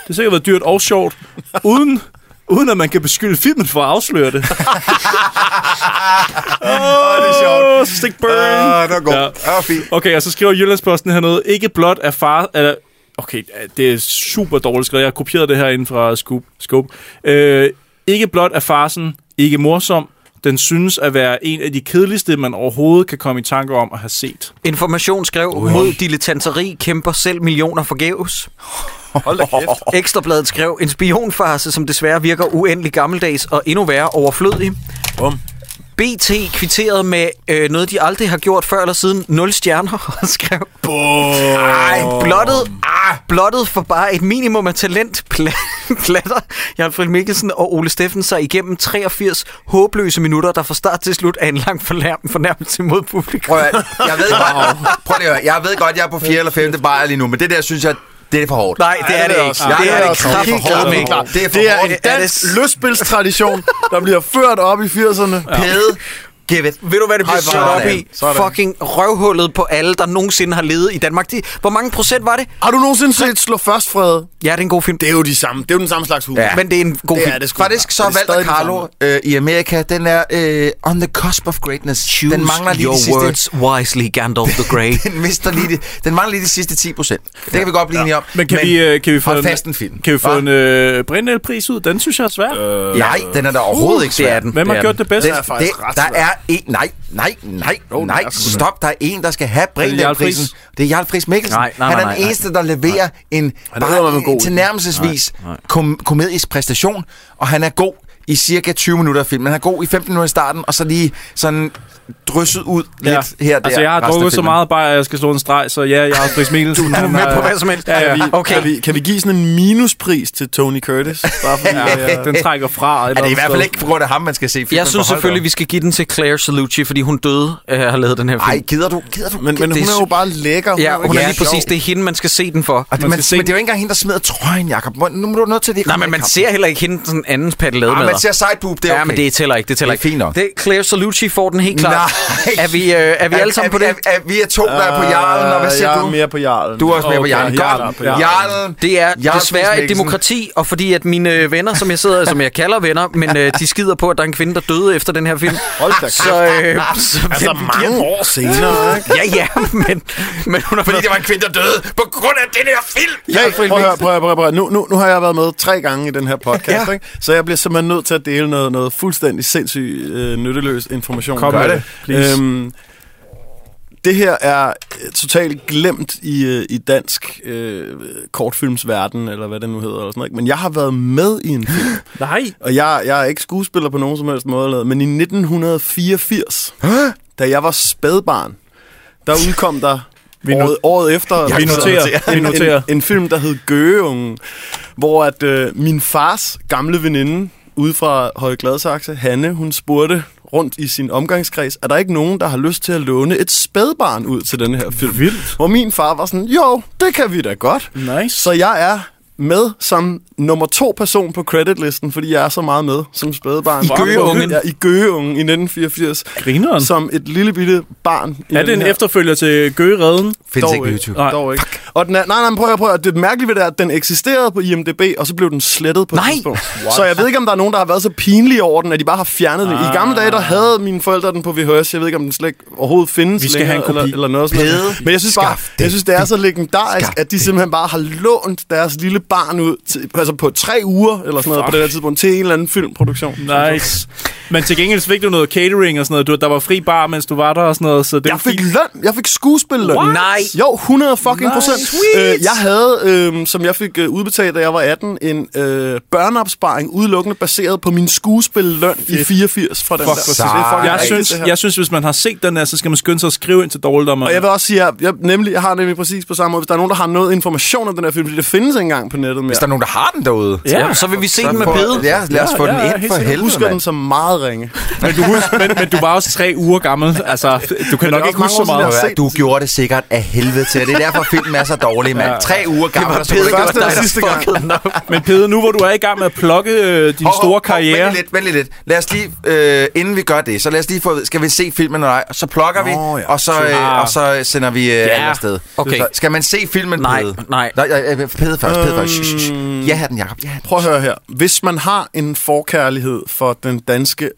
[SPEAKER 7] har sikkert været dyrt og sjovt. Uden, uden at man kan beskylde filmen for at afsløre
[SPEAKER 8] [LAUGHS]
[SPEAKER 7] det.
[SPEAKER 8] Åh, det er sjovt.
[SPEAKER 7] Åh, stick burn!
[SPEAKER 8] Åh, det var godt.
[SPEAKER 7] Ja.
[SPEAKER 8] Ja. Ah, fint.
[SPEAKER 7] Okay, og så skriver Jyllandsposten hernede, ikke blot er far... Eller, okay, det er super dårligt skrevet. Jeg har kopieret det her inden fra Scoop. Scoop. Øh, ikke blot er farsen ikke morsom, den synes at være en af de kedeligste, man overhovedet kan komme i tanke om at have set.
[SPEAKER 1] Information skrev, mod dilettanteri kæmper selv millioner forgæves.
[SPEAKER 6] Hold da kæft.
[SPEAKER 1] Ekstrabladet skrev, en spionfarse, som desværre virker uendelig gammeldags og endnu værre overflødig.
[SPEAKER 6] Bum.
[SPEAKER 1] BT kvitterede med øh, noget, de aldrig har gjort før eller siden. Nul stjerner [LAUGHS] og skrev... Ej, blottet, ah, blottet for bare et minimum af talent pla- [LAUGHS] platter Jan Mikkelsen og Ole Steffen sig igennem 83 håbløse minutter, der fra start til slut er en lang forlærm fornærmelse mod publikum.
[SPEAKER 8] Prøv at, høre, jeg ved godt, prøv lige at høre, jeg ved godt, jeg er på 4. eller 5. bajer lige nu, men det der, synes jeg, det er for hårdt.
[SPEAKER 1] Nej, det er det ikke.
[SPEAKER 6] også.
[SPEAKER 8] Nej,
[SPEAKER 1] Det
[SPEAKER 8] det
[SPEAKER 1] er
[SPEAKER 8] er
[SPEAKER 1] det
[SPEAKER 8] også for hårdt.
[SPEAKER 1] kraftigt
[SPEAKER 8] Det er for
[SPEAKER 1] med
[SPEAKER 8] hårdt. Det er for
[SPEAKER 6] Det er
[SPEAKER 8] hårdt.
[SPEAKER 6] en
[SPEAKER 1] Er det
[SPEAKER 6] dansk
[SPEAKER 1] s-
[SPEAKER 6] lystspilstradition, der bliver ført op i 80'erne.
[SPEAKER 8] Pede, give it.
[SPEAKER 1] Ved du, hvad det bliver
[SPEAKER 8] High
[SPEAKER 1] sat op
[SPEAKER 8] five.
[SPEAKER 1] i? Fucking røvhullet på alle, der nogensinde har levet i Danmark. De, hvor mange procent var det?
[SPEAKER 6] Har du nogensinde set Slå Først, Frede?
[SPEAKER 1] Ja, det er en god film.
[SPEAKER 6] Det er jo de samme. Det er jo den samme slags humor.
[SPEAKER 8] Ja.
[SPEAKER 1] Men det er en god
[SPEAKER 6] Det
[SPEAKER 1] film.
[SPEAKER 6] er det sgu.
[SPEAKER 8] Faktisk så
[SPEAKER 6] Og det er
[SPEAKER 8] valgte
[SPEAKER 6] stadig det
[SPEAKER 8] Carlo øh, i Amerika, den er øh, on the cusp of greatness.
[SPEAKER 1] Choose
[SPEAKER 8] den mangler lige
[SPEAKER 1] your
[SPEAKER 8] de
[SPEAKER 1] words
[SPEAKER 8] sidste...
[SPEAKER 1] wisely, Gandalf the Grey.
[SPEAKER 8] [LAUGHS] Den, mister lige de, den mangler lige de sidste 10 procent. Det kan vi godt blive enige om.
[SPEAKER 7] Men kan, men, vi, øh, kan vi få
[SPEAKER 8] hold
[SPEAKER 7] en,
[SPEAKER 8] fast en film.
[SPEAKER 7] Kan vi få
[SPEAKER 8] Hva?
[SPEAKER 7] en øh, Brindel-pris ud? Den synes jeg er svær. Øh,
[SPEAKER 8] Øh, nej, den er der overhovedet ikke
[SPEAKER 1] det
[SPEAKER 8] svær.
[SPEAKER 1] er den.
[SPEAKER 7] Hvem har
[SPEAKER 1] er
[SPEAKER 7] gjort det bedst?
[SPEAKER 8] Den,
[SPEAKER 6] er faktisk ret
[SPEAKER 8] der
[SPEAKER 6] svær.
[SPEAKER 8] er en... Nej, nej, nej, nej. Stop, der er en, der skal have
[SPEAKER 7] Jarl
[SPEAKER 8] Brindelprisen.
[SPEAKER 7] Friis.
[SPEAKER 8] Det er Jarl Friis Mikkelsen.
[SPEAKER 1] Nej, nej,
[SPEAKER 8] Han
[SPEAKER 1] nej,
[SPEAKER 8] er
[SPEAKER 1] nej.
[SPEAKER 8] den eneste, der leverer en
[SPEAKER 6] ved, man er
[SPEAKER 8] bare
[SPEAKER 6] god i.
[SPEAKER 8] en tilnærmelsesvis kom- komedisk præstation, og han er god i cirka 20 minutter af filmen. Han er god i 15 minutter i starten, og så lige sådan drysset ud lidt her og der.
[SPEAKER 7] Altså, jeg har
[SPEAKER 8] resten af
[SPEAKER 7] drukket så
[SPEAKER 8] filmen.
[SPEAKER 7] meget bare, at jeg skal slå en streg, så ja, jeg har Friis Mikkelsen.
[SPEAKER 1] Du er
[SPEAKER 7] Han
[SPEAKER 1] med
[SPEAKER 7] har-
[SPEAKER 1] på hvad som helst.
[SPEAKER 7] Ja, ja. [LAUGHS]
[SPEAKER 1] Okay.
[SPEAKER 6] Kan vi, kan vi give sådan en minuspris til Tony Curtis? Bare fordi,
[SPEAKER 7] Ja, ja, den trækker fra.
[SPEAKER 8] Ja, det er i hvert fald ikke på grund af ham, man skal se filmen.
[SPEAKER 1] Jeg synes
[SPEAKER 8] for hold
[SPEAKER 1] selvfølgelig,
[SPEAKER 8] da
[SPEAKER 1] vi skal give den til Claire Salucci, fordi hun døde øh, har lavet den her
[SPEAKER 8] op.
[SPEAKER 1] film.
[SPEAKER 8] Ej, gider du? Gider du?
[SPEAKER 6] Men, men
[SPEAKER 8] Det
[SPEAKER 6] hun er jo bare lækker.
[SPEAKER 1] ja,
[SPEAKER 6] jo
[SPEAKER 1] hun er
[SPEAKER 6] ikke
[SPEAKER 1] lige præcis,
[SPEAKER 6] sjov.
[SPEAKER 1] det er hende, man skal se den for.
[SPEAKER 8] Og det,
[SPEAKER 7] Man
[SPEAKER 8] man, men
[SPEAKER 7] skal
[SPEAKER 8] det
[SPEAKER 7] se-
[SPEAKER 8] er jo ikke engang hende, der smider trøjen, Jacob. Hvor- Nu er du nødt til at det.
[SPEAKER 1] Nej, men man ser heller ikke hende sådan andens paddelade
[SPEAKER 8] Ah,
[SPEAKER 1] med.
[SPEAKER 8] man ser sideboob, det er okay.
[SPEAKER 1] Ja, men det tæller ikke. Det tæller
[SPEAKER 8] Det er fint
[SPEAKER 1] ikke.
[SPEAKER 8] nok.
[SPEAKER 1] Det, Claire Salucci får den helt klart.
[SPEAKER 8] Nej.
[SPEAKER 1] Er vi, øh, er vi alle sammen på det?
[SPEAKER 8] Er, er, vi er to, der er på jarlen, og hvad
[SPEAKER 6] Øh,
[SPEAKER 8] siger
[SPEAKER 6] jeg
[SPEAKER 8] du?
[SPEAKER 6] er mere på jarlen.
[SPEAKER 8] Du er også med på
[SPEAKER 6] Okay,
[SPEAKER 8] jarlen.
[SPEAKER 6] jeg er
[SPEAKER 8] Godt.
[SPEAKER 6] på jarlen.
[SPEAKER 8] Jarlen.
[SPEAKER 1] Det er
[SPEAKER 8] Jarl
[SPEAKER 1] desværre
[SPEAKER 8] Friis
[SPEAKER 1] et
[SPEAKER 8] Mikkelsen.
[SPEAKER 1] demokrati, og fordi at mine øh, venner, som jeg sidder, som jeg kalder venner, men øh, de skider på, at der er en kvinde, der døde efter den her film.
[SPEAKER 6] Hold da
[SPEAKER 1] Så, øh, så
[SPEAKER 6] Altså, mange år senere, ikke?
[SPEAKER 1] ja, ja, men, men hun har
[SPEAKER 8] Fordi det var en kvinde, der døde på grund af den her film.
[SPEAKER 6] Hey, prøv at høre, prøv at høre, prøv at høre. Nu, nu, nu har jeg været med tre gange i den her podcast,
[SPEAKER 1] Ja.
[SPEAKER 6] ja. ikke? så jeg bliver simpelthen nødt til at dele noget, noget fuldstændig sindssygt øh, nytteløs information.
[SPEAKER 7] Kom med det, please.
[SPEAKER 6] Øhm, det her er øh, totalt glemt i, øh, i dansk øh, kortfilmsverden, eller hvad det nu hedder, eller sådan noget, ikke? men jeg har været med i en film,
[SPEAKER 7] Nej.
[SPEAKER 6] og jeg, jeg er ikke skuespiller på nogen som helst måde, eller noget, men i 1984, da jeg var spædbarn, der udkom der
[SPEAKER 7] Vi
[SPEAKER 6] vi
[SPEAKER 7] nu-
[SPEAKER 6] året, året efter
[SPEAKER 7] Vi
[SPEAKER 6] [LAUGHS]
[SPEAKER 7] noterer. Vi
[SPEAKER 6] en,
[SPEAKER 7] noterer.
[SPEAKER 6] en, en film, der hed Gøgeungen, hvor at øh, min fars gamle veninde ude fra Høje Gladsaxe, Hanne, hun spurgte rundt i sin omgangskreds, er der ikke nogen, der har lyst til at låne et spædbarn ud til den her film?
[SPEAKER 7] Vildt.
[SPEAKER 6] Hvor min far var sådan, jo, det kan vi da godt.
[SPEAKER 7] Nice.
[SPEAKER 6] Så jeg er med som nummer to person på creditlisten, fordi jeg er så meget med som spædebarn.
[SPEAKER 7] I Gøgeungen?
[SPEAKER 6] Ja, i Gøgeungen i 1984.
[SPEAKER 7] Grineren?
[SPEAKER 6] Som et lille bitte barn. i
[SPEAKER 7] Er
[SPEAKER 6] den
[SPEAKER 7] det en
[SPEAKER 6] her-
[SPEAKER 7] efterfølger til Gøgeredden?
[SPEAKER 6] dog
[SPEAKER 8] øh,
[SPEAKER 6] Nej. Dog ikke. Og den er, nej, nej, prøv at prøv at Det mærkelige ved det er, at den eksisterede på IMDb, og så blev den slettet på et
[SPEAKER 7] Nej!
[SPEAKER 6] tidspunkt. Så jeg ved ikke, om der er nogen, der har været så pinlige over den, at de bare har fjernet den.
[SPEAKER 7] Ah.
[SPEAKER 6] I gamle dage, der havde mine forældre den på VHS. Jeg ved ikke, om den slet ikke overhovedet findes
[SPEAKER 7] Vi skal
[SPEAKER 6] længere,
[SPEAKER 7] have en kopi.
[SPEAKER 6] Eller, eller noget sådan
[SPEAKER 7] Pede.
[SPEAKER 6] noget. Men jeg synes, bare, jeg synes, det er så legendarisk, at de simpelthen bare har lånt deres lille barn ud til, altså på tre uger, eller sådan noget, på
[SPEAKER 7] Fuck.
[SPEAKER 6] det her tidspunkt, til en eller anden filmproduktion.
[SPEAKER 7] Nice. Men til gengæld fik du noget catering og sådan noget. Du, der var fri bar, mens du var der og sådan noget. Så det jeg
[SPEAKER 6] fik løn. Jeg fik skuespilløn.
[SPEAKER 7] What?
[SPEAKER 6] Nej. Jo, 100 fucking
[SPEAKER 7] Nej.
[SPEAKER 6] procent.
[SPEAKER 7] Sweet.
[SPEAKER 6] Øh, jeg havde, øh, som jeg fik øh, udbetalt, da jeg var 18, en øh, børneopsparing udelukkende baseret på min skuespilløn i 84 fra den
[SPEAKER 7] Fuck,
[SPEAKER 6] der.
[SPEAKER 7] hvor
[SPEAKER 6] Så det er fucking
[SPEAKER 7] jeg,
[SPEAKER 6] rigtigt,
[SPEAKER 7] synes,
[SPEAKER 6] det her.
[SPEAKER 7] jeg synes, hvis man har set den her, så skal man skynde sig at skrive ind til dårligdommer.
[SPEAKER 6] Og jeg vil også sige, at jeg, nemlig, jeg har nemlig præcis på samme måde, hvis der er nogen, der har noget information om den her film, fordi det findes ikke engang på nettet mere.
[SPEAKER 8] Hvis der er nogen, der har den derude,
[SPEAKER 6] Ja. så vil vi se den med
[SPEAKER 8] pede.
[SPEAKER 6] bede.
[SPEAKER 8] Ja, lad os
[SPEAKER 6] Ja,
[SPEAKER 8] få den
[SPEAKER 6] ja,
[SPEAKER 8] ind
[SPEAKER 6] helt
[SPEAKER 8] for
[SPEAKER 6] sikkert.
[SPEAKER 8] helvede,
[SPEAKER 6] Husker den som meget ringe.
[SPEAKER 7] Men du, husker, men, men du var også tre uger gammel. Altså, du kan nok ikke huske så meget.
[SPEAKER 8] Du gjorde det sikkert af helvede til, og det er derfor filmen er så dårlig, mand.
[SPEAKER 7] Ja.
[SPEAKER 8] Tre uger
[SPEAKER 7] Det var
[SPEAKER 8] gammel, og så
[SPEAKER 7] Peder,
[SPEAKER 8] kunne det ikke
[SPEAKER 7] første
[SPEAKER 8] være
[SPEAKER 7] og
[SPEAKER 8] dig, der
[SPEAKER 7] sidste gang.
[SPEAKER 8] fuckede den op.
[SPEAKER 7] Men Pede, nu hvor du er i gang med at plukke øh, din
[SPEAKER 8] Hov, hov,
[SPEAKER 7] store
[SPEAKER 8] hov,
[SPEAKER 7] karriere...
[SPEAKER 8] Vent lige lidt, vent lige lidt. Lad os lige, øh, inden vi gør det, så lad os lige få, at vide, skal vi se filmen eller ej? Og Så plukker vi,
[SPEAKER 1] Nå, ja.
[SPEAKER 8] og, så,
[SPEAKER 1] Ah.
[SPEAKER 8] øh, og så sender vi øh,
[SPEAKER 1] Ja.
[SPEAKER 8] ja. afsted.
[SPEAKER 1] Okay.
[SPEAKER 8] Så, skal man se filmen,
[SPEAKER 1] Nej,
[SPEAKER 8] Pede?
[SPEAKER 1] nej.
[SPEAKER 8] Nej, øh, øh, Pede først, Pede først. Shh, shh, shh. Jeg har den, Jacob. Jeg
[SPEAKER 6] Prøv at høre her. Hvis man har en forkærlighed for den danske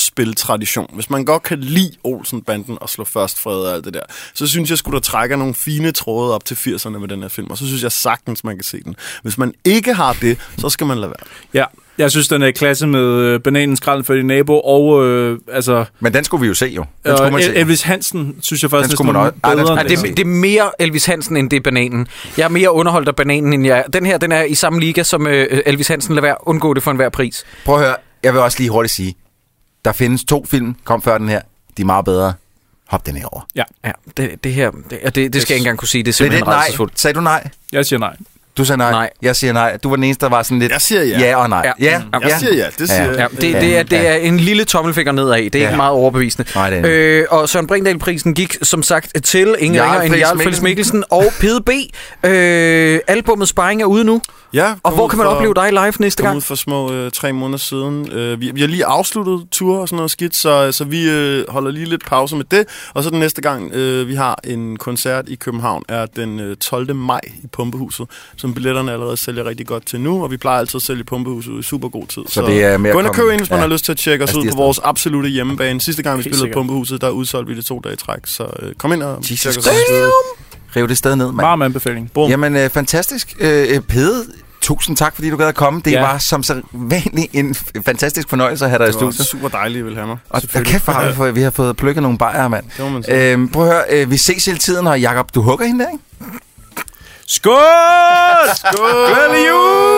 [SPEAKER 6] lystspiltradition, hvis man godt kan lide Olsen-banden og slå først fred og alt det der, så synes jeg skulle der trækker nogle fine tråde op til 80'erne med den her film, og så synes jeg sagtens, man kan se den. Hvis man ikke har det, så skal man lade være.
[SPEAKER 7] Ja, jeg synes, den er i klasse med øh, bananens skrald for din nabo, og øh, altså...
[SPEAKER 8] Men den skulle vi jo se, jo.
[SPEAKER 7] Den
[SPEAKER 1] skulle man se.
[SPEAKER 7] Elvis Hansen, synes jeg faktisk,
[SPEAKER 1] Den skulle
[SPEAKER 7] næsten
[SPEAKER 1] man også-
[SPEAKER 7] er
[SPEAKER 1] Ej, den
[SPEAKER 7] bedre.
[SPEAKER 1] skulle man
[SPEAKER 7] end
[SPEAKER 1] se. det, det er mere Elvis Hansen, end det er bananen. Jeg er mere underholdt af bananen, end jeg er. Den her, den er i samme liga som øh, Elvis Hansen. Lad være, undgå det for enhver pris.
[SPEAKER 8] Prøv at høre, jeg vil også lige hurtigt sige, der findes to film, kom før den her, de er meget bedre. Hop den her over.
[SPEAKER 7] Ja.
[SPEAKER 1] ja det, det her, det, og det, det skal jeg ikke engang kunne sige. Det er
[SPEAKER 8] Blev det
[SPEAKER 1] simpelthen
[SPEAKER 8] et nej?
[SPEAKER 1] rædselsfuldt.
[SPEAKER 8] Sagde du nej?
[SPEAKER 7] Jeg siger nej.
[SPEAKER 8] Du sagde nej. nej. Jeg siger nej. Du var den eneste, der var sådan lidt...
[SPEAKER 6] Jeg siger ja.
[SPEAKER 8] Ja og nej.
[SPEAKER 1] Ja.
[SPEAKER 8] ja.
[SPEAKER 1] Mm. Jeg siger ja, det siger jeg. Ja, det- det er- det er en lille tommelfinger nedad. Det er ikke meget overbevisende.
[SPEAKER 8] Nej, det er øh,
[SPEAKER 1] Øh, og Søren Brindahl-prisen gik som sagt til ingen
[SPEAKER 8] Jarl
[SPEAKER 1] ringer end
[SPEAKER 8] Friis
[SPEAKER 1] Jarl Friis Mikkelsen og Pede B. Øh, albummet Sparring er ude nu.
[SPEAKER 6] Ja,
[SPEAKER 1] og hvor kan man opleve dig live næste
[SPEAKER 6] Kom
[SPEAKER 1] gang?
[SPEAKER 6] ud for små øh, tre måneder siden. Øh, vi, vi har lige afsluttet tur og sådan noget skidt, så, så vi øh, holder lige lidt pause med det. Og så den næste gang, øh, vi har en koncert i København, er den øh, 12. maj i Pumpehuset, som billetterne allerede sælger rigtig godt til nu, og vi plejer altid at sælge Pumpehuset i super god tid. Så,
[SPEAKER 8] det er med at
[SPEAKER 6] gå ind og
[SPEAKER 8] komme-
[SPEAKER 6] køb ind, hvis man
[SPEAKER 8] ja.
[SPEAKER 6] har lyst til at tjekke os
[SPEAKER 8] Altså,
[SPEAKER 6] ud
[SPEAKER 8] de er
[SPEAKER 6] på vores absolute hjemmebane. Sidste gang, vi
[SPEAKER 8] Helt
[SPEAKER 6] spillede
[SPEAKER 8] sikkert.
[SPEAKER 6] Pumpehuset, der udsolgte vi det to dage i træk, så øh, kom ind og
[SPEAKER 8] Jesus
[SPEAKER 6] tjek os
[SPEAKER 8] Christ.
[SPEAKER 6] ud.
[SPEAKER 8] Riv det sted ned, mand.
[SPEAKER 7] Varm anbefaling.
[SPEAKER 6] Bum.
[SPEAKER 8] Jamen, øh, fantastisk. Øh, øh, Pede, tusind tak, fordi du gad at komme. Det
[SPEAKER 7] Ja.
[SPEAKER 8] ja. var som så vanligt en f- fantastisk fornøjelse at have dig i
[SPEAKER 6] Det var
[SPEAKER 8] studiet.
[SPEAKER 6] super dejligt, I ville have mig.
[SPEAKER 8] Og der kæft, hvor har vi, fået, vi har fået plukket nogle bajer, mand.
[SPEAKER 6] Det må man sige.
[SPEAKER 8] Øhm, prøv at høre, øh, vi ses hele tiden, og Jakob, du hugger hende der, ikke?
[SPEAKER 7] Skål!
[SPEAKER 6] Skål!
[SPEAKER 7] Glædelig jul!